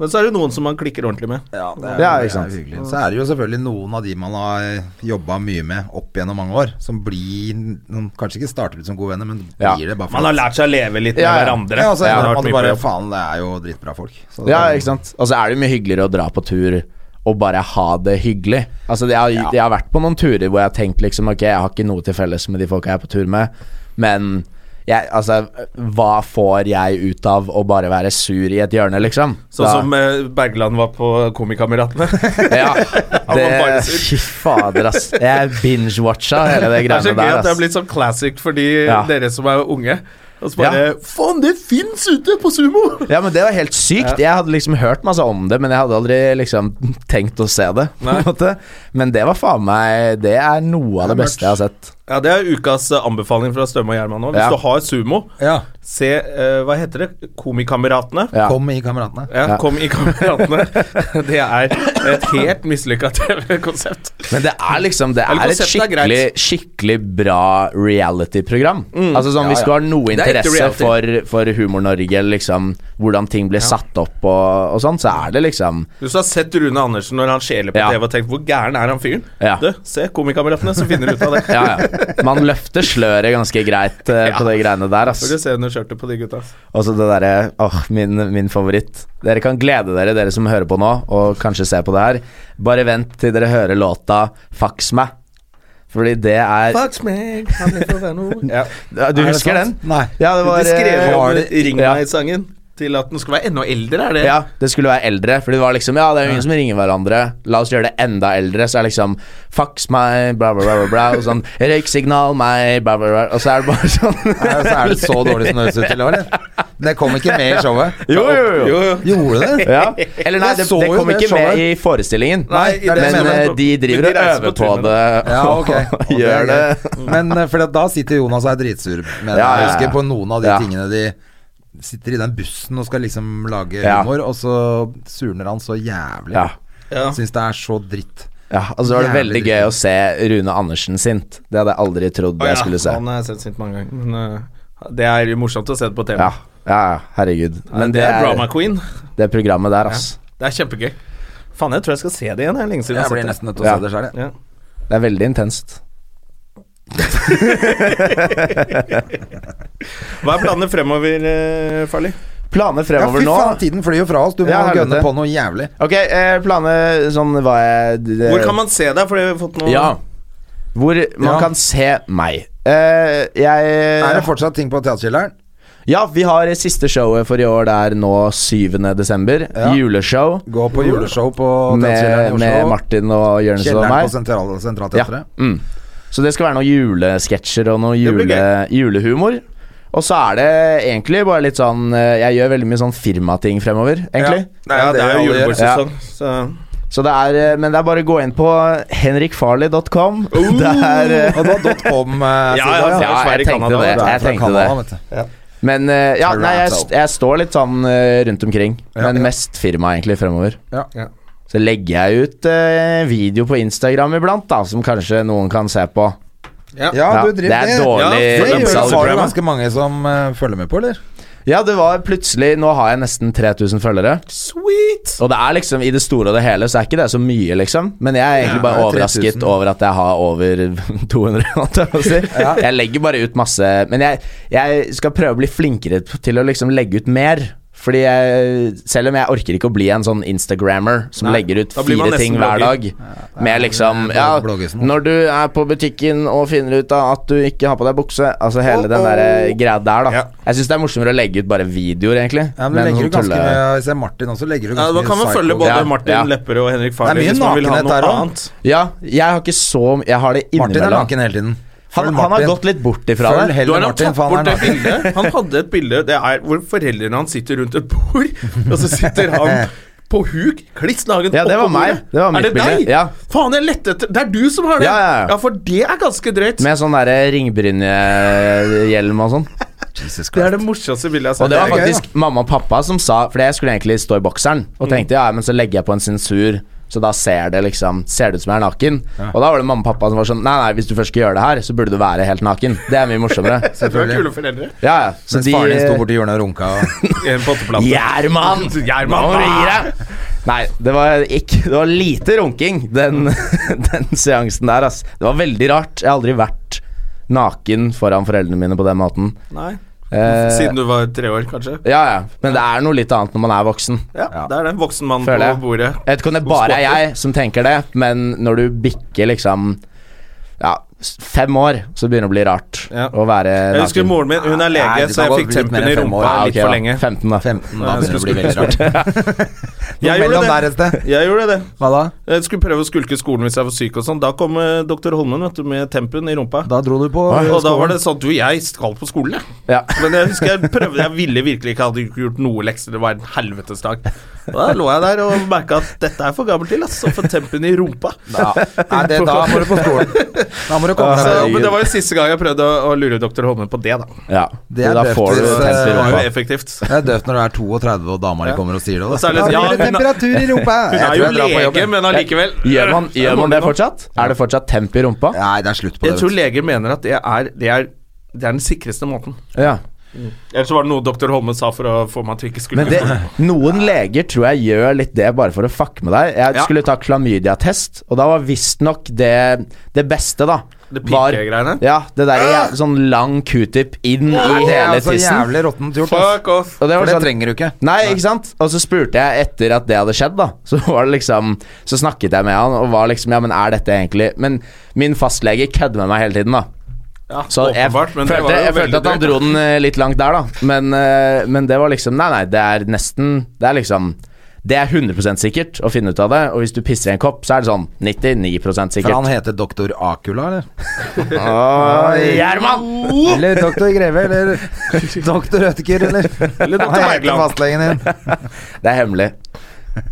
Speaker 1: Men så er det noen som man klikker ordentlig med.
Speaker 2: Ja, det
Speaker 4: Ja,
Speaker 2: det
Speaker 4: ikke sant.
Speaker 2: hyggelig. Så er det jo selvfølgelig noen av de man har jobba mye med opp gjennom mange år, som blir som Kanskje ikke starter ut som gode venner, men
Speaker 4: Ja.
Speaker 2: blir det bare
Speaker 1: Man har lært seg å leve litt med
Speaker 4: Ja, ja.
Speaker 1: hverandre.
Speaker 2: Ja, altså,
Speaker 1: Det har vært
Speaker 2: man
Speaker 1: mye
Speaker 2: bare
Speaker 1: på jobb.
Speaker 2: Faen, det er jo dritbra folk. Så
Speaker 4: ja,
Speaker 2: det-
Speaker 4: ikke sant? Og så er det jo mye hyggeligere å dra på tur og bare ha det hyggelig. Altså, jeg har, jeg har vært på noen turer hvor jeg har tenkt liksom Ok, jeg har ikke noe til felles med de folka jeg er på tur med, men jeg, altså, hva får jeg ut av å bare være sur i et hjørne, liksom?
Speaker 1: Sånn
Speaker 4: Da-
Speaker 1: som eh, Bergland var på Komikameratene. *laughs*
Speaker 4: *laughs* Ja,
Speaker 1: var bare
Speaker 4: det
Speaker 1: sur.
Speaker 4: Fy fader, ass. Jeg binge-watcha hele
Speaker 1: *laughs*
Speaker 4: det
Speaker 1: Det er så gøy
Speaker 4: greiene der,
Speaker 1: at det har
Speaker 4: ass.
Speaker 1: blitt sånn classic for de
Speaker 4: Ja.
Speaker 1: dere som er unge. Og så bare Faen, det fins ute på sumo!
Speaker 4: Ja, men det var helt sykt. Jeg hadde liksom hørt masse om det, men jeg hadde aldri liksom tenkt å se det. På en måte. Men det var faen meg Det er noe av det beste jeg har sett.
Speaker 1: Ja, Det er ukas eh, anbefaling fra Støme og Gjerman nå. Hvis
Speaker 4: Ja.
Speaker 1: du har sumo,
Speaker 2: Ja.
Speaker 1: se eh, Hva heter det? Komikameratene?
Speaker 4: Ja.
Speaker 2: Kom i Kameratene.
Speaker 1: Ja,
Speaker 4: Ja.
Speaker 1: Kom i kameratene.
Speaker 4: *laughs*
Speaker 1: Det er et helt mislykka TV-konsept.
Speaker 4: Men det er liksom Det
Speaker 1: Eller
Speaker 4: er et
Speaker 1: konseptet er greit.
Speaker 4: skikkelig, skikkelig bra reality-program. altså sånn Hvis du har noe
Speaker 1: Det er ekte
Speaker 4: interesse
Speaker 1: reality.
Speaker 4: for, for Humor-Norge, liksom hvordan ting blir satt opp og, og sånn, så er det liksom
Speaker 1: Hvis du har sett Rune Andersen når han skjeler på
Speaker 4: Ja.
Speaker 1: TV og tenkt 'hvor gæren er han fyren',
Speaker 4: Ja.
Speaker 1: du, se Komikameratene, så finner du ut av det.
Speaker 4: *laughs* Ja, ja. Man løfter sløret ganske greit eh, på de greiene der, ass.
Speaker 1: Får du se under skjørtet på de gutta. ass.
Speaker 4: Og så det derre Åh, min, min favoritt. Dere kan glede dere, dere som hører på nå, og kanskje ser på det her. Bare vent til dere hører låta 'Fax meg'. Fordi det er
Speaker 1: Ja.
Speaker 4: Du husker den?
Speaker 2: Nei.
Speaker 4: Ja, det var
Speaker 1: De skrev jo
Speaker 4: eh,
Speaker 1: om
Speaker 4: det-
Speaker 1: Ring
Speaker 4: ja.
Speaker 1: meg-sangen til at den skulle være enda eldre, er det?
Speaker 4: Ja, det skulle være eldre. Fordi det var liksom Ja, det er jo ingen som ringer hverandre. La oss gjøre det enda eldre. Så er det liksom Fax meg, bla, bla, bla, bla, bla. Og sånn Røyksignal meg, bla, bla, bla. Og så er det bare sånn
Speaker 2: Nei, så er det så dårlig som det høres ut til, eller? Det kom ikke med
Speaker 4: *laughs*
Speaker 2: i showet.
Speaker 4: Jo, jo, jo.
Speaker 2: Gjorde det?
Speaker 4: Ja. *laughs* Eller nei,
Speaker 2: Jeg
Speaker 4: det,
Speaker 2: så
Speaker 4: det
Speaker 2: jo
Speaker 4: kom
Speaker 2: det
Speaker 4: ikke
Speaker 2: showet.
Speaker 4: med i forestillingen.
Speaker 2: Nei, det er det jeg
Speaker 4: men
Speaker 2: mener.
Speaker 4: eh, de driver
Speaker 1: Men de
Speaker 4: og
Speaker 1: reiser
Speaker 4: øver
Speaker 1: på
Speaker 4: på
Speaker 1: tunnel.
Speaker 4: det.
Speaker 2: Ja, ok. Og det
Speaker 4: *laughs* og
Speaker 2: er
Speaker 4: Gjør det.
Speaker 2: gøy. Men eh, for at da sitter Jonas og er dritsur med det.
Speaker 4: Ja, ja,
Speaker 2: Jeg
Speaker 4: ja.
Speaker 2: husker på noen av de
Speaker 4: Ja.
Speaker 2: tingene de sitter i den bussen og skal liksom lage
Speaker 4: Ja.
Speaker 2: humor, og så surner han så jævlig.
Speaker 4: Ja.
Speaker 1: Ja.
Speaker 2: Syns det er så dritt.
Speaker 4: ja. Og så var det
Speaker 2: Jævlig
Speaker 4: veldig gøy å se Rune Andersen sint. Det hadde jeg aldri trodd jeg skulle se.
Speaker 1: Han har jeg sett sint mange ganger. Men øh, det er jo morsomt å se det på TV.
Speaker 4: Ja, ja, ja, herregud. Men det
Speaker 1: er Drama
Speaker 4: er
Speaker 1: Queen.
Speaker 4: det programmet der, ass.
Speaker 1: Det er kjempegøy. Faen, jeg tror jeg skal se det igjen. Det er lenge siden jeg
Speaker 2: Jeg
Speaker 1: har
Speaker 2: blir
Speaker 1: sett det.
Speaker 2: nesten nødt til å
Speaker 4: Ja.
Speaker 2: se det sjøl, jeg.
Speaker 1: Ja.
Speaker 4: Det er veldig intenst.
Speaker 1: Hva er planene fremover, eh, Farlig?
Speaker 4: Planer
Speaker 2: Ja,
Speaker 4: fremover
Speaker 2: fy
Speaker 4: nå
Speaker 2: faen, tiden flyr jo fra oss. Du må
Speaker 4: Ja, helvete.
Speaker 2: gønne på noe jævlig.
Speaker 4: Ok, eh, planer sånn hva jeg det-
Speaker 1: Hvor kan man se deg? For det har vi fått noe
Speaker 4: Ja. Hvor man
Speaker 2: Ja.
Speaker 4: kan se meg. Eh, jeg
Speaker 2: Er det fortsatt ting på Teaterkjelleren?
Speaker 4: Ja, vi har siste showet for i år. Det er nå 7. desember.
Speaker 2: Ja.
Speaker 4: Juleshow
Speaker 2: Gå på juleshow på Teaterkjelleren i
Speaker 4: med, med
Speaker 2: Oslo.
Speaker 4: Martin og Jørnes og
Speaker 2: Kjelleren på
Speaker 4: meg.
Speaker 2: Sentral
Speaker 4: Ja.
Speaker 2: Sentralteatret.
Speaker 4: Mm. Så det skal være noen julesketsjer og noe
Speaker 1: blir
Speaker 4: jule, julehumor. Og så er det egentlig bare litt sånn eh, Jeg gjør veldig mye sånn firmating fremover, egentlig.
Speaker 1: Nei, ja, det er jo
Speaker 2: alle gjør.
Speaker 1: julebordsesong, så
Speaker 4: Så det er, eh, men det er bare å gå inn på henrikfarley.com.
Speaker 2: Oh.
Speaker 4: *laughs* Det er eh,
Speaker 2: Uh! Og da .com. eh,
Speaker 1: *laughs* Ja,
Speaker 2: siden,
Speaker 1: ja,
Speaker 4: ja, jeg tenkte det.
Speaker 2: Du er
Speaker 4: Jeg
Speaker 2: fra
Speaker 4: tenkte det.
Speaker 2: Canada, vet du.
Speaker 4: Men eh, ja, nei, jeg,
Speaker 2: Toronto.
Speaker 4: jeg står litt sånn eh, rundt omkring.
Speaker 2: Ja,
Speaker 4: men
Speaker 2: ja.
Speaker 4: mest firma, egentlig, fremover.
Speaker 2: Ja.
Speaker 4: Så legger jeg ut eh, video på Instagram iblant, da, som kanskje noen kan se på.
Speaker 2: Ja,
Speaker 4: Ja,
Speaker 2: du driver
Speaker 4: det er dårlig
Speaker 2: Det
Speaker 1: for
Speaker 2: gjør det.
Speaker 4: innsalg.
Speaker 2: Har du ganske mange som eh, følger med på, eller?
Speaker 4: Ja, det var plutselig Nå har jeg nesten 3000 følgere.
Speaker 1: Sweet!
Speaker 4: Og det er liksom, i det store og det hele, så er ikke det så mye, liksom. Men jeg er egentlig bare
Speaker 2: det er
Speaker 4: overrasket
Speaker 2: 3000.
Speaker 4: over at jeg har over *laughs* 200, holdt jeg på å si. Jeg legger bare ut masse Men jeg, jeg skal prøve å bli flinkere til å liksom legge ut mer. Fordi jeg, selv om jeg orker ikke å bli en sånn Instagrammer som legger ut
Speaker 1: da blir man
Speaker 4: fire ting
Speaker 1: nesten
Speaker 4: hver dag,
Speaker 1: blogger.
Speaker 4: med liksom
Speaker 2: det er
Speaker 4: Ja,
Speaker 2: bloggesen.
Speaker 4: når du er på butikken og finner ut av at du ikke har på deg bukse Altså hele den
Speaker 2: Oh,
Speaker 4: der greia der, da.
Speaker 1: Ja.
Speaker 4: Jeg syns det er morsommere å legge ut bare videoer, egentlig.
Speaker 2: Ja, men du legger
Speaker 4: sånn
Speaker 2: jo ganske
Speaker 4: tulle-
Speaker 2: mye Jeg ser Martin også legger jo
Speaker 1: Ja,
Speaker 2: ganske
Speaker 1: da kan man følge både
Speaker 4: Ja,
Speaker 1: Martin
Speaker 4: ja.
Speaker 1: Lepperød og Henrik
Speaker 2: Det
Speaker 1: Farley
Speaker 2: er mye
Speaker 1: hvis man vil ha
Speaker 2: nakenhet
Speaker 1: noe
Speaker 2: der også.
Speaker 1: annet.
Speaker 4: Ja, jeg har ikke så mye Jeg har det
Speaker 2: Martin er
Speaker 4: innimellom.
Speaker 2: naken hele tiden.
Speaker 4: Han,
Speaker 2: Følg
Speaker 4: han har
Speaker 2: Martin.
Speaker 4: gått litt bort ifra
Speaker 2: Følg
Speaker 4: det.
Speaker 2: heller
Speaker 1: Du har han
Speaker 2: Martin,
Speaker 1: tatt
Speaker 2: for han
Speaker 1: bort
Speaker 2: er
Speaker 1: det
Speaker 2: naken.
Speaker 1: bildet. Han hadde et bilde det er hvor foreldrene hans sitter rundt et bord, og så sitter
Speaker 4: *laughs*
Speaker 1: han på huk, kliss naken
Speaker 4: Ja, det var
Speaker 1: oppå
Speaker 4: meg.
Speaker 1: bordet.
Speaker 4: Det var mitt
Speaker 1: er det
Speaker 4: bilde,
Speaker 1: deg?
Speaker 4: ja.
Speaker 1: Faen, jeg lette etter Det er du som har det!
Speaker 4: Ja, ja, ja.
Speaker 1: for det er ganske drøyt.
Speaker 4: Med sånn derre eh, ringbrynjehjelm og sånn.
Speaker 2: Jesus
Speaker 1: Det er det
Speaker 2: Christ.
Speaker 1: morsomste bildet jeg har sett.
Speaker 4: Og det var
Speaker 2: er gøy,
Speaker 4: faktisk mamma og pappa som sa For jeg skulle egentlig stå i bokseren
Speaker 2: Mm.
Speaker 4: Og tenkte ja, men så legger jeg på en sensur Så da ser det liksom Ser det ut som jeg er naken Og da var det mamma og pappa som var sånn Nei, nei, hvis du først skal gjøre det her Så burde du være helt naken Det er mye morsommere
Speaker 2: *laughs*
Speaker 1: Det var kule foreldre.
Speaker 4: Ja, ja Så
Speaker 2: Mens faren din sto borti hjørnet og runka.
Speaker 4: *laughs*
Speaker 2: Og
Speaker 1: I en potteplate. *laughs*
Speaker 4: Gjermann!
Speaker 1: Gjermann!
Speaker 4: Nå må du gi deg! Nei, det var ikke Det var lite runking, den, *laughs* den seansen der, ass. Det var veldig rart. Jeg har aldri vært naken foran foreldrene mine på den måten.
Speaker 1: Nei.
Speaker 4: Eh,
Speaker 1: Siden du var tre år, kanskje?
Speaker 4: Ja, ja. Men det er noe litt annet når man er voksen.
Speaker 1: Ja, det er det. Voksen mann på
Speaker 4: Føler jeg.
Speaker 1: bordet.
Speaker 4: Jeg vet ikke om det bare er jeg som tenker det, men når du bikker liksom Ja, s- fem år, så begynner det å bli rart
Speaker 1: Ja.
Speaker 4: å være
Speaker 1: Jeg husker moren min, hun er
Speaker 2: Nei,
Speaker 1: lege,
Speaker 2: du
Speaker 1: så
Speaker 2: kan
Speaker 1: jeg
Speaker 2: gå
Speaker 1: fikk
Speaker 2: litt mer
Speaker 1: tempen
Speaker 2: enn
Speaker 1: i
Speaker 2: fem
Speaker 1: rumpa
Speaker 2: år. Ja,
Speaker 1: litt for lenge.
Speaker 4: 15, da.
Speaker 2: 15, da begynner
Speaker 1: jeg
Speaker 2: det å bli veldig rart.
Speaker 1: *laughs* Jeg
Speaker 2: Mellom
Speaker 1: gjorde
Speaker 2: der
Speaker 1: det.
Speaker 2: et sted.
Speaker 1: Jeg gjorde det.
Speaker 2: Hva da?
Speaker 1: Jeg Eh, skulle prøve å skulke skolen hvis jeg var syk og sånn. Da kom eh, doktor Holmen vet du, med tempen i rumpa.
Speaker 2: Da dro du på
Speaker 1: og da var det sånn Du, jeg skal på skolen, jeg.
Speaker 4: Ja.
Speaker 1: *laughs* Men jeg husker jeg prøvde Jeg ville virkelig ikke, hadde ikke gjort noe lekser. Det var en helvetes dag. Og Da lå jeg der og merka at dette er for gammelt til, ass. Å få tempen i rumpa.
Speaker 2: Ja. Nei, det, da må du på
Speaker 1: *laughs*
Speaker 2: skolen. Da må du komme
Speaker 1: Så,
Speaker 2: deg
Speaker 1: men det var jo siste gang jeg prøvde å, å lure doktor Holmen på det, da.
Speaker 4: Ja.
Speaker 2: Det er
Speaker 4: da
Speaker 2: døvt
Speaker 4: får du
Speaker 2: hvis, eh,
Speaker 4: temper i
Speaker 1: Det var
Speaker 4: rumpa.
Speaker 1: jo effektivt.
Speaker 2: Det er døvt når du er 32 og dama di kommer og sier det.
Speaker 1: Og så er det
Speaker 2: da
Speaker 1: litt- ja,
Speaker 2: blir det
Speaker 1: hun er-
Speaker 2: temperatur i rumpa!
Speaker 1: *laughs* Hun
Speaker 2: Jeg
Speaker 1: er
Speaker 2: tror
Speaker 1: jo
Speaker 2: jeg drar på
Speaker 1: lege,
Speaker 2: jobben.
Speaker 1: men allikevel
Speaker 4: Gjør man,
Speaker 1: *laughs* Ja,
Speaker 4: gjør
Speaker 1: må
Speaker 4: man det
Speaker 1: nå.
Speaker 4: fortsatt? Er det fortsatt temp i rumpa?
Speaker 2: Nei, det er slutt på det.
Speaker 1: Jeg tror
Speaker 2: vet du.
Speaker 1: leger mener at det er, det er, det er den sikreste måten.
Speaker 4: Ja.
Speaker 1: Ellers var det noe doktor Holmen sa for å få meg til ikke skulle
Speaker 4: Men det, noen leger tror jeg gjør litt det bare for å fucke med deg. Jeg
Speaker 1: Ja.
Speaker 4: skulle ta klamydia-test, og da var visstnok det det beste, da.
Speaker 1: Det
Speaker 4: var-
Speaker 1: pikegreiene?
Speaker 4: Ja, det der jæv- sånn lang q-tip inn i
Speaker 2: Ah! Det er
Speaker 4: hele
Speaker 2: altså
Speaker 4: tissen.
Speaker 2: jævlig råttent gjort. ass.
Speaker 1: Fuck off!
Speaker 4: Og det var
Speaker 2: For det
Speaker 4: sånn-
Speaker 2: trenger du ikke.
Speaker 4: Nei, ikke sant? Og så spurte jeg etter at det hadde skjedd, da. *laughs* Så var det liksom Så snakket jeg med han og var liksom Ja, men er dette egentlig Men min fastlege kødder med meg hele tiden, da.
Speaker 1: Ja,
Speaker 4: Så jeg,
Speaker 1: åpenbart, men det
Speaker 4: følte,
Speaker 1: var jo
Speaker 4: jeg
Speaker 1: veldig
Speaker 4: følte at han
Speaker 1: dyrt.
Speaker 4: dro den eh, litt langt der, da. Men, eh, men det var liksom Nei, nei, det er nesten Det er liksom det er 100 sikkert å finne ut av det, og hvis du pisser i en kopp, så er det sånn 99
Speaker 2: For han
Speaker 4: sikkert.
Speaker 2: heter doktor Akula,
Speaker 1: *laughs*
Speaker 2: eller?
Speaker 1: Ah,
Speaker 4: Gjerman!
Speaker 2: Eller doktor Greve,
Speaker 1: *laughs*
Speaker 2: eller doktor Rødtekyr, eller?
Speaker 1: Eller doktor
Speaker 2: Hva heter
Speaker 1: Bergland.
Speaker 2: fastlegen din?
Speaker 4: Det er hemmelig.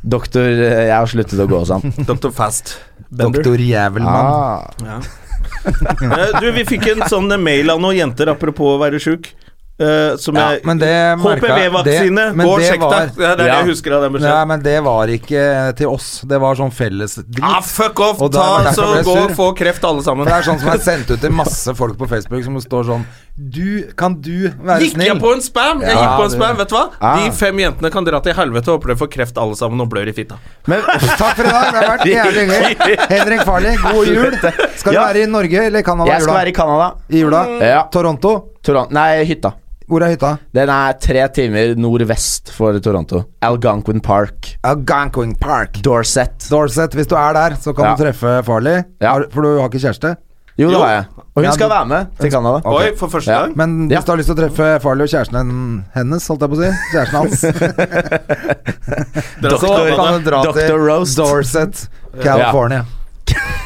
Speaker 4: Doktor, eh, jeg har sluttet å gå sånn.
Speaker 1: Dr. Fast.
Speaker 2: Doktor Jævelmann.
Speaker 4: Ah.
Speaker 1: Eh, Du, vi fikk en sånn mail av noen jenter apropos å være sjuk. eh, som
Speaker 2: Ja,
Speaker 1: jeg
Speaker 2: men det merka-
Speaker 1: HPV-vaksine,
Speaker 2: det- men
Speaker 1: gå og
Speaker 2: det
Speaker 1: sjekk deg!
Speaker 2: var-
Speaker 1: Det er det
Speaker 4: Ja.
Speaker 1: jeg husker av den
Speaker 2: Nei,
Speaker 1: beskjeden.
Speaker 2: men det var ikke til oss. Det var sånn felles drit.
Speaker 1: Ah, fuck off!
Speaker 2: Og da var
Speaker 1: Ta,
Speaker 2: det derfor
Speaker 1: så
Speaker 2: jeg ble
Speaker 1: gå og
Speaker 2: sur.
Speaker 1: få kreft, alle
Speaker 2: For
Speaker 1: sammen.
Speaker 2: det er sånn som er sendt ut til masse folk på Facebook som står sånn Du, kan du være
Speaker 1: Gikk
Speaker 2: snill?
Speaker 1: jeg på en spam? Jeg
Speaker 2: Ja,
Speaker 1: gikk på en
Speaker 2: det-
Speaker 1: spam, vet du hva?
Speaker 4: Ah.
Speaker 1: De fem jentene kan dra til helvete og håper de får kreft alle sammen og blør i fitta.
Speaker 4: Men
Speaker 2: Takk for i dag, det har vært jævlig
Speaker 4: *laughs*
Speaker 2: hyggelig. Henrik Farley, god jul. Skal du
Speaker 4: Ja.
Speaker 2: være i Norge eller Canada
Speaker 4: jeg
Speaker 2: i
Speaker 4: skal
Speaker 2: jula?
Speaker 4: være i Canada.
Speaker 2: I jula?
Speaker 4: Ja.
Speaker 2: Toronto?
Speaker 4: Toron- Nei, hytta.
Speaker 2: Hvor er hytta?
Speaker 4: Den er tre timer nordvest for Toronto. Algonquin Park.
Speaker 2: Algonquin Park.
Speaker 4: Dorset.
Speaker 2: Dorset. Hvis du er der, så kan
Speaker 4: Ja.
Speaker 2: du treffe Farley.
Speaker 4: Ja.
Speaker 2: Har- For du har ikke kjæreste?
Speaker 4: Jo, det
Speaker 1: Jo.
Speaker 4: har jeg. Og
Speaker 2: Ja,
Speaker 4: hun skal
Speaker 2: du-
Speaker 4: være med til Canada.
Speaker 1: Oi, for første
Speaker 4: Ja.
Speaker 1: gang.
Speaker 2: Men
Speaker 4: Ja.
Speaker 2: hvis du har lyst til å treffe Farley og kjæresten hen- hennes, holdt jeg på å si, kjæresten
Speaker 4: *laughs*
Speaker 2: hans,
Speaker 1: Dra til
Speaker 2: så
Speaker 1: Canada.
Speaker 2: kan du dra
Speaker 4: Dr.
Speaker 2: til
Speaker 4: Roast.
Speaker 2: Dorset, California.
Speaker 4: *laughs*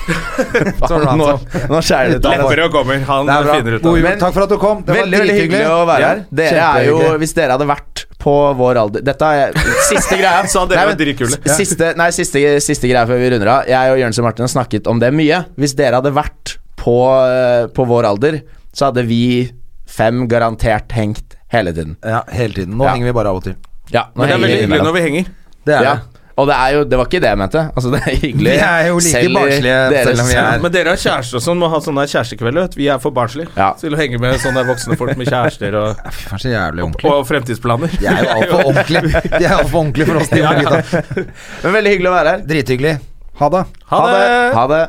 Speaker 4: Faen, nå, nå skjærer det ut. av
Speaker 1: Lepper
Speaker 4: oss.
Speaker 1: og kommer. Han
Speaker 2: Det er bra.
Speaker 1: finner ut
Speaker 2: God
Speaker 1: av
Speaker 2: jul.
Speaker 1: det.
Speaker 2: Takk for at du kom. Det
Speaker 4: Veldig veldig hyggelig å være her. Dere er jo, Hvis dere hadde vært på vår alder Dette er siste greia.
Speaker 1: *laughs* Sa dere
Speaker 4: Nei,
Speaker 1: var
Speaker 4: men
Speaker 1: dritkule.
Speaker 4: s- Siste, nei, siste, siste greia før vi runder av. Jeg og Jørn og Martin har snakket om det mye. Hvis dere hadde vært på, eh, på vår alder, så hadde vi fem garantert hengt hele tiden.
Speaker 2: Ja, hele tiden. Nå
Speaker 4: Ja.
Speaker 2: henger vi bare av og til.
Speaker 4: Ja, nå
Speaker 1: Men det er
Speaker 4: henger
Speaker 1: veldig
Speaker 4: vi
Speaker 1: hyggelig
Speaker 4: imellom.
Speaker 1: når vi henger.
Speaker 2: Det er
Speaker 4: ja.
Speaker 2: det.
Speaker 4: Og det er jo Det var ikke det jeg mente. Altså, det er hyggelig.
Speaker 2: Vi er jo like
Speaker 4: i
Speaker 2: barnslige
Speaker 4: deres-
Speaker 2: selv om vi er-
Speaker 1: Men dere har kjærester og sånn, må ha sånne kjærestekvelder. vet du. Vi er for barnslige
Speaker 4: Ja.
Speaker 1: til å henge med sånne voksne folk med kjærester og,
Speaker 2: Fy faen, så jævlig ordentlig.
Speaker 1: og fremtidsplaner.
Speaker 2: De
Speaker 1: *laughs*
Speaker 2: er jo altfor
Speaker 4: *laughs*
Speaker 2: ordentlig. De er altfor ordentlig for oss, de unge gutta.
Speaker 4: Men veldig hyggelig å være her.
Speaker 2: Drithyggelig. Ha det.
Speaker 1: Ha det!
Speaker 4: Ha det.